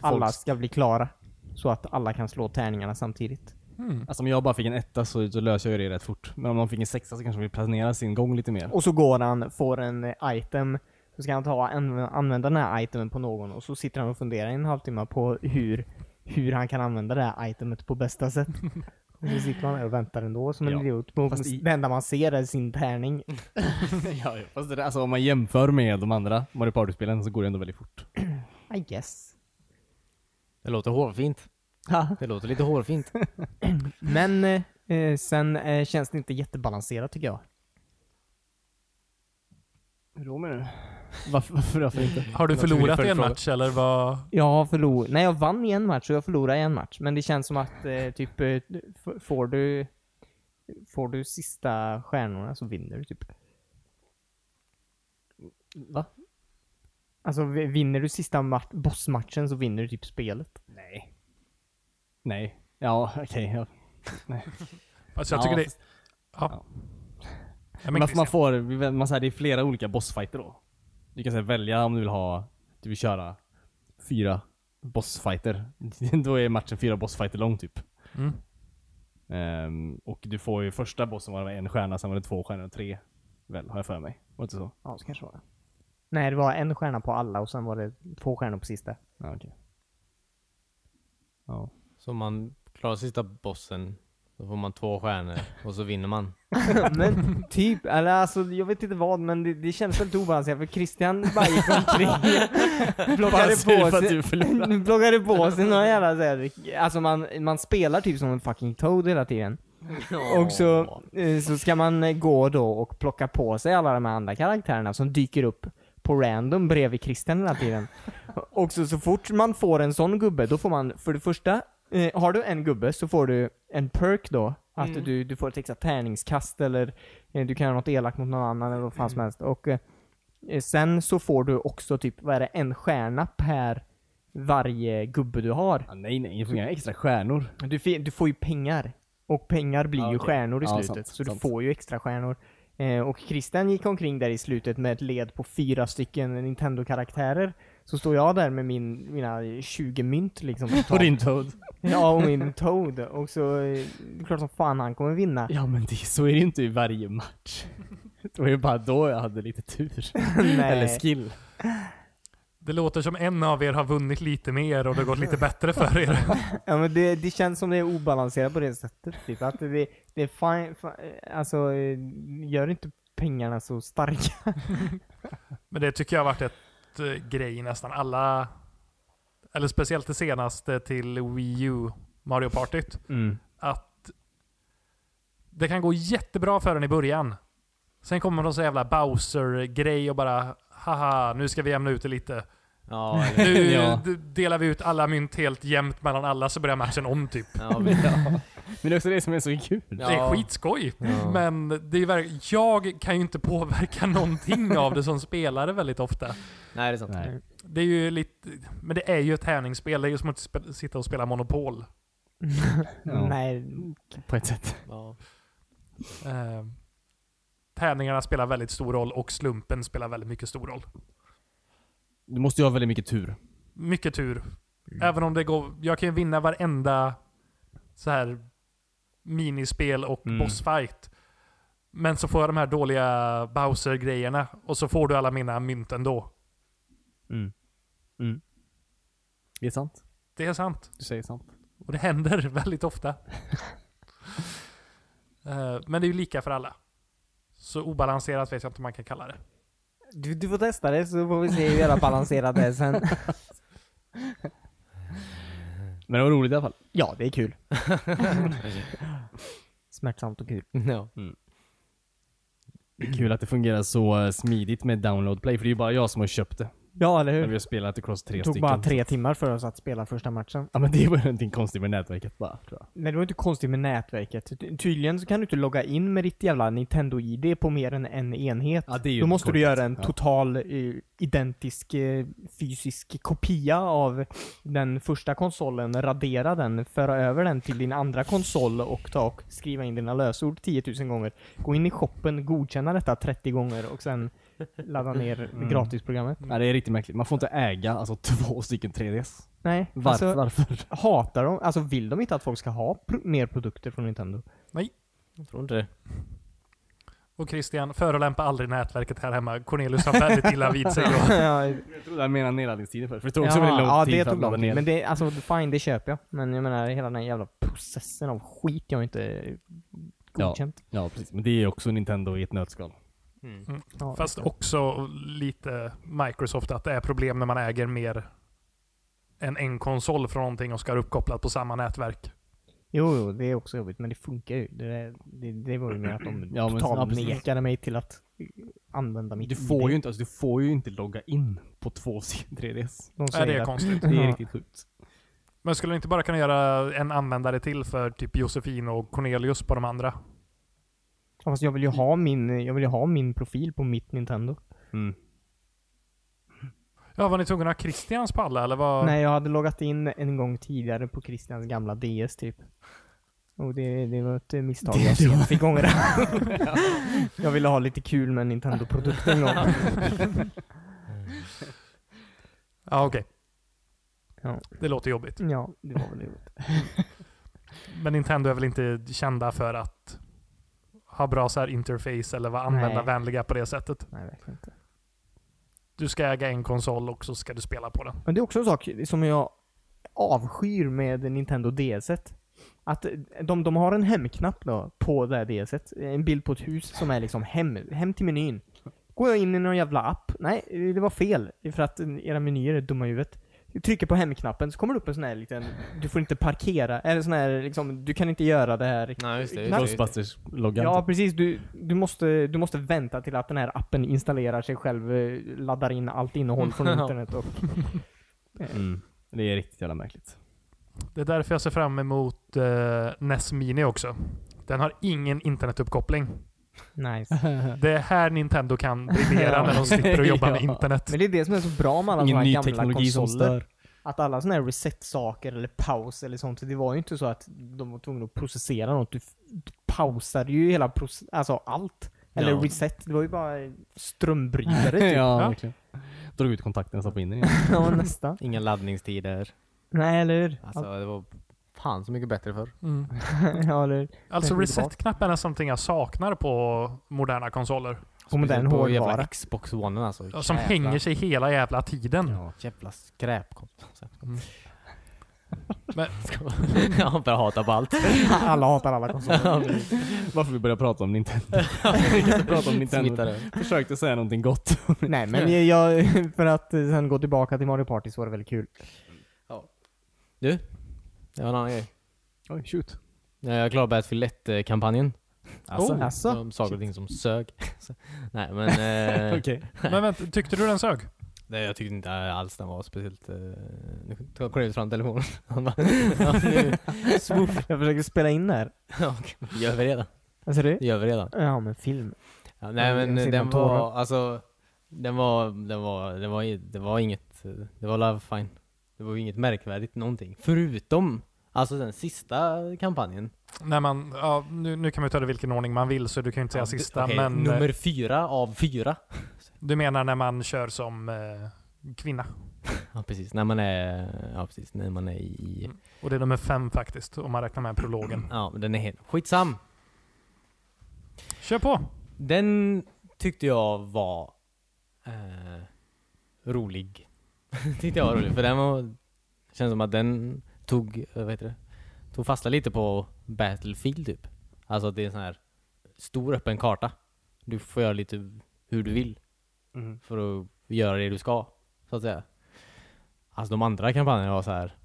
Speaker 2: Alla
Speaker 1: folk-
Speaker 2: ska bli klara. Så att alla kan slå tärningarna samtidigt.
Speaker 3: Mm.
Speaker 1: Alltså om jag bara fick en etta så, så löser jag ju det rätt fort. Men om någon fick en sexa så kanske de vill planera sin gång lite mer.
Speaker 2: Och så går han, får en eh, item, så ska han ta an- använda den här itemen på någon och så sitter han och funderar i en halvtimme på hur, hur han kan använda det här itemet på bästa sätt. Och så sitter man där och väntar ändå som en
Speaker 1: Ja.
Speaker 2: idiot. Och
Speaker 1: Fast i- Mm.
Speaker 2: Det enda man ser är sin tärning.
Speaker 1: ja, ja. Fast det, där- alltså om man jämför med de andra Mario Party-spelen så går det ändå väldigt fort.
Speaker 2: I guess.
Speaker 4: Det låter hårfint. Det låter lite hårfint.
Speaker 2: Men eh, eh, sen eh, känns det inte jättebalanserat tycker jag.
Speaker 1: Hur då menar du? Varför, varför, varför inte?
Speaker 3: Har du
Speaker 1: Naturlig
Speaker 3: förlorat i en
Speaker 1: följdfråga.
Speaker 3: match eller vad?
Speaker 2: Jag förlor... Nej, jag vann i en match och jag förlorade i en match. Men det känns som att eh, typ, eh, f- får du... Får du sista stjärnorna så vinner du typ.
Speaker 1: Va?
Speaker 2: Alltså v- vinner du sista mat- bossmatchen så vinner du typ spelet.
Speaker 1: Nej. Nej. Ja, okej. ja.
Speaker 3: Alltså jag
Speaker 1: Ja,
Speaker 3: tycker det...
Speaker 1: fast-
Speaker 3: Ja. Ja,
Speaker 1: Men
Speaker 3: men
Speaker 1: man,
Speaker 3: Christian,
Speaker 1: man får, man, så här, det är flera olika bossfighter då. Du kan så här, välja om du vill ha, du vill köra fyra bossfighter. då är matchen fyra bossfighter lång typ.
Speaker 3: mm.
Speaker 1: Ehm, och du får ju första bossen var det en stjärna, sen var det två stjärnor och tre. Väl, har jag för mig. Var det inte så?
Speaker 2: Ja, så kanske var det. Nej, det var en stjärna på alla och sen var det två stjärnor på sista.
Speaker 1: Ja, okej. Ja.
Speaker 4: Så om man klarar sista bossen, då får man två stjärnor och så vinner man.
Speaker 2: men typ, eller alltså jag vet inte vad, men det, det kändes väldigt obalanserat för Christian bara gick omkring
Speaker 1: Bara
Speaker 2: plockade
Speaker 1: sur för
Speaker 2: på
Speaker 1: att
Speaker 2: sig,
Speaker 1: du förlorade.
Speaker 2: plockade på sig några jävla så här, alltså man, man spelar typ som en fucking toad hela tiden. Och så, eh, så ska man eh, gå då och plocka på sig alla de här andra karaktärerna som dyker upp på random bredvid Christian hela tiden. Och så, så fort man får en sån gubbe, då får man för det första, eh, har du en gubbe så får du en perk då. Att du, du får ett extra tärningskast eller eh, du kan göra något elakt mot någon annan eller vad fan som helst. Och eh, eh, sen så får du också typ, vad är det, en stjärna per varje gubbe du har.
Speaker 1: Ah, nej, nej. Du får inga extra stjärnor.
Speaker 2: Du, fi- du får ju pengar. Och pengar blir
Speaker 1: Ja,
Speaker 2: ju
Speaker 1: okej.
Speaker 2: stjärnor i
Speaker 1: Ja,
Speaker 2: slutet.
Speaker 1: sant,
Speaker 2: så du
Speaker 1: sant.
Speaker 2: får ju extra stjärnor. Eh, och Christian gick omkring där i slutet med ett led på fyra stycken Nintendo-karaktärer. Så står jag där med min, mina 20 mynt liksom.
Speaker 1: Och din Toad.
Speaker 2: Ja, och min Toad. Och så, eh, det är klart som fan han kommer vinna.
Speaker 1: Ja, men det, så är det ju inte i varje match. Det var ju bara då jag hade lite tur.
Speaker 2: Nej.
Speaker 1: Eller skill.
Speaker 3: Det låter som en av er har vunnit lite mer och det har gått lite bättre för er.
Speaker 2: Ja men det, det känns som det är obalanserat på det sättet. Typ. Att det, det är fine, fi- alltså eh, gör inte pengarna så starka.
Speaker 3: Men det tycker jag har varit ett eh, grej i nästan alla... Eller speciellt det senaste till Wii U Mario Partyt.
Speaker 2: Mm.
Speaker 3: Att det kan gå jättebra för den i början. Sen kommer de så jävla Bowser-grej och bara haha, nu ska vi jämna ut det lite.
Speaker 4: Ja, eller,
Speaker 3: Nu
Speaker 1: Ja.
Speaker 3: d- delar vi ut alla mynt helt jämnt mellan alla så börjar matchen om typ.
Speaker 4: ja, vi,
Speaker 1: Men det är också det som är så kul.
Speaker 4: ja.
Speaker 3: Det är skitskoj.
Speaker 4: Ja.
Speaker 3: Men det är verk- jag kan ju inte påverka någonting av det som spelare väldigt ofta.
Speaker 4: Nej, det är sant.
Speaker 1: Nej.
Speaker 3: Det är ju lite, men det är ju ett tärningsspel. Det är ju som att spe- sitta och spela Monopol.
Speaker 1: Ja.
Speaker 2: Nej.
Speaker 1: På ett sätt.
Speaker 4: Ja.
Speaker 3: Eh, tärningarna spelar väldigt stor roll och slumpen spelar väldigt mycket stor roll.
Speaker 1: Du måste ju ha väldigt mycket tur.
Speaker 3: Mycket tur. Även om det går... Jag kan ju vinna varenda så här minispel och
Speaker 1: Mm.
Speaker 3: bossfight. Men så får jag de här dåliga Bowser-grejerna och så får du alla mina mynt ändå.
Speaker 1: Mm. Det är sant.
Speaker 3: Det är sant.
Speaker 1: Du säger sant.
Speaker 3: Och det händer väldigt ofta. Eh, Men det är ju lika för alla. Så obalanserat vet jag inte om man kan kalla det.
Speaker 2: Du, du får testa det så får vi se hur jävla balanserat det är sen.
Speaker 1: Men det var roligt i alla fall.
Speaker 2: Ja, det är kul. Smärtsamt och kul.
Speaker 4: Ja.
Speaker 1: Det är kul att det fungerar så eh, smidigt med download play, för det är ju bara jag som har köpt det.
Speaker 2: Ja, eller
Speaker 1: Men vi
Speaker 2: hur?
Speaker 1: har spelat across tre
Speaker 2: Det tog
Speaker 1: stycken.
Speaker 2: bara tre timmar för oss att spela första matchen.
Speaker 1: Ja men det var ju någonting konstigt med nätverket bara, tror jag.
Speaker 2: Men det var inte konstigt med nätverket. Ty- Tydligen så kan du inte logga in med ditt jävla Nintendo-ID på mer än en enhet.
Speaker 1: Ja, det är ju
Speaker 2: Då måste du
Speaker 1: korkat.
Speaker 2: göra en
Speaker 1: Ja.
Speaker 2: total eh, identisk eh, fysisk kopia av den första konsolen, radera den, föra över den till din andra konsol och ta och skriva in dina lösord 10 000 gånger. Gå in i shoppen, godkänna detta 30 gånger och sen ladda ner
Speaker 1: Mm.
Speaker 2: gratisprogrammet.
Speaker 1: Nej det är riktigt märkligt. Man får inte äga alltså två stycken 3DS.
Speaker 2: Nej,
Speaker 1: Varför?
Speaker 2: alltså
Speaker 1: varför?
Speaker 2: hatar de, alltså vill de inte att folk ska ha pro- mer produkter från Nintendo?
Speaker 4: Jag tror inte det.
Speaker 3: Och Christian, förolämpa aldrig nätverket här hemma. Cornelius har väldigt illa vid sig. då.
Speaker 2: Ja,
Speaker 1: Jag trodde han menade nedladdningstiden först, för det tog också
Speaker 2: Jaha,
Speaker 1: väldigt lång
Speaker 2: ja,
Speaker 1: tid
Speaker 2: det
Speaker 1: för att
Speaker 2: tog
Speaker 1: ladda
Speaker 2: lång tid.
Speaker 1: ner.
Speaker 2: Men det, alltså fine, det köper jag. Men jag menar hela den jävla processen av skit jag inte godkänt.
Speaker 1: Ja precis, men det är ju också Nintendo i ett nötskal.
Speaker 4: Mm.
Speaker 2: Ja.
Speaker 3: Fast också lite Microsoft att det är problem när man äger mer än en konsol från någonting och ska ha uppkopplat på samma nätverk.
Speaker 2: Jo, jo, det är också jobbigt, men det funkar ju. Det, där- det, det var ju mer att de
Speaker 1: Ja, men- ja,
Speaker 2: totalt
Speaker 1: precis.
Speaker 2: nekade mig till att använda mitt
Speaker 1: Du
Speaker 2: ID.
Speaker 1: får ju inte, alltså, du får ju inte logga in på två stycken 3DS.
Speaker 2: De
Speaker 3: Är
Speaker 2: säger
Speaker 3: det är
Speaker 2: att-
Speaker 3: konstigt.
Speaker 1: Det är
Speaker 2: Ja.
Speaker 1: riktigt sjukt.
Speaker 3: Men skulle ni inte bara kunna göra en användare till för typ Josefin och Cornelius på de andra?
Speaker 2: Ja, Fast jag vill ju ha min, jag vill ju ha min profil på mitt Nintendo.
Speaker 1: Mm.
Speaker 3: Ja, var ni tvungna att ha Christians på alla eller vad?
Speaker 2: Nej, jag hade loggat in en gång tidigare på Christians gamla DS typ. Och det, det var ett misstag jag sent fick ångra. jag ville ha lite kul med en Nintendo-produkt en gång.
Speaker 3: Ja, okej.
Speaker 2: Ja.
Speaker 3: Det låter jobbigt.
Speaker 2: Ja, det var väl roligt.
Speaker 3: Men Nintendo är väl inte kända för att ha bra så här interface eller vara
Speaker 2: Nej.
Speaker 3: användarvänliga på det sättet.
Speaker 2: Nej, verkligen inte.
Speaker 3: Du ska äga en konsol och så ska du spela på den.
Speaker 2: Men det är också en sak som jag avskyr med Nintendo DS. -et. Att eh, de, de har en hemknapp då, på det här DS. -et. En bild på ett hus som är liksom hem, hem till menyn. Går jag in i någon jävla app? Nej, det var fel. För att eh, era menyer är dumma i huvudet. Du trycker på hemknappen så kommer det upp en sån här liten, du får inte parkera, eller sån här liksom, du kan inte göra det här.
Speaker 4: Nej, just det.
Speaker 2: Knappt.
Speaker 4: Just det.
Speaker 1: Ghostbusters-loggan.
Speaker 2: Ja precis, du, du, måste, du måste vänta till att den här appen installerar sig själv, eh, laddar in allt innehåll från
Speaker 4: Ja.
Speaker 2: internet och
Speaker 1: Mm. Det är riktigt jävla märkligt.
Speaker 3: Det är därför jag ser fram emot eh, NES Mini också. Den har ingen internetuppkoppling.
Speaker 2: nice.
Speaker 3: Det är här Nintendo kan briljera
Speaker 2: Ja.
Speaker 3: när de slipper att jobba med
Speaker 1: Ja.
Speaker 3: internet.
Speaker 2: Men det är det som är så bra med alla
Speaker 1: Ingen
Speaker 2: såna här
Speaker 1: ny
Speaker 2: gamla
Speaker 1: teknologi som
Speaker 2: konsoler.
Speaker 1: stör.
Speaker 2: Att alla såna här reset-saker eller paus eller sånt, det var ju inte så att de var tvungna att processera något. Du, f- du pausade ju hela proce- alltså allt. Eller
Speaker 4: Ja.
Speaker 2: reset, det var ju bara strömbrytare typ. ja.
Speaker 1: ja,
Speaker 3: Ja.
Speaker 1: verkligen. Drog ut kontakten och stoppade in den igen.
Speaker 2: nästan.
Speaker 4: Inga laddningstider.
Speaker 2: Nej, eller hur?
Speaker 4: Alltså, det var fan så mycket bättre förr.
Speaker 3: Mm.
Speaker 2: ja, eller hur?
Speaker 3: Alltså
Speaker 2: Tänk
Speaker 3: reset-knappen är something jag saknar på moderna konsoler.
Speaker 2: På modern
Speaker 4: Speciellt på jävla
Speaker 2: hårdvara.
Speaker 4: Xbox One alltså.
Speaker 3: Ja, Som
Speaker 4: Jävla-
Speaker 3: hänger sig hela jävla tiden.
Speaker 4: Jävla skräpkonst.
Speaker 3: Mm. Men-
Speaker 4: jag börjar hata på allt.
Speaker 2: Alla hatar alla konsoler.
Speaker 1: Varför vi börjar prata om Nintendo. vi kan inte prata om Nintendo.
Speaker 4: Smittar
Speaker 1: Försökte säga någonting gott.
Speaker 2: Nej, men jag, för att sen gå tillbaka till Mario Party så var det väldigt kul.
Speaker 4: Du, det var en annan grej.
Speaker 1: Oj, shoot.
Speaker 4: Nej, Jag klarade Battlefield 1-kampanjen.
Speaker 1: Alltså.
Speaker 2: Oh, alltså.
Speaker 4: Om saker och ting som sög. Så- Nej men... Eh,
Speaker 1: Okej.
Speaker 3: Men vänta, tyckte du den sög?
Speaker 4: nej, jag tyckte inte alls den var speciellt... Eh, nu tog Cornelius fram telefonen. Han bara... ja, nu,
Speaker 2: Jag försöker spela in där.
Speaker 4: ja, okej. gör vi redan.
Speaker 2: Vad sa du?
Speaker 4: Gör vi redan.
Speaker 2: Ja, men film.
Speaker 4: Ja, nej
Speaker 3: Mm,
Speaker 4: men
Speaker 2: Jag ser
Speaker 4: den
Speaker 2: några tårar.
Speaker 4: var, alltså, den var, den var, den var, i- det var inget, eh, det var love fine. Det var ju inget märkvärdigt någonting. Förutom, alltså den sista kampanjen.
Speaker 3: När man, ja, nu, nu kan man ju ta det i vilken ordning man vill så du kan ju inte säga
Speaker 4: Ja,
Speaker 3: sista.
Speaker 4: okej,
Speaker 3: men eh,
Speaker 4: Nummer fyra av fyra.
Speaker 3: du menar när man kör som eh, kvinna?
Speaker 4: Ja precis, när man är, ja precis, när man är i,
Speaker 3: Mm. Och det är nummer fem faktiskt, om man räknar med prologen.
Speaker 4: ja men den är helt, skitsam.
Speaker 3: Kör på!
Speaker 4: Den tyckte jag var eh, rolig. tyckte jag var rolig, för den var, känns som att den tog, eh, vad heter det, tog fasta lite på Battlefield typ. Alltså att det är en sån här stor öppen karta. Du får göra lite hur du vill för att göra det du ska, så att säga. Alltså de andra kampanjerna var så här.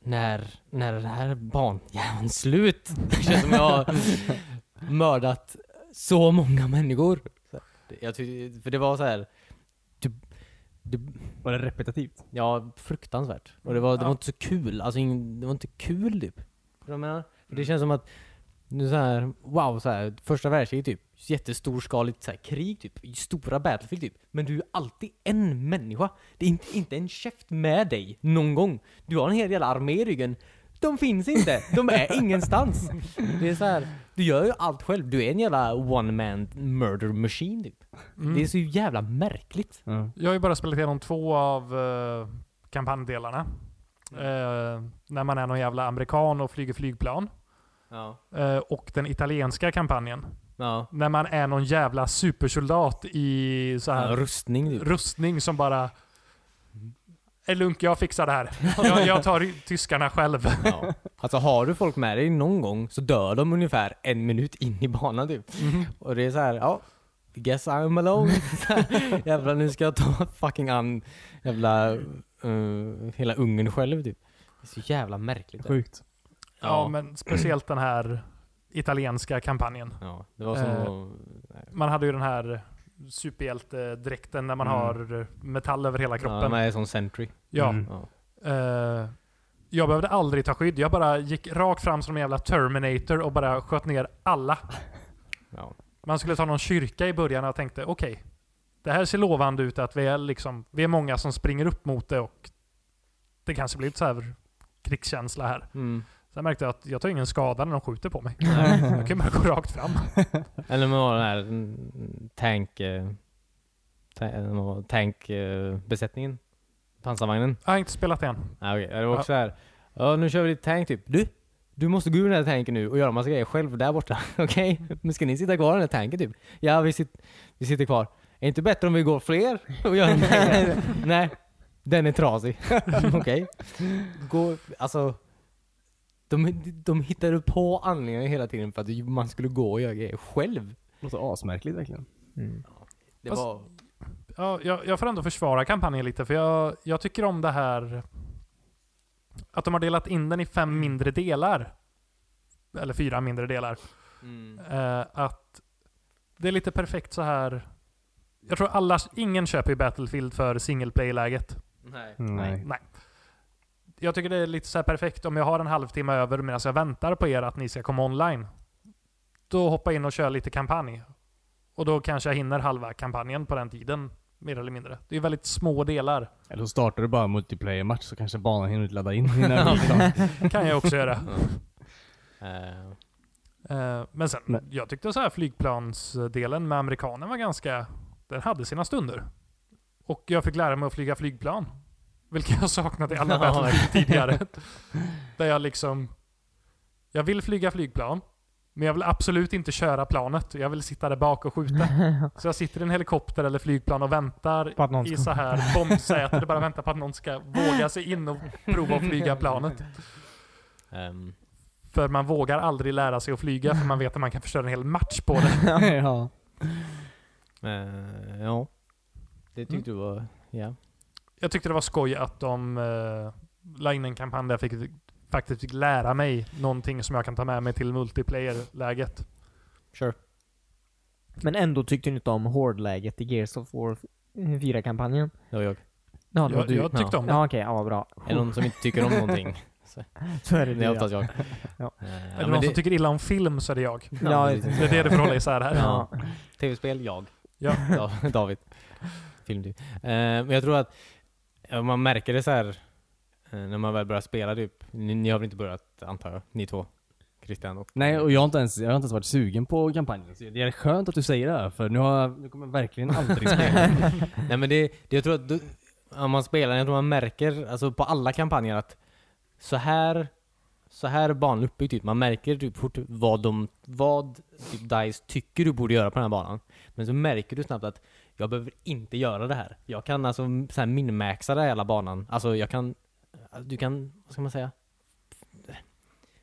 Speaker 4: När, när är det här banjäveln slut? Det känns som jag har mördat så många människor. Så här, det- Jag tyckte, för det var så här. typ, Du, du,
Speaker 1: Var det repetitivt?
Speaker 4: ja, fruktansvärt. Och det var, det var inte så kul. Alltså ingen, det var inte kul typ. Förstår du vad jag menar? För det känns som att nu så här, wow, så här, första världskriget typ. Jättestorskaligt så här, krig typ. Stora Battlefield typ. Men du är alltid en människa. Det är inte, inte en käft med dig någon gång. Du har en hel jävla armé i ryggen. De finns inte. De är ingenstans. Det är så här, du gör ju allt själv. Du är en jävla one man murder machine typ.
Speaker 3: Mm.
Speaker 4: Det är så jävla märkligt.
Speaker 1: Ja.
Speaker 3: Jag har ju bara spelat igenom två av eh, kampanjdelarna. Eh, när man är någon jävla amerikan och flyger flygplan.
Speaker 4: Ja.
Speaker 3: Eh, och den italienska kampanjen.
Speaker 4: Ja.
Speaker 3: När man är någon jävla supersoldat i så här
Speaker 4: Rustning typ.
Speaker 3: rustning som bara... Är lugnt, jag fixar det här. Jag, jag tar i- tyskarna själv.
Speaker 4: Ja. Alltså har du folk med dig någon gång så dör de ungefär en minut in i banan typ. Och det är så här, ja. Guess I'm alone. Så här, Jävlar nu ska jag ta fucking an jävla eh, hela ungen själv typ. Det är så jävla märkligt. det.
Speaker 1: Sjukt.
Speaker 3: Ja, men speciellt den här italienska kampanjen.
Speaker 4: ja, det var som
Speaker 3: Eh.
Speaker 4: att-
Speaker 3: Man hade ju den här superhjältedräkten när man
Speaker 4: Mm.
Speaker 3: har metall över hela
Speaker 4: ja,
Speaker 3: kroppen.
Speaker 4: man är som Sentry.
Speaker 3: Ja.
Speaker 1: Mm.
Speaker 4: Ja.
Speaker 3: Eh, jag behövde aldrig ta skydd. Jag bara gick rakt fram som en jävla Terminator och bara sköt ner alla.
Speaker 4: Ja.
Speaker 3: Man skulle ta någon kyrka i början och jag tänkte okej, det här ser lovande ut att vi är, liksom, vi är många som springer upp mot det och det kanske blir lite så här krigskänsla här.
Speaker 4: Mm.
Speaker 3: Sen märkte jag att jag tar ingen skada när de skjuter på mig. Jag kan bara gå rakt fram.
Speaker 4: Eller man har den här mm, tank... eh, ta- eh, man har tank eh, besättningen. Pansarvagnen.
Speaker 3: Jag har inte spelat det än.
Speaker 4: Ah, okay. Det var
Speaker 3: Ja.
Speaker 4: också såhär, ja nu kör vi lite tank typ. Du, du måste gå ur den här tanken nu och göra massa grejer själv där borta. Okej? Men ska ni sitta kvar i den här tanken typ? Ja, vi, sit, vi sitter kvar. Är inte bättre om vi går fler och gör Nej. Nej, den är trasig. Okej? Gå, alltså. De, de hittade på anledningar hela tiden för att man skulle gå och göra grejer själv.
Speaker 1: Låter asmärkligt verkligen.
Speaker 4: Det
Speaker 3: Fast-
Speaker 4: var...
Speaker 3: Ja, jag, jag får ändå försvara kampanjen lite, för jag, jag tycker om det här att de har delat in den i fem mindre delar. Eller fyra mindre delar.
Speaker 4: Mm.
Speaker 3: Eh, att det är lite perfekt så här. Jag tror alla, ingen köper ju Battlefield för single play-läget.
Speaker 4: Nej.
Speaker 1: Mm, Nej.
Speaker 3: Jag tycker det är lite så här perfekt om jag har en halvtimme över medan jag väntar på er att ni ska komma online. Då hoppa in och köra lite kampanj. Och då kanske jag hinner halva kampanjen på den tiden. Mer eller mindre. Det är väldigt små delar.
Speaker 1: Eller så startar du bara multiplayer-match så kanske banan hinner ladda in innan vi är klara.
Speaker 3: kan jag också göra.
Speaker 4: Eh,
Speaker 3: Eh, Men sen,
Speaker 1: Men-
Speaker 3: jag tyckte så här flygplansdelen med amerikanen var ganska... Den hade sina stunder. Och jag fick lära mig att flyga flygplan. Vilket jag saknat i alla
Speaker 4: Ja.
Speaker 3: Battlefield tidigare. Där jag liksom... Jag vill flyga flygplan. Men jag vill absolut inte köra planet. Jag vill sitta där bak och skjuta. Så jag sitter i en helikopter eller flygplan och väntar
Speaker 2: På att någon
Speaker 3: i
Speaker 2: ska...
Speaker 3: så här bombsäte. och Bara väntar på att någon ska våga sig in och prova att flyga planet.
Speaker 4: ehm,
Speaker 3: För man vågar aldrig lära sig att flyga för man vet att man kan förstöra en hel match på det.
Speaker 2: ja.
Speaker 4: eh, ja. Det tyckte
Speaker 3: Mm.
Speaker 4: du var... Ja.
Speaker 3: Jag tyckte det var skoj att de uh, la in en kampanj eh, där jag fick, faktiskt fick lära mig någonting som jag kan ta med mig till multiplayer-läget.
Speaker 4: Sure.
Speaker 2: Men ändå tyckte ni inte om hårdläget i Gears of War 4-kampanjen?
Speaker 4: Det var jag.
Speaker 2: Ja, det var
Speaker 3: Jag,
Speaker 2: du.
Speaker 3: jag tyckte om det.
Speaker 2: Ja, okej. Ja, vad bra.
Speaker 4: Är det någon som inte tycker om någonting?
Speaker 2: Så är det
Speaker 4: Det
Speaker 2: du,
Speaker 4: är
Speaker 2: ja.
Speaker 4: oftast jag.
Speaker 2: Ja.
Speaker 4: Eh,
Speaker 3: Är det
Speaker 4: men
Speaker 3: någon
Speaker 4: det-
Speaker 3: som tycker illa om film så är det jag.
Speaker 2: Ja,
Speaker 4: precis.
Speaker 3: Det är det du får hålla isär här.
Speaker 4: Ja. Tv-spel, jag.
Speaker 3: Ja.
Speaker 4: Da- David. Filmtyp. Eh, men jag tror att eh, man märker det så här eh, när man väl börjar spela typ. Ni, ni har väl inte börjat antar jag? Ni två? Christian och...
Speaker 1: Nej, och jag har, inte ens, jag har inte ens varit sugen på kampanjen. Så det är skönt att du säger det här, för nu, har, jag- nu kommer jag verkligen aldrig spela.
Speaker 4: Nej men det, det jag tror att du, om man spelar, jag tror man märker alltså på alla kampanjer att så här så här är banan uppbyggd typ. Man märker typ fort vad de, vad typ DICE tycker du borde göra på den här banan. Men så märker du snabbt att jag behöver inte göra det här. Jag kan alltså så här minmaxa det här hela banan. Alltså jag kan, du kan, vad ska man säga?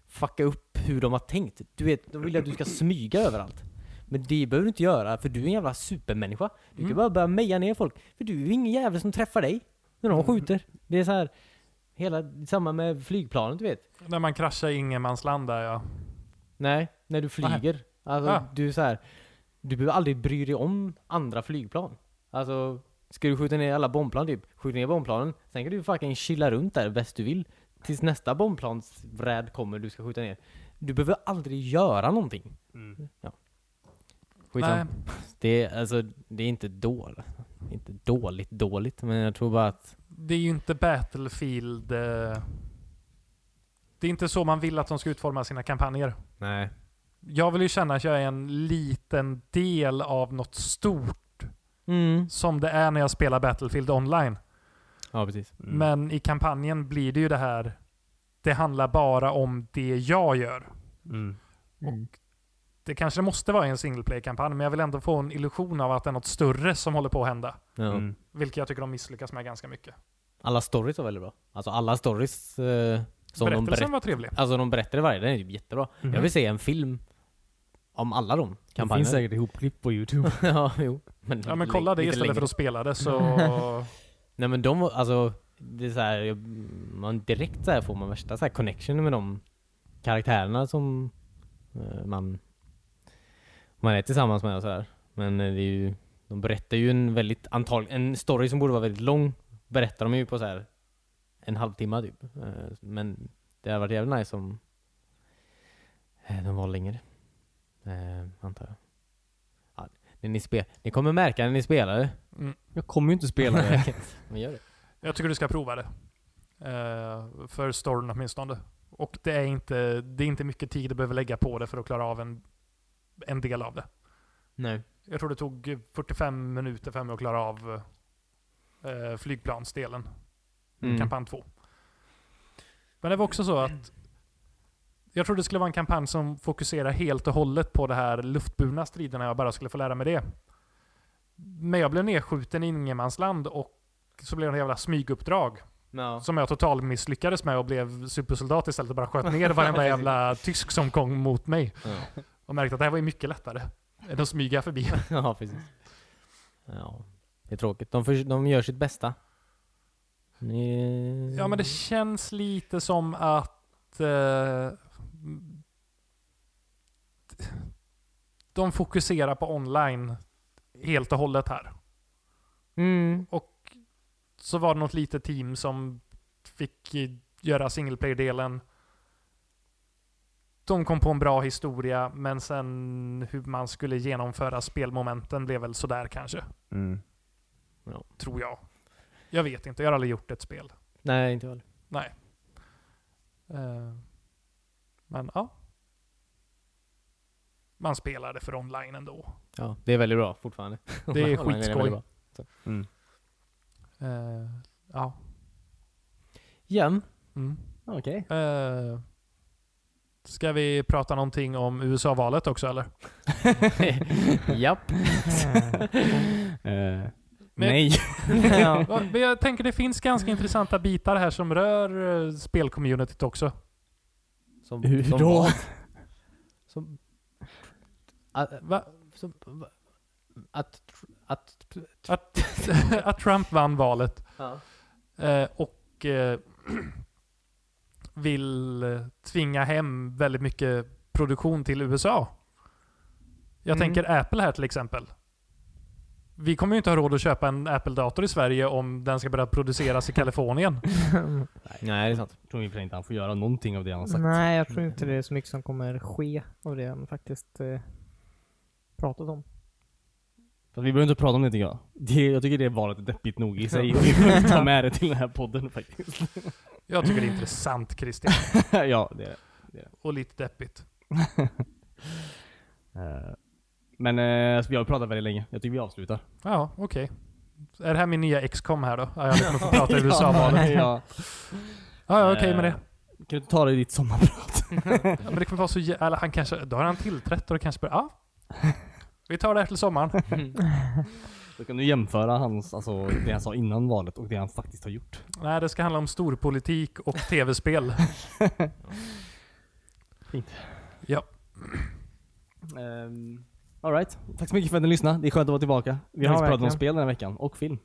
Speaker 4: Fucka upp hur de har tänkt. Du vet, de vill att du ska smyga överallt. Men det behöver du inte göra för du är en jävla supermänniska. Du kan bara börja meja ner folk. För du är ju ingen jävel som träffar dig när de skjuter. Det är så här, hela, samma med flygplanet du vet.
Speaker 3: När man kraschar i ingenmansland där ja.
Speaker 4: Nej, när du flyger. Alltså,
Speaker 3: Ah.
Speaker 4: du är så här, du behöver aldrig bry dig om andra flygplan. Alltså, ska du skjuta ner alla bombplan typ, skjut ner bombplanen. Sen kan du fucking chilla runt där bäst du vill. Tills nästa bombplansvräd kommer du ska skjuta ner. Du behöver aldrig göra någonting. Ja. Skitsamma.
Speaker 3: Nej,
Speaker 4: Det är, alltså, det är inte dåligt. Inte dåligt dåligt, men jag tror bara att...
Speaker 3: det är ju inte Battlefield... eh, Det är inte så man vill att de ska utforma sina kampanjer.
Speaker 4: Nej.
Speaker 3: Jag vill ju känna att jag är en liten del av något stort
Speaker 4: Mm.
Speaker 3: som det är när jag spelar Battlefield online.
Speaker 4: Ja, precis.
Speaker 3: Men i kampanjen blir det ju det här, det handlar bara om det jag gör.
Speaker 1: Mm.
Speaker 3: Det kanske det måste vara i en single play-kampanj, men jag vill ändå få en illusion av att det är något större som håller på att hända.
Speaker 4: Ja.
Speaker 1: Mm.
Speaker 3: Vilket jag tycker de misslyckas med ganska mycket.
Speaker 4: Alla stories var väldigt bra. Alltså alla stories eh, som de
Speaker 3: Berättelsen
Speaker 4: berättar.
Speaker 3: var trevlig.
Speaker 4: Alltså de berättar i varje, den är ju jättebra.
Speaker 1: Mhm.
Speaker 4: Jag vill se en film om alla de
Speaker 1: Det
Speaker 4: kampanjerna.
Speaker 1: finns säkert ihopklipp på youtube.
Speaker 4: ja, jo. Men,
Speaker 3: Ja men
Speaker 4: lite-
Speaker 3: kolla det
Speaker 4: lite
Speaker 3: istället
Speaker 4: längre.
Speaker 3: för att spela det så...
Speaker 4: Nej men de var, alltså, det är så här, jag- man direkt så här får man värsta så här connection med de karaktärerna som eh, man, man är tillsammans med och så här. Men eh, det är ju, de berättar ju en väldigt, antag, en story som borde vara väldigt lång, berättar de ju på så här en halvtimme typ. Eh, Men det hade varit jävligt nice om eh, de var längre. Eh, Antar jag. Ja, när ni, spe, ni kommer märka när ni spelar det.
Speaker 1: Jag kommer ju inte spela det.
Speaker 4: Men gör det.
Speaker 3: Jag tycker du ska prova det. Eh, för storyn åtminstone. Och det är, inte, det är inte mycket tid du behöver lägga på det för att klara av en, en del av det.
Speaker 4: Nej.
Speaker 3: Jag tror det tog 45 minuter för mig att klara av eh, flygplansdelen.
Speaker 4: Mm.
Speaker 3: Kampanj 2. Men det var också så att jag trodde det skulle vara en kampanj som fokuserar helt och hållet på det här luftburna striderna. Jag bara skulle få lära mig det. Men jag blev nedskjuten i ingenmansland och så blev det en jävla smyguppdrag.
Speaker 4: Ja.
Speaker 3: Som jag total misslyckades med och blev supersoldat istället och bara sköt ner varenda jävla tysk som kom mot mig.
Speaker 4: Ja.
Speaker 3: Och märkte att det här var ju mycket lättare än att smyga förbi.
Speaker 4: ja, precis. Ja, det är tråkigt. De, förs- de gör sitt bästa. Ni-
Speaker 3: Ja men det känns lite som att eh, de fokuserar på online helt och hållet här.
Speaker 4: Mm.
Speaker 3: Och så var det något litet team som fick göra single player-delen. De kom på en bra historia, men sen hur man skulle genomföra spelmomenten blev väl sådär kanske.
Speaker 1: Mm.
Speaker 3: Tror jag. Jag vet inte, jag har aldrig gjort ett spel.
Speaker 4: Nej, inte jag heller.
Speaker 3: Nej. Eh, men ja. Man spelade för online ändå.
Speaker 4: Ja, det är väldigt bra fortfarande.
Speaker 3: Det är
Speaker 4: Online väldigt
Speaker 3: skitskoj.
Speaker 4: bra.
Speaker 3: Eh, ja.
Speaker 4: Jäm.
Speaker 3: Mm.
Speaker 1: Okej.
Speaker 3: Eh, ska vi prata någonting om USA-valet också eller?
Speaker 4: Japp.
Speaker 1: Eh,
Speaker 3: Men-
Speaker 1: nej.
Speaker 4: ja.
Speaker 3: Ja, Men jag tänker det finns ganska intressanta bitar här som rör eh, spelcommunityt också.
Speaker 4: Som,
Speaker 1: Hur
Speaker 4: som
Speaker 1: då?
Speaker 4: vad? Som... Att...
Speaker 3: Va?
Speaker 4: Som, va? Att... att
Speaker 3: Att, att Trump vann valet.
Speaker 4: ja.
Speaker 3: Eh, och eh, vill eh, tvinga hem väldigt mycket produktion till USA. Jag
Speaker 2: Mm.
Speaker 3: tänker Apple här till exempel. Vi kommer ju inte ha råd att köpa en Apple-dator i Sverige om den ska börja produceras i Kalifornien.
Speaker 4: Nej, det är sant.
Speaker 1: tror i och för sig inte han får göra någonting av det han har sagt.
Speaker 2: Nej, jag tror inte det är så mycket som kommer ske av det han faktiskt eh, pratat om.
Speaker 1: Fast vi behöver inte prata om det tycker jag. Det, jag tycker det valet är deppigt nog i sig. Och vi behöver inte ta med det till den här podden faktiskt.
Speaker 3: Jag tycker det är intressant Christian.
Speaker 1: ja, det är det.
Speaker 3: Och lite deppigt.
Speaker 1: Eh, Men eh, alltså, vi har pratat väldigt länge. Jag tycker vi avslutar.
Speaker 3: Ja, okej. Är det här min nya XCOM här då? Ja, jag kommer få prata USA-valet.
Speaker 1: ja.
Speaker 3: Ja, ja okej med det.
Speaker 1: Kan du inte ta det i ditt sommarprat?
Speaker 3: Ja, men det kommer vara så jä- eller han kanske, Då har han tillträtt och det kanske börjar... Ja. Vi tar det här till sommaren.
Speaker 1: Då kan du jämföra hans, alltså, det han sa innan valet och det han faktiskt har gjort.
Speaker 3: Nej, det ska handla om storpolitik och tv-spel.
Speaker 1: Um, Alright. Tack så mycket för att ni lyssnade. Det är skönt att vara tillbaka. Vi har
Speaker 2: Ja,
Speaker 1: faktiskt pratat om
Speaker 2: verkligen.
Speaker 1: spel den här veckan. Och film.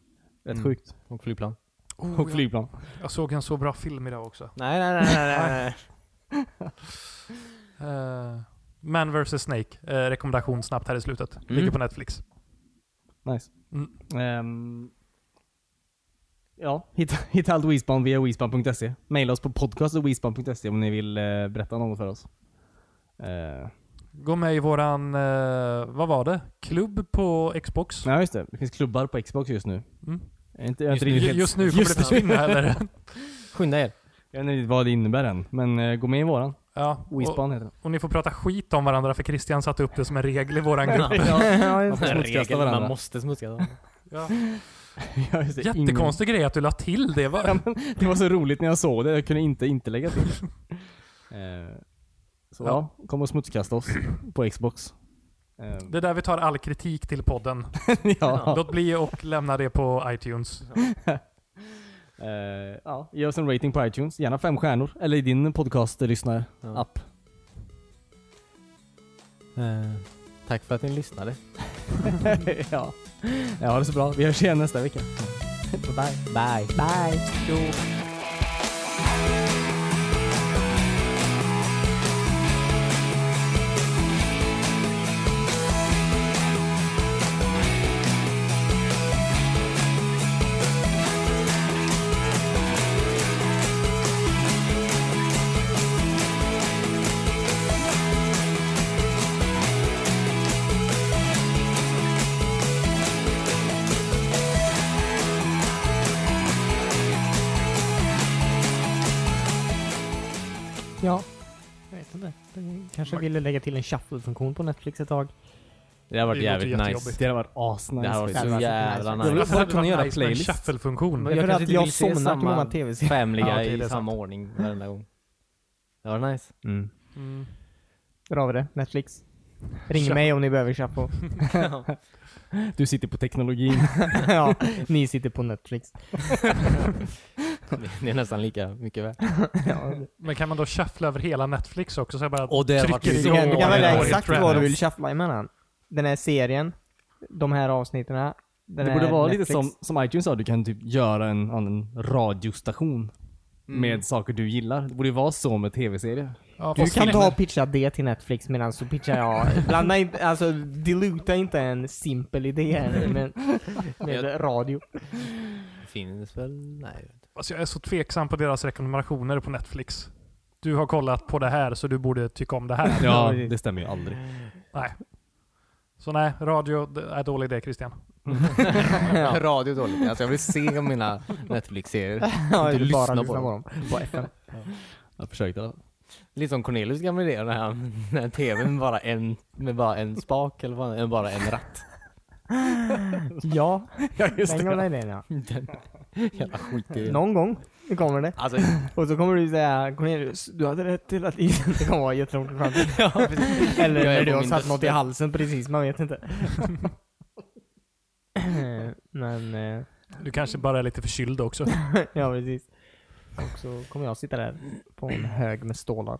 Speaker 1: Rätt
Speaker 4: Mm.
Speaker 1: sjukt.
Speaker 4: Och flygplan.
Speaker 1: Och
Speaker 3: Oh, jag,
Speaker 1: flygplan.
Speaker 3: jag såg en så bra film idag också.
Speaker 4: Nej, nej, nej, nej, nej, nej.
Speaker 3: Eh, Man vs Snake. Eh, rekommendation snabbt här i slutet. Ligger
Speaker 4: Mm.
Speaker 3: på Netflix.
Speaker 1: Nice.
Speaker 3: Mm.
Speaker 1: Ehm, ja, hitta, hitta allt Wispan via wispan.se. Maila oss på podcast.wispan.se om ni vill eh, berätta något för oss. Eh,
Speaker 3: Gå med i våran, eh, vad var det? Klubb på Xbox.
Speaker 1: ja, just det. Det finns klubbar på Xbox just nu.
Speaker 3: Mm.
Speaker 1: Jag, är inte, jag, har inte
Speaker 3: Ju-
Speaker 1: riktigt,
Speaker 3: Just nu kommer
Speaker 1: just
Speaker 3: det försvinna eller?
Speaker 4: Skynda er.
Speaker 1: jag vet inte riktigt vad det innebär än, men eh, gå med i våran.
Speaker 3: Ja. Och,
Speaker 1: Wispan heter den.
Speaker 3: och ni får prata skit om varandra för Christian satte upp det som en regel i våran grupp.
Speaker 2: ja,
Speaker 1: Man
Speaker 2: just
Speaker 1: får
Speaker 2: det.
Speaker 1: smutskasta
Speaker 4: Regel, man
Speaker 1: varandra.
Speaker 4: måste smutskasta.
Speaker 3: Ja.
Speaker 1: Ja, just det. Ingen-
Speaker 3: Jättekonstig grej att du la till det.
Speaker 1: Ja,
Speaker 3: Var...
Speaker 1: men det var så roligt när jag såg det. Jag kunde inte inte lägga till det. Eh, så ja.
Speaker 3: Ja.
Speaker 1: kom och smutskasta oss på Xbox. Eh,
Speaker 3: Det är där vi tar all kritik till podden.
Speaker 1: ja.
Speaker 3: Låt bli och lämna det på iTunes.
Speaker 1: Eh, ja, ge oss en rating på iTunes. Gärna fem stjärnor. Eller i din podcast lyssnar
Speaker 4: Ja.
Speaker 1: app.
Speaker 4: Eh, Tack för att ni lyssnade.
Speaker 1: ja. ja, ha det så bra. Vi hörs igen nästa vecka.
Speaker 4: Bye. Bye.
Speaker 2: Bye. Ja. Jag vet inte. De kanske ville lägga till en shuffle-funktion på Netflix ett tag.
Speaker 4: Det har varit
Speaker 3: Det låter
Speaker 4: jävligt nice.
Speaker 3: jättejobbigt.
Speaker 1: Det hade varit asnice.
Speaker 4: Det har varit
Speaker 1: faktiskt.
Speaker 4: så
Speaker 2: varit
Speaker 4: jävla
Speaker 2: nice.
Speaker 1: Jag vill
Speaker 3: Alltså,
Speaker 4: nice.
Speaker 1: bara kunna göra playlist.
Speaker 3: shuffle-funktion.
Speaker 4: Men jag
Speaker 2: Jag,
Speaker 4: kanske
Speaker 2: jag,
Speaker 4: inte
Speaker 2: jag
Speaker 4: vill se
Speaker 2: somnar på
Speaker 4: samma-
Speaker 2: många tv-serier.
Speaker 4: Family
Speaker 3: Ja, okej,
Speaker 4: Guy
Speaker 3: det är
Speaker 4: i samma
Speaker 3: sant.
Speaker 4: ordning varenda gång. Det var nice.
Speaker 1: Mm.
Speaker 3: Mm.
Speaker 2: Där har vi det. Netflix. Ring mig om ni behöver shuffle.
Speaker 1: Du sitter på teknologin.
Speaker 2: ja, ni sitter på Netflix.
Speaker 4: Det är nästan lika mycket värt.
Speaker 2: Ja,
Speaker 3: Men kan man då shuffla över hela Netflix också? Så jag bara
Speaker 4: Och det har varit
Speaker 3: trycker
Speaker 4: så
Speaker 2: Du kan, du kan
Speaker 4: Ja, det
Speaker 2: välja
Speaker 4: var
Speaker 2: exakt
Speaker 4: helt
Speaker 2: vad du
Speaker 4: random.
Speaker 2: vill shuffla emellan. Den här serien, de här avsnitten, den
Speaker 1: Det
Speaker 2: här
Speaker 1: borde vara
Speaker 2: Netflix.
Speaker 1: lite som, som iTunes sa, du kan typ göra en, en radiostation med saker du gillar. Det borde ju vara så med tv-serier.
Speaker 3: Ja,
Speaker 2: Du
Speaker 3: fast
Speaker 2: kan
Speaker 3: det-
Speaker 2: ta och pitcha det till Netflix medan så pitchar jag... Blanda inte, alltså diluta inte en simpel idé här nu med, med radio.
Speaker 4: Finns väl? Nej. jag vet inte.
Speaker 3: Alltså jag är så tveksam på deras rekommendationer på Netflix. Du har kollat på det här så du borde tycka om det här.
Speaker 1: Ja, det stämmer ju aldrig.
Speaker 3: Så nej, radio det är dålig idé Christian.
Speaker 4: Radio är dåligt. Alltså jag vill se mina Netflix-serier.
Speaker 2: Ja,
Speaker 4: Inte
Speaker 2: du bara
Speaker 4: lyssna på
Speaker 2: lyssna på dem. På FM.
Speaker 1: Jag försökte i alla fall.
Speaker 4: Lite som Cornelius gamla idé när han, när tvn med bara en, med bara en spak eller bara, bara en ratt.
Speaker 2: Ja,
Speaker 1: Ja, just
Speaker 2: den
Speaker 1: det.
Speaker 2: gamla idén ja.
Speaker 4: Den, jävla skit i
Speaker 2: Någon gång nu kommer det.
Speaker 4: Alltså,
Speaker 2: Och så kommer du säga Cornelius, du hade rätt hela tiden. Det kommer vara jätteroligt i framtiden.
Speaker 4: ja, precis.
Speaker 2: Eller
Speaker 4: Jag
Speaker 2: när
Speaker 4: är på
Speaker 2: du har
Speaker 4: min
Speaker 2: satt något i
Speaker 4: dödsbädd.
Speaker 2: halsen precis, man vet inte. Men, eh,
Speaker 3: Du kanske bara är lite förkyld också.
Speaker 2: ja precis. Och så kommer jag sitta där på en hög med stålar.